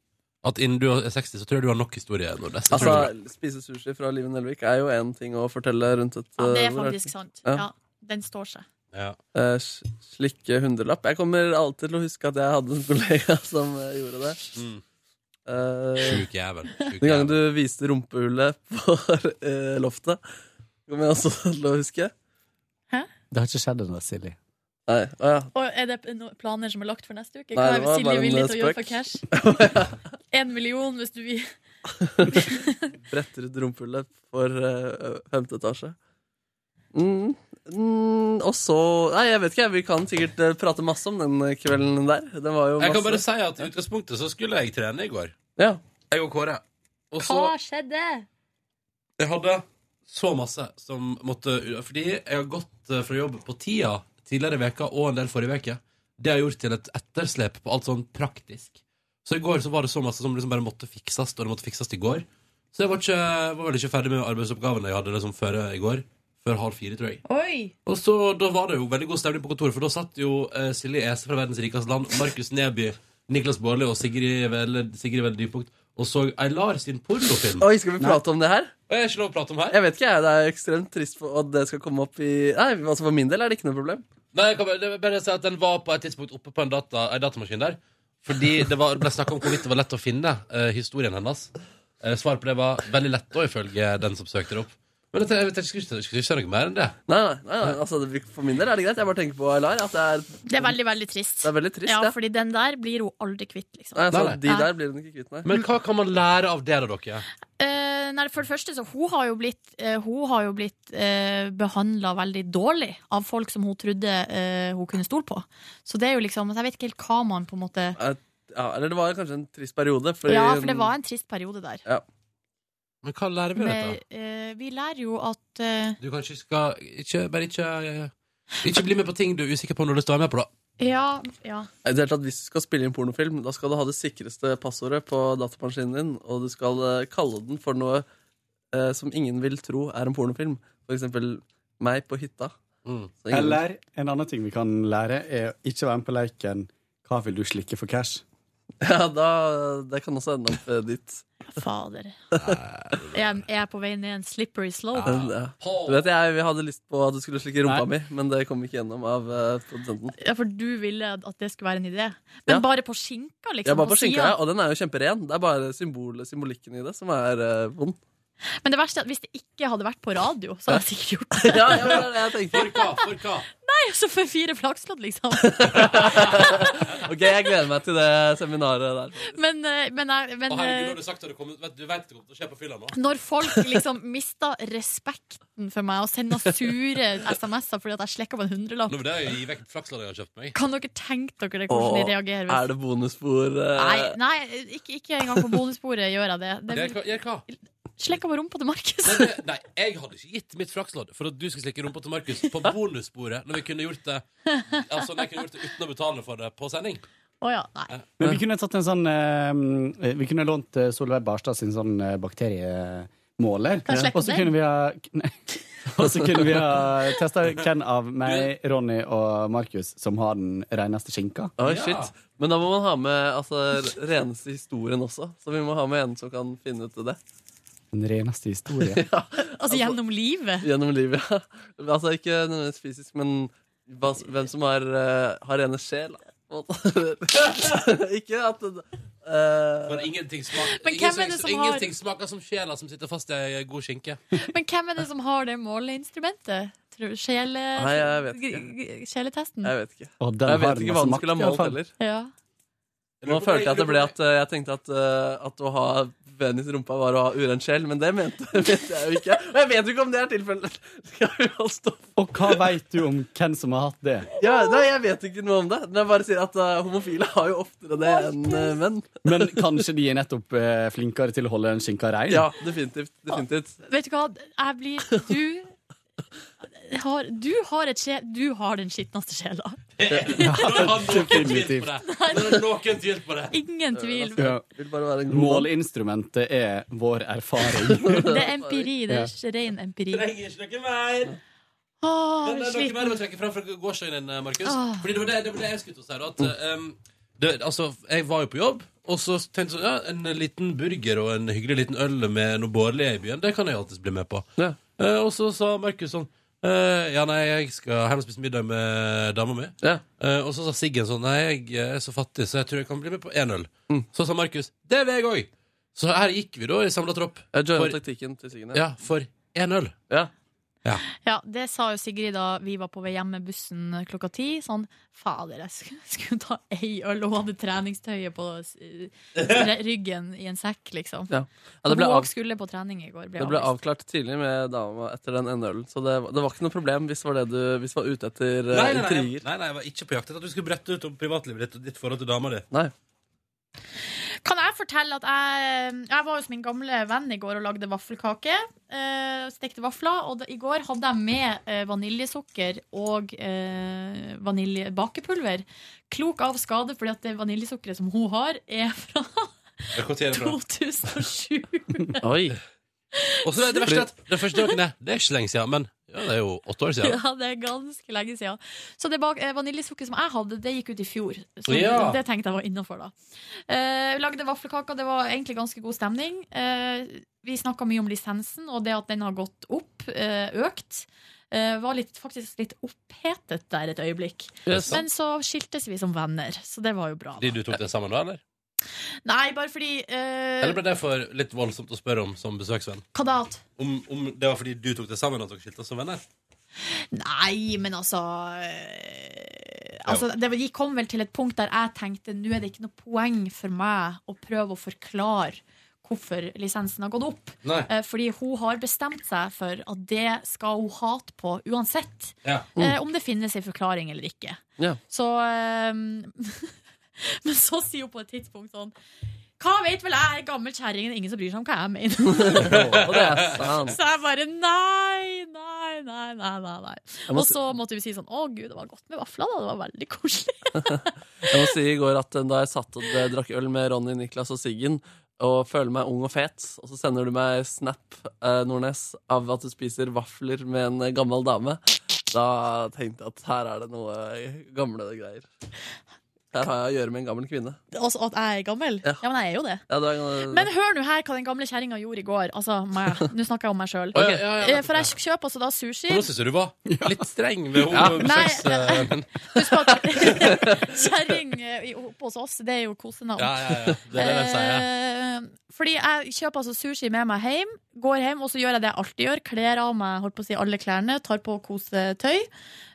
Speaker 2: at innen du er 60, så tror jeg du har nok historie. Nordnes. Det tror
Speaker 3: Altså,
Speaker 2: jeg.
Speaker 3: Spise sushi fra Live Nelvik er jo én ting å fortelle rundt et
Speaker 4: Ja, det
Speaker 3: eh,
Speaker 4: er
Speaker 3: bord.
Speaker 4: faktisk sant. Ja, den står seg.
Speaker 3: Eh, s- slikke hundrelapp. Jeg kommer alltid til å huske at jeg hadde en kollega (laughs) som eh, gjorde det.
Speaker 2: Mm.
Speaker 3: Eh,
Speaker 2: Sjuk jævel. Sjuk
Speaker 3: Den gangen du viste rumpehullet (laughs) på eh, loftet, kommer jeg også (laughs) til å huske.
Speaker 14: Det har ikke skjedd ennå, Silje.
Speaker 3: Nei, å ja.
Speaker 4: Og er det noen planer som er lagt for neste
Speaker 3: Nei,
Speaker 4: uke? Hva
Speaker 3: det
Speaker 4: er
Speaker 3: var bare
Speaker 4: Silje
Speaker 3: en
Speaker 4: villig til å gjøre
Speaker 3: spøk.
Speaker 4: for cash?
Speaker 3: (laughs)
Speaker 4: Én million hvis du vil.
Speaker 3: Bretter ut rumpehullet for eh, femte etasje. Mm. Mm, og så Nei, jeg vet ikke. Vi kan sikkert eh, prate masse om den eh, kvelden der. Det var jo masse.
Speaker 2: Jeg kan bare si at i utgangspunktet så skulle jeg trene i går.
Speaker 3: Ja.
Speaker 2: Jeg og Kåre. Og så
Speaker 4: Hva skjedde?
Speaker 2: Jeg hadde så masse som måtte Fordi jeg har gått eh, fra jobb på tida tidligere i veka og en del forrige veke. Det har gjort til et etterslep på alt sånn praktisk. Så i går så var det så masse som liksom bare måtte fikses, og det måtte fikses i går. Så jeg var, ikke, var vel ikke ferdig med arbeidsoppgavene jeg hadde liksom før eh, i går. Før halv fire, tror jeg.
Speaker 4: Oi!
Speaker 2: Og så, Da var det jo veldig god stemning på kontoret, for da satt jo eh, Silje Ese fra Verdens rikeste land, Markus Neby, Niklas Baarli og Sigrid Velle, Sigrid Velle Dypunkt og så Eilar sin pornofilm.
Speaker 3: Oi, skal vi prate om det her?
Speaker 2: Jeg er ikke lov å prate om her.
Speaker 3: Jeg vet ikke, jeg. Det er ekstremt trist for at det skal komme opp i Nei, altså for min del er det ikke noe problem.
Speaker 2: Nei, jeg kan bare, det er bare å si at den var på et tidspunkt oppe på en, data, en datamaskin der. Fordi det var, det ble snakka om hvorvidt det var lett å finne eh, historien hennes. Eh, svaret på det var veldig lett, da, ifølge den som søkte det opp. Men jeg, tenkte- jeg, tenkte, jeg, skulle ikke- jeg skulle ikke si noe mer enn det.
Speaker 3: Nei, nei, nei, nei altså det, For min del er det greit. Jeg bare tenker på Aylar. At det er,
Speaker 4: Det er veldig, veldig trist.
Speaker 3: Det er veldig trist,
Speaker 4: ja,
Speaker 3: ja.
Speaker 4: fordi den der blir hun aldri kvitt, liksom.
Speaker 3: nei, altså,
Speaker 2: Nei, nei.
Speaker 3: De
Speaker 4: Ja.
Speaker 3: der blir hun ikke kvitt, nei.
Speaker 2: Men hva kan man lære av det, da, dere?
Speaker 4: Eh, nei, for det første, så hun har jo blitt, uh, hun har jo blitt uh, behandla veldig dårlig av folk som hun trodde eh, hun kunne stole på. Så det er jo liksom Jeg vet ikke helt hva man på en måte
Speaker 3: Eh, Ja, eller det var kanskje en trist periode.
Speaker 4: Ja, for det var en trist periode der.
Speaker 3: Ja.
Speaker 2: Men hva lærer vi av
Speaker 4: Men,
Speaker 2: dette?
Speaker 4: eh, vi lærer jo at eh,
Speaker 2: Du kanskje skal ikke, Bare ikke Ikke bli med på ting du er usikker på når du står med på, da.
Speaker 4: Ja, ja.
Speaker 3: I det hele tatt, Hvis du skal spille inn pornofilm, da skal du ha det sikreste passordet på datamaskinen din, og du skal eh, kalle den for noe eh, som ingen vil tro er en pornofilm. For eksempel meg på hytta. Så ingen-
Speaker 14: Eller en annen ting vi kan lære, er å ikke være med på leken Hva vil du slikke for cash?
Speaker 3: (laughs) Ja, da, det kan også ende opp eh, dit.
Speaker 4: Fader. Jeg jeg er på vei ned en slippery slope.
Speaker 3: Men, ja. Du vet, jeg, Vi hadde lyst på at du skulle slikke rumpa mi, men det kom ikke gjennom av eh, produsenten.
Speaker 4: Ja, for du ville at det skulle være en idé. Men
Speaker 3: Ja.
Speaker 4: bare på skinka, liksom?
Speaker 3: ja, bare på
Speaker 4: siden.
Speaker 3: skinka, ja, og den er jo kjemperen. Det er bare symbol, symbolikken i det som er eh, vond.
Speaker 4: Men det verste er at hvis det ikke hadde vært på radio, så hadde jeg sikkert gjort det.
Speaker 3: (laughs)
Speaker 4: (laughs)
Speaker 3: Ja, ja, det er det jeg tenker.
Speaker 4: Nei, altså for fire flakslodd, liksom.
Speaker 3: (laughs) Ok, jeg gleder meg til det seminaret der.
Speaker 4: Men, eh, men, jeg- men
Speaker 2: Å, herregud,
Speaker 4: eh,
Speaker 2: har du sagt at du, kommer, vet, du vet det kommer til å skje på fylla nå?
Speaker 4: når folk liksom mister respekten for meg og sender sure SMS-er fordi at jeg slekker på en
Speaker 2: Nå
Speaker 4: hundrelapp,
Speaker 2: vil jeg gi vekk flaksloddet jeg har kjøpt meg.
Speaker 4: kan dere tenke dere hvordan de
Speaker 3: Åh,
Speaker 4: reagerer?
Speaker 3: Er det bonusspor? eh?
Speaker 4: Nei, nei ikke, ikke engang på bonussporet gjør jeg det.
Speaker 2: Gjør hva- gjør
Speaker 4: (laughs)
Speaker 2: hva?
Speaker 4: Slekker på rumpa til Markus.
Speaker 2: Nei, det- nei, jeg hadde ikke gitt mitt flakslodd for at du skulle slikke rumpa til Markus
Speaker 4: (laughs)
Speaker 2: på bonussporet når vi kunne gjort det Altså, når jeg kunne gjort det uten å betale for det på sending.
Speaker 4: Å ja, nei.
Speaker 14: Men vi kunne tatt en sånn eh, Vi kunne lånt eh, Solveig Barstad sin sånn eh, bakteriemåler.
Speaker 4: Kan jeg slekke
Speaker 14: Og så
Speaker 4: på
Speaker 14: kunne
Speaker 4: den?
Speaker 14: vi ha (laughs) nei. Og så kunne vi ha testa hvem av meg, Ronny og Markus som har den reneste skinka.
Speaker 3: Oi, shit. Men da må man ha med altså, reneste historien også. Så vi må ha med en som kan finne ut av det.
Speaker 14: Den reneste historien.
Speaker 4: Altså gjennom livet.
Speaker 3: Gjennom livet, (laughs) ja. Altså ikke nødvendigvis fysisk, men hva, hvem som har, eh, har rene sjel. da. På en måte. (laughs) ikke at det,
Speaker 2: For ingenting, smak,
Speaker 4: Men
Speaker 2: ingen
Speaker 4: hvem er det
Speaker 2: slags-
Speaker 4: som har-
Speaker 2: ingenting smaker som sjela som sitter fast i ei god skinke.
Speaker 4: Men hvem er det som har det måleinstrumentet? Tror du- Sjele...
Speaker 2: Nei, jeg vet ikke.
Speaker 4: g- g- Sjeletesten?
Speaker 3: Jeg vet ikke.
Speaker 14: Og den
Speaker 3: jeg
Speaker 14: har
Speaker 3: vet ikke
Speaker 14: masse
Speaker 3: hva den skulle ha
Speaker 14: makt, i alle
Speaker 3: målt
Speaker 14: fall.
Speaker 3: heller.
Speaker 4: Ja.
Speaker 3: Nå følte jeg at det ble at eh, jeg tenkte at, eh, at å ha penis i rumpa var å ha uren sjel, men det mente, (laughs) mente jeg jo ikke. Og jeg vet jo ikke om det er tilfellet. (laughs)
Speaker 14: Og hva veit du om hvem som har hatt det?
Speaker 3: Ja, nei, jeg vet ikke noe om det. Men jeg bare sier at eh, homofile har jo oftere det enn eh, menn.
Speaker 14: Men kanskje de er nettopp eh, flinkere til å holde en skinka rein?
Speaker 3: Ja, definitivt. definitivt.
Speaker 4: Vet du hva, jeg blir
Speaker 2: (laughs)
Speaker 4: Du har, du har, et sje, du har den skitneste sjela.
Speaker 2: Nå har noen tvil på det! Nå har noen tvil på det.
Speaker 4: Ingen tvil.
Speaker 14: Ja. Måleinstrumentet er vår erfaring.
Speaker 4: Det er empiri. Det
Speaker 14: Ja.
Speaker 4: er s- ren empiri.
Speaker 2: Trenger ikke noe mer.
Speaker 4: Åh,
Speaker 2: Men eh, det er noe
Speaker 4: sliten.
Speaker 2: mer å trekke fram fra gårsdagen din, eh, Markus.
Speaker 4: Ah.
Speaker 2: Fordi det var det, det, var det jeg skulle til å si. da, At, um, det, altså, jeg var jo på jobb, og så tenkte jeg sånn, ja, en liten burger og en hyggelig liten øl med noe bårlig i byen, det kan jeg alltid bli med på. Eh, og så sa Markus sånn eh, Ja, nei, jeg skal hjem og spise middag med dama mi. Eh, og så sa Siggen sånn Nei, jeg er så fattig, så jeg tror jeg kan bli med på én øl. Så sa Markus Det vil jeg òg. Så her gikk vi da i samla tropp.
Speaker 3: Jeg joiner
Speaker 2: For-
Speaker 3: taktikken til Siggen.
Speaker 2: ja, for én øl.
Speaker 3: Ja.
Speaker 4: Ja, det sa jo Sigrid da vi var på vei hjem med bussen klokka ti. Sånn Fader, jeg skulle, skulle ta ei øl, og hun hadde treningstøyet på s- re- ryggen i en sekk, liksom.
Speaker 3: Ja. Ja,
Speaker 4: Og
Speaker 3: det ble
Speaker 4: hun
Speaker 3: av-
Speaker 4: også skulle på trening i går. Ble
Speaker 3: Det ble
Speaker 4: avlyst.
Speaker 3: avklart tidlig med dama etter den ene ølen, så det, var- det var ikke noe problem hvis var det du hvis var ute etter eh,
Speaker 2: Nei, nei, nei,
Speaker 3: intriger.
Speaker 2: jeg- nei, nei, jeg var ikke på jakt etter at du skulle brette ut om privatlivet ditt og ditt forhold til dama di.
Speaker 3: Nei.
Speaker 4: Kan jeg fortelle at jeg, eh, jeg var hos min gamle venn i går og lagde vaffelkake. eh, stekte vafler. Og da, i går hadde jeg med eh, vaniljesukker og eh, vaniljebakepulver. Klok av skade, fordi at det vaniljesukkeret som hun har, er fra
Speaker 2: Rekruttering bra.
Speaker 4: 2007.
Speaker 3: Oi.
Speaker 2: Og så er det verste at den første dagen er Det er ikke så lenge siden, men ja, det er jo åtte år siden.
Speaker 4: (laughs) Ja, det er ganske lenge siden. Så det bak- eh, vaniljesukkeret som jeg hadde, det gikk ut i fjor. Så
Speaker 2: Ja.
Speaker 4: det tenkte jeg var innafor, da. Eh, lagde vaffelkaker, det var egentlig ganske god stemning. Eh, vi snakka mye om lisensen, og det at den har gått opp, eh, økt. eh, var litt, faktisk litt opphetet der et øyeblikk.
Speaker 2: Det er sant.
Speaker 4: Men så skiltes vi som venner, så det var jo bra.
Speaker 2: Fordi du tok det sammen da, eller?
Speaker 4: Nei, bare fordi eh,
Speaker 2: Eller ble det for litt voldsomt å spørre om som besøksvenn?
Speaker 4: Hva da? at-
Speaker 2: Om, om det var fordi du tok det sammen at dere skilte oss som venner?
Speaker 4: Nei, men altså eh, Altså, det var- de kom vel til et punkt der jeg tenkte nå er det ikke noe poeng for meg å prøve å forklare hvorfor lisensen har gått opp.
Speaker 2: Nei.
Speaker 4: Eh, Fordi hun har bestemt seg for at det skal hun hate på uansett.
Speaker 2: Ja.
Speaker 4: eh, Om det finnes en forklaring eller ikke.
Speaker 3: Ja.
Speaker 4: Så eh, (laughs) Men så sier hun på et tidspunkt sånn Hva vet vel jeg, er gammel kjerring, det er ingen som bryr seg om hva jeg mener.
Speaker 3: Og det er sant.
Speaker 4: Så jeg bare nei, nei, nei, nei, nei, nei.
Speaker 3: Jeg må
Speaker 4: Og
Speaker 3: si-
Speaker 4: så måtte vi si sånn å gud, det var godt med vafler da, det var veldig koselig.
Speaker 3: Jeg må si i går at eh, da jeg satt og eh, drakk øl med Ronny, Niklas og Siggen, og føler meg ung og fet, og så sender du meg snap eh, Nordnes, av at du spiser vafler med en eh, gammel dame, da tenkte jeg at her er det noe eh, gamle greier. Her har jeg å gjøre med en gammel kvinne.
Speaker 4: Også at jeg er gammel. Ja, men jeg er jo det.
Speaker 3: Ja, det er, eh,
Speaker 4: Men hør nå her hva den gamle kjerringa gjorde i går. Altså, meg. Nå snakker jeg om meg sjøl.
Speaker 2: Å, ja, ja, ja.
Speaker 4: For jeg kjøper altså da sushi.
Speaker 2: For nå syns jeg du var (laughs)
Speaker 3: (laughs)
Speaker 2: litt streng ved
Speaker 4: Ja.
Speaker 2: henne.
Speaker 4: Nei,
Speaker 2: Ja.
Speaker 4: (laughs) Kjerring eh, i- oppe hos oss, det er jo kosenavn.
Speaker 2: Ja, ja, ja. Det er det de sier.
Speaker 4: Eh, Fordi jeg kjøper altså sushi med meg hjem, går hjem, og så gjør jeg det jeg alltid gjør. Kler av meg holdt på å si, alle klærne, tar på kosetøy.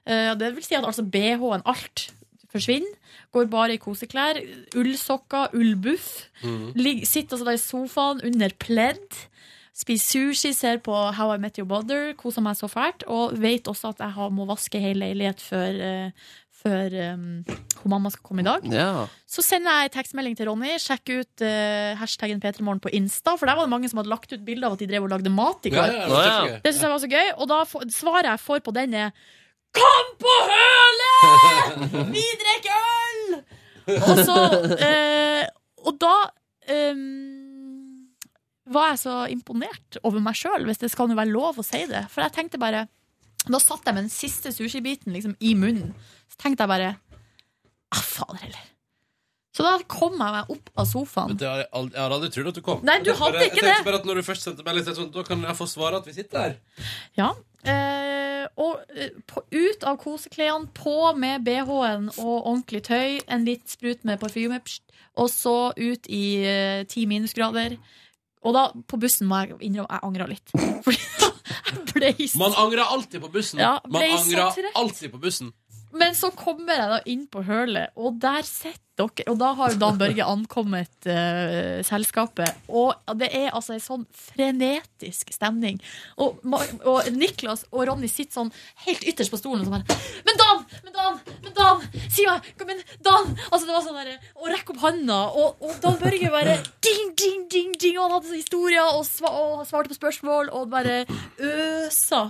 Speaker 4: Eh, Det vil si at altså BH-en, alt, forsvinner. Går bare i koseklær. Ullsokker, ullbuff.
Speaker 2: Mm.
Speaker 4: Ligg, sitter altså da i sofaen under pledd. Spiser sushi, ser på How I Met Your Mother, koser meg så fælt. Og vet også at jeg har, må vaske hele leilighet før, eh, før eh, hun mamma skal komme i dag.
Speaker 3: Ja.
Speaker 4: Så sender jeg en tekstmelding til Ronny. Sjekk ut eh, hashtaggen P3morgen på Insta. For der var det mange som hadde lagt ut bilder av at de drev og lagde mat i
Speaker 2: Ja,
Speaker 4: går.
Speaker 2: ja, det var Ja, ja. kjempegøy.
Speaker 4: Det syns jeg var så gøy. Og da får- svaret jeg får på den, er Kom på hølet! Vi drikker øl! Og så eh, Og da eh, var jeg så imponert over meg sjøl, hvis det skal nå være lov å si det. For jeg tenkte bare Da satt jeg med den siste sushibiten liksom, i munnen. Så tenkte jeg bare Ah, fader heller. Så da kom jeg meg opp av sofaen.
Speaker 2: Det har jeg, aldri, jeg hadde aldri trodd at du kom.
Speaker 4: Nei, du
Speaker 2: Jeg tenkte
Speaker 4: hadde
Speaker 2: bare-
Speaker 4: ikke
Speaker 2: Jeg tenkte
Speaker 4: det.
Speaker 2: bare at når du først sendte melding, så jeg sånn, da kan jeg få svare at vi sitter her.
Speaker 4: Ja. Eh, Og eh, på, ut av koseklærne, på med BH-en og ordentlig tøy, en litt sprut med parfyme, pst, og så ut i eh, ti minusgrader. Og da, på bussen må jeg innrømme, jeg angra litt. (laughs) Fordi jeg ble så
Speaker 2: Man angrer alltid på bussen.
Speaker 4: Ja,
Speaker 2: Man
Speaker 4: ble så
Speaker 2: angrer
Speaker 4: trett.
Speaker 2: alltid på bussen.
Speaker 4: Men så kommer jeg da inn på hølet, og der sitter dere. Og da har jo Dan Børge ankommet eh, selskapet. Og det er altså en sånn frenetisk stemning. Og, Ma- og Niklas og Ronny sitter sånn helt ytterst på stolen og sånn her. Men Dan! Men Dan! Men Dan! Si meg! Kom igjen! Dan! Altså det var sånn der, Og rekk opp handa. Og, og Dan Børge bare ding, ding, ding, ding. Og han hadde sånne historier og, sva, og svarte på spørsmål og bare øsa.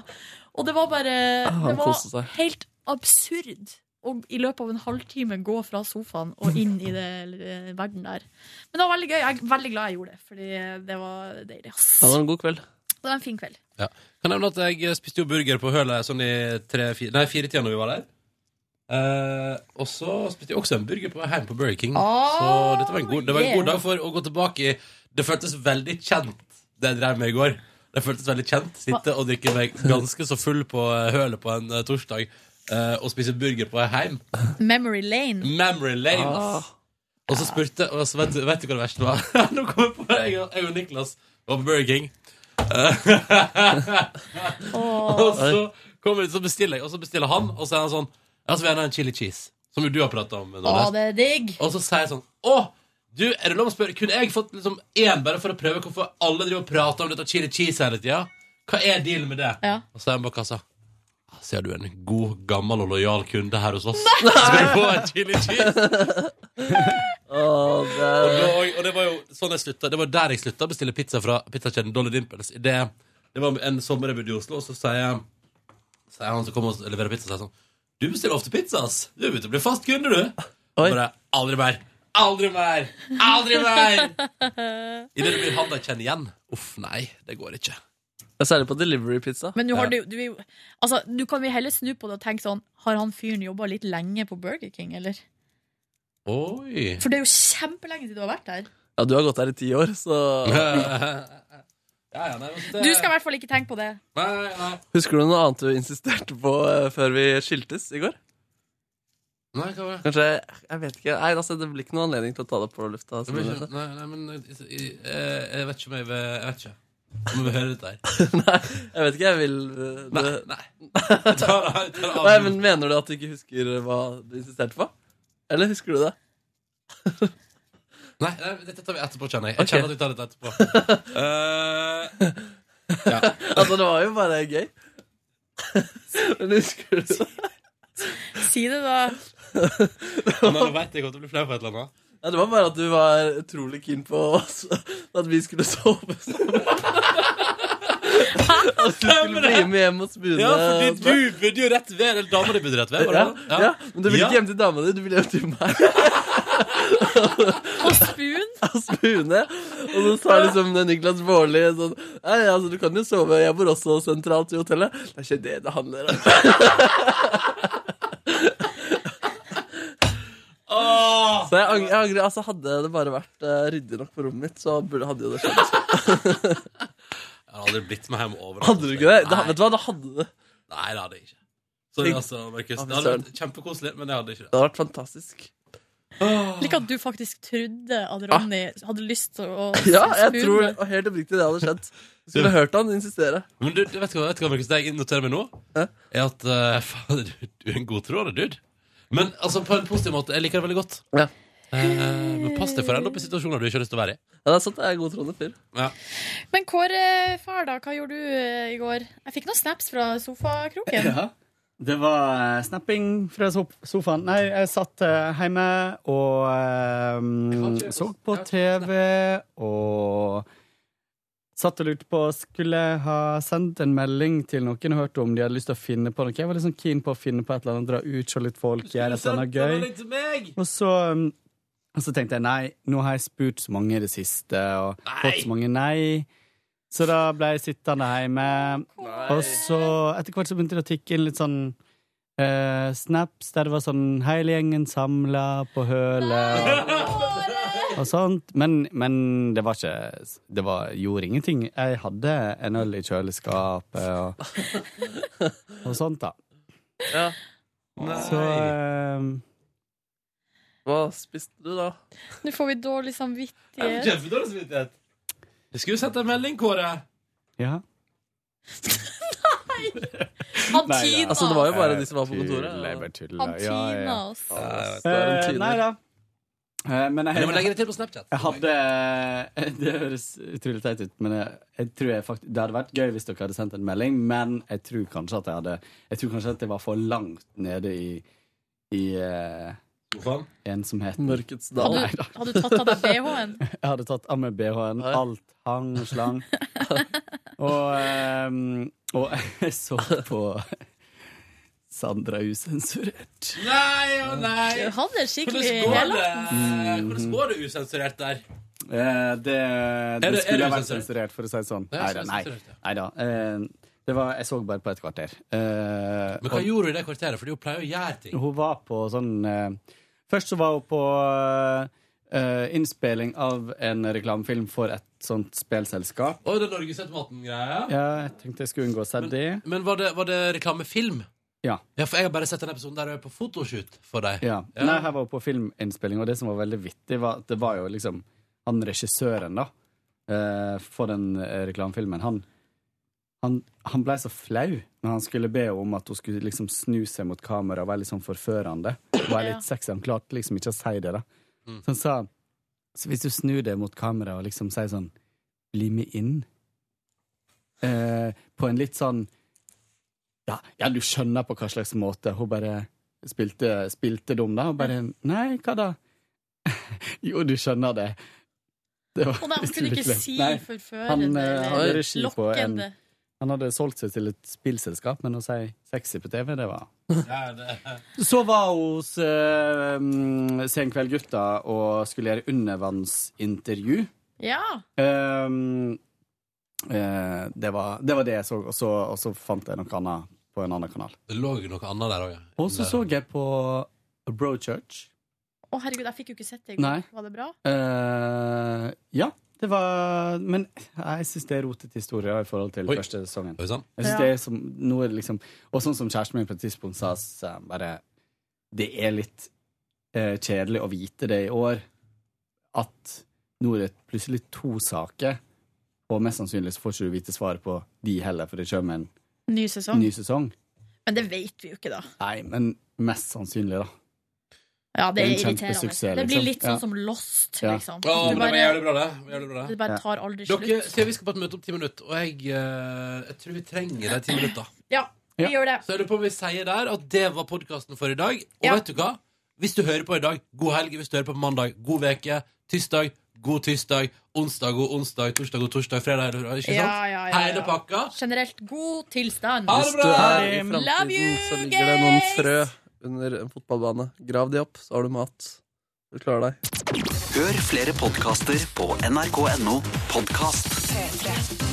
Speaker 4: Og det var bare
Speaker 3: Ah, Han
Speaker 4: Det var
Speaker 3: koste seg.
Speaker 4: helt absurd å i løpet av en halvtime gå fra sofaen og inn i det eh, verden der. Men det var veldig gøy. Jeg er veldig glad jeg gjorde det, fordi det var deilig. ass.
Speaker 2: Ha en god kveld.
Speaker 4: Det var en fin kveld.
Speaker 2: Ja. Kan nevne at jeg spiste jo burger på hølet sånn i tre, fire, nei, fire tida når vi var der. Eh, og så spiste jeg også en burger på vei hjem på Burger King. så dette var en god, det var en god
Speaker 8: yeah.
Speaker 2: dag for å gå tilbake i Det føltes veldig kjent, det jeg drev med i går. Det føltes veldig kjent. Sitte og drikke meg ganske så full på eh, hølet på en eh, torsdag eh, og spise burger på vei hjem.
Speaker 4: Memory
Speaker 3: Mm.
Speaker 4: Lane.
Speaker 2: Memory Lane.
Speaker 4: Ah.
Speaker 2: Og så spurte og så vet, du- vet du hva det verste var? (laughs) Nå kom jeg på det. Jeg og- Jeg og Niklas var på Burger King. (laughs) og så kommer jeg, så bestiller jeg, og så bestiller han, og så er han sånn Ja, så vil jeg gjerne ha en chili cheese. Som jo du har prata om.
Speaker 4: Å,
Speaker 2: Nordnes.
Speaker 4: det er digg!
Speaker 2: Og så sier jeg sånn Å, du, er det lov å spørre Kunne jeg fått liksom én bare for å prøve hvorfor alle driver og prater om dette chili cheese hele tida? Hva er dealen med det?
Speaker 4: Ja.
Speaker 2: Og så er han bak kassa. Ser du en god, gammel og lojal kunde her hos oss? Skal du få en chili cheese?
Speaker 3: Åh, det er-
Speaker 2: Og, da, og det var jo sånn jeg slutta Det var der jeg slutta å bestille pizza fra pizzakjeden Dolly Dimples. Det, det var en sommer jeg bodde i Oslo, og så sier, sier han som kommer og leverer pizza, sier sånn Du bestiller ofte pizza, ass. Du er ute og blir fast kunde, du. Og Bare, aldri mer. Aldri mer! Aldri mer! Idet det blir han jeg kjenner igjen. Uff, nei. Det går ikke.
Speaker 3: Særlig på delivery pizza.
Speaker 4: Men du, har, du, du, er jo- altså, du kan jo heller snu på det og tenke sånn Har han fyren jobba litt lenge på Burger King, eller?
Speaker 2: Oi.
Speaker 4: For det er jo kjempelenge siden du har vært der.
Speaker 3: Ja, du har gått her i ti år, så
Speaker 2: (laughs) Ja, ja, nei, men det-
Speaker 4: Du skal i hvert fall ikke tenke på det.
Speaker 2: Nei, nei.
Speaker 3: Husker du noe annet du insisterte på eh, før vi skiltes i går?
Speaker 2: Nei, hva var det?
Speaker 3: Kanskje Jeg vet ikke. Nei, altså, det blir ikke noen anledning til å ta det på lufta.
Speaker 2: Det blir
Speaker 3: Sånn.
Speaker 2: ikke- Nei, nei, men eh, jeg vet ikke om jeg vil Jeg vet ikke. Om jeg vil høre dette her.
Speaker 3: Jeg vet ikke, jeg vil eh,
Speaker 2: Nei,
Speaker 3: det-
Speaker 2: nei. Jeg tar- jeg tar av-
Speaker 3: Nei, men Mener du at du ikke husker hva du insisterte på? Eller husker du det?
Speaker 2: Nei, nei, dette tar vi etterpå, kjenner jeg.
Speaker 3: Ok.
Speaker 2: Jeg kjenner at vi tar dette etterpå. (laughs) Eh, ja.
Speaker 3: Altså, det var jo bare gøy. (laughs) Men husker du det?
Speaker 4: Si det, da.
Speaker 2: Men nå vet jeg at du blir flau for et eller annet.
Speaker 3: Ja, det var bare at du var utrolig keen på oss, at vi skulle sove sammen. At du skulle bli med hjem og spune.
Speaker 2: Ja, fordi du burde jo rett ved, eller dama di burde rett ved. var det
Speaker 3: ja,
Speaker 2: det?
Speaker 3: ja. men du ville
Speaker 2: Ja.
Speaker 3: ikke hjem til dama di, du ville hjem til meg.
Speaker 4: Og spun.
Speaker 3: Og spune. Og så sa liksom den Niklas Baarli sånn Nei, altså, du kan jo sove, jeg bor også sentralt i hotellet. Det er ikke det det handler om. Så jeg, ang jeg angrer. Altså, hadde det bare vært eh, ryddig nok på rommet mitt, så burde, hadde jo det skjedd.
Speaker 2: Jeg har aldri blitt med hjem over.
Speaker 3: Hadde du ikke det? det? Vet du hva, da hadde det.
Speaker 2: Nei, det hadde jeg ikke. Sorry,
Speaker 3: Tenk-
Speaker 2: altså, Markus.
Speaker 3: Ja, men
Speaker 2: Det hadde
Speaker 3: søren.
Speaker 2: vært kjempekoselig, men jeg hadde ikke det.
Speaker 3: Det hadde vært fantastisk.
Speaker 4: Like at du faktisk trodde at Ronny hadde lyst til å
Speaker 3: (laughs) Ja, jeg
Speaker 4: spune.
Speaker 3: tror og helt oppriktig det hadde skjedd. Du skulle hørt han insistere.
Speaker 2: Men du, du vet hva, vet du hva Markus, det jeg noterer meg nå, er at eh, (laughs) fader, du, du er en god tråder, dude. Men altså, på en positiv måte. Jeg liker det veldig godt.
Speaker 3: Ja.
Speaker 2: Eh, men pass deg for å ende opp i situasjoner du ikke har lyst til å være i.
Speaker 3: Ja, det er sant, jeg er godtroende fyr.
Speaker 2: Ja.
Speaker 4: Men Kåre, far, da, hva gjorde du eh, i går? Jeg fikk noen snaps fra sofakroken.
Speaker 8: Ja. Det var eh, snapping fra sof- sofaen. Nei, jeg satt eh, hjemme og eh, så på TV og satt og lurte på Skulle jeg ha sendt en melding til noen og hørt om de hadde lyst til å finne på noe. Jeg var litt sånn keen på å finne på et eller annet, dra ut, se litt folk, gjøre et eller annet gøy. Og så, um, og så tenkte jeg nei, nå har jeg spurt så mange i det siste, og fått så mange nei. Så da ble jeg sittende hjemme. Og så etter hvert så begynte det å tikke inn litt sånn eh, snaps der det var sånn hele gjengen samla på hølet. Og, og sånt. Men, men det var ikke Det var, gjorde ingenting. Jeg hadde en øl i kjøleskapet og, og sånt, da.
Speaker 3: Ja.
Speaker 8: Så eh,
Speaker 3: Hva spiste du, da?
Speaker 4: Nå får vi dårlig
Speaker 2: Jeg
Speaker 4: samvittighet.
Speaker 2: får Kjempedårlig samvittighet. Jeg skulle sett en melding, Kåre.
Speaker 8: Ja.
Speaker 4: Han tina
Speaker 3: Altså, det var jo bare de
Speaker 4: oss.
Speaker 3: som var på kontoret.
Speaker 8: Tuller,
Speaker 3: og-
Speaker 8: jeg bare tuller.
Speaker 4: Han
Speaker 8: Ja, ja,
Speaker 4: tina
Speaker 8: ja.
Speaker 4: oss.
Speaker 3: er en
Speaker 8: Eh,
Speaker 3: tyner.
Speaker 8: Nei da. Eh, Men
Speaker 2: Men du må legge
Speaker 8: jeg,
Speaker 2: det til på Snapchat.
Speaker 8: jeg hadde (laughs) Det høres utrolig teit ut, men jeg, jeg tror jeg fakt det hadde vært gøy hvis dere hadde sendt en melding, men jeg tror kanskje at jeg hadde Jeg tror kanskje at jeg var for langt nede i, i eh, ensomheten.
Speaker 3: Mørkets dal.
Speaker 8: Nei
Speaker 4: Hadde,
Speaker 8: da.
Speaker 4: hadde du tatt av deg BH-en?
Speaker 8: Jeg hadde tatt av meg BH-en. Alt hang og slang. og, ehm, og (laughs) jeg så på Sandra Usensurert.
Speaker 2: Nei og nei.
Speaker 4: Han er skikkelig
Speaker 2: Hvordan går det?
Speaker 4: helaften.
Speaker 2: Hvordan går det usensurert der?
Speaker 8: Eh, det, det,
Speaker 2: Er det- er
Speaker 8: skulle
Speaker 2: det
Speaker 8: ha vært
Speaker 2: sensurert?
Speaker 8: sensurert, for å si det sånn.
Speaker 2: Det er
Speaker 8: Nei da. Nei,
Speaker 2: sensurert,
Speaker 8: nei da. Eh, det var, jeg så bare på et kvarter. Eh,
Speaker 2: Men hva
Speaker 8: og-
Speaker 2: gjorde du i det kvarteret? For hun pleier å gjøre ting.
Speaker 8: Hun var på sånn eh, Først så var hun på eh, innspilling av en reklamefilm for et sånt spelselskap.
Speaker 2: Oi, det er Norgesautomaten-greia.
Speaker 8: Ja, jeg tenkte jeg skulle unngå Seddi.
Speaker 2: Men var det, var det reklamefilm?
Speaker 8: Ja.
Speaker 2: Ja, for jeg har bare sett den episoden der hun er på fotoshoot for deg.
Speaker 8: Ja. Nei, her var hun på filminnspilling, og det som var veldig vittig, var at det var jo liksom han regissøren, da, eh, for den eh, reklamefilmen, han han, han blei så flau når han skulle be om at hun skulle liksom snu seg mot kamera og være litt sånn forførende. Og være
Speaker 15: Ja.
Speaker 8: litt sexy. Han klarte liksom ikke å si det, da. Så han sa Så hvis du snur deg mot kamera og liksom sier sånn Bli med inn. Eh, på en litt sånn ja, ja, du skjønner på hva slags måte. Hun bare spilte, spilte dum, da. Og bare Nei, hva da? (laughs) jo, du skjønner det. Det var
Speaker 4: Å nei, han kunne
Speaker 8: utrolig
Speaker 4: ikke
Speaker 8: slemt.
Speaker 4: si
Speaker 8: Nei,
Speaker 4: forførende
Speaker 8: han, eh, hadde
Speaker 4: eller
Speaker 8: regi på en-
Speaker 4: lokkende.
Speaker 8: Han hadde solgt seg til et spillselskap, men å si sexy på TV, det var
Speaker 2: Ja, det-
Speaker 8: Så var hun hos uh, Senkveldgutta og skulle gjøre undervannsintervju.
Speaker 4: Ja.
Speaker 8: Ehm, eh, det, var, det var det jeg så, og så, og så fant jeg noe annet på en annen kanal.
Speaker 2: Det lå jo noe annet der òg, ja.
Speaker 8: Og så så jeg på Brochurch.
Speaker 4: Å, herregud, jeg fikk jo ikke sett det i går.
Speaker 8: Nei.
Speaker 4: Var det bra?
Speaker 8: Eh, ja, det var Men jeg syns det er rotete historier i forhold til første sesongen.
Speaker 2: Oi, sant?
Speaker 8: Jeg synes
Speaker 4: Ja.
Speaker 8: det er som, noe liksom, og sånn som kjæresten min på et tidspunkt sa, så er han bare Det er litt eh, kjedelig å vite det i år, at nå er det plutselig to saker, og mest sannsynlig så får ikke du vite svaret på de heller, for det kommer en
Speaker 4: Ny sesong.
Speaker 8: ny sesong.
Speaker 4: Men det vet vi jo ikke, da.
Speaker 8: Nei, men mest sannsynlig, da.
Speaker 4: Ja, det
Speaker 8: Det er
Speaker 4: er
Speaker 8: en
Speaker 4: irriterende.
Speaker 8: kjempesuksess,
Speaker 4: Det blir
Speaker 8: liksom.
Speaker 4: litt sånn
Speaker 8: Ja.
Speaker 4: som Lost,
Speaker 8: Ja.
Speaker 4: liksom.
Speaker 2: Å, men det var jævlig bra, det. Jævlig bra,
Speaker 4: det bare tar aldri
Speaker 2: Dere,
Speaker 4: slutt.
Speaker 2: sier vi skal på et møte om ti minutter, og jeg, eh, jeg tror vi trenger de ti minutter.
Speaker 4: Ja, vi
Speaker 8: Ja.
Speaker 4: gjør det.
Speaker 2: Så jeg lurer på om vi sier der at det var podkasten for i dag. Og
Speaker 4: Ja.
Speaker 2: vet du hva? Hvis du hører på i dag, god helg. Hvis du hører på på mandag, god veke. Tirsdag, god tirsdag. Onsdag, god onsdag. Torsdag, god torsdag. Fredag, ikke sant?
Speaker 4: Ja, ja, ja,
Speaker 2: Hele
Speaker 4: ja.
Speaker 2: pakka.
Speaker 4: Generelt god tilstand.
Speaker 2: Ha det bra!
Speaker 3: I
Speaker 4: Love you,
Speaker 3: framtiden så ligger det noen
Speaker 4: guys!
Speaker 3: frø under en fotballbane. Grav de opp, så har du mat. Du klarer deg.
Speaker 1: Hør flere podkaster på nrk.no podkast.
Speaker 16: P3.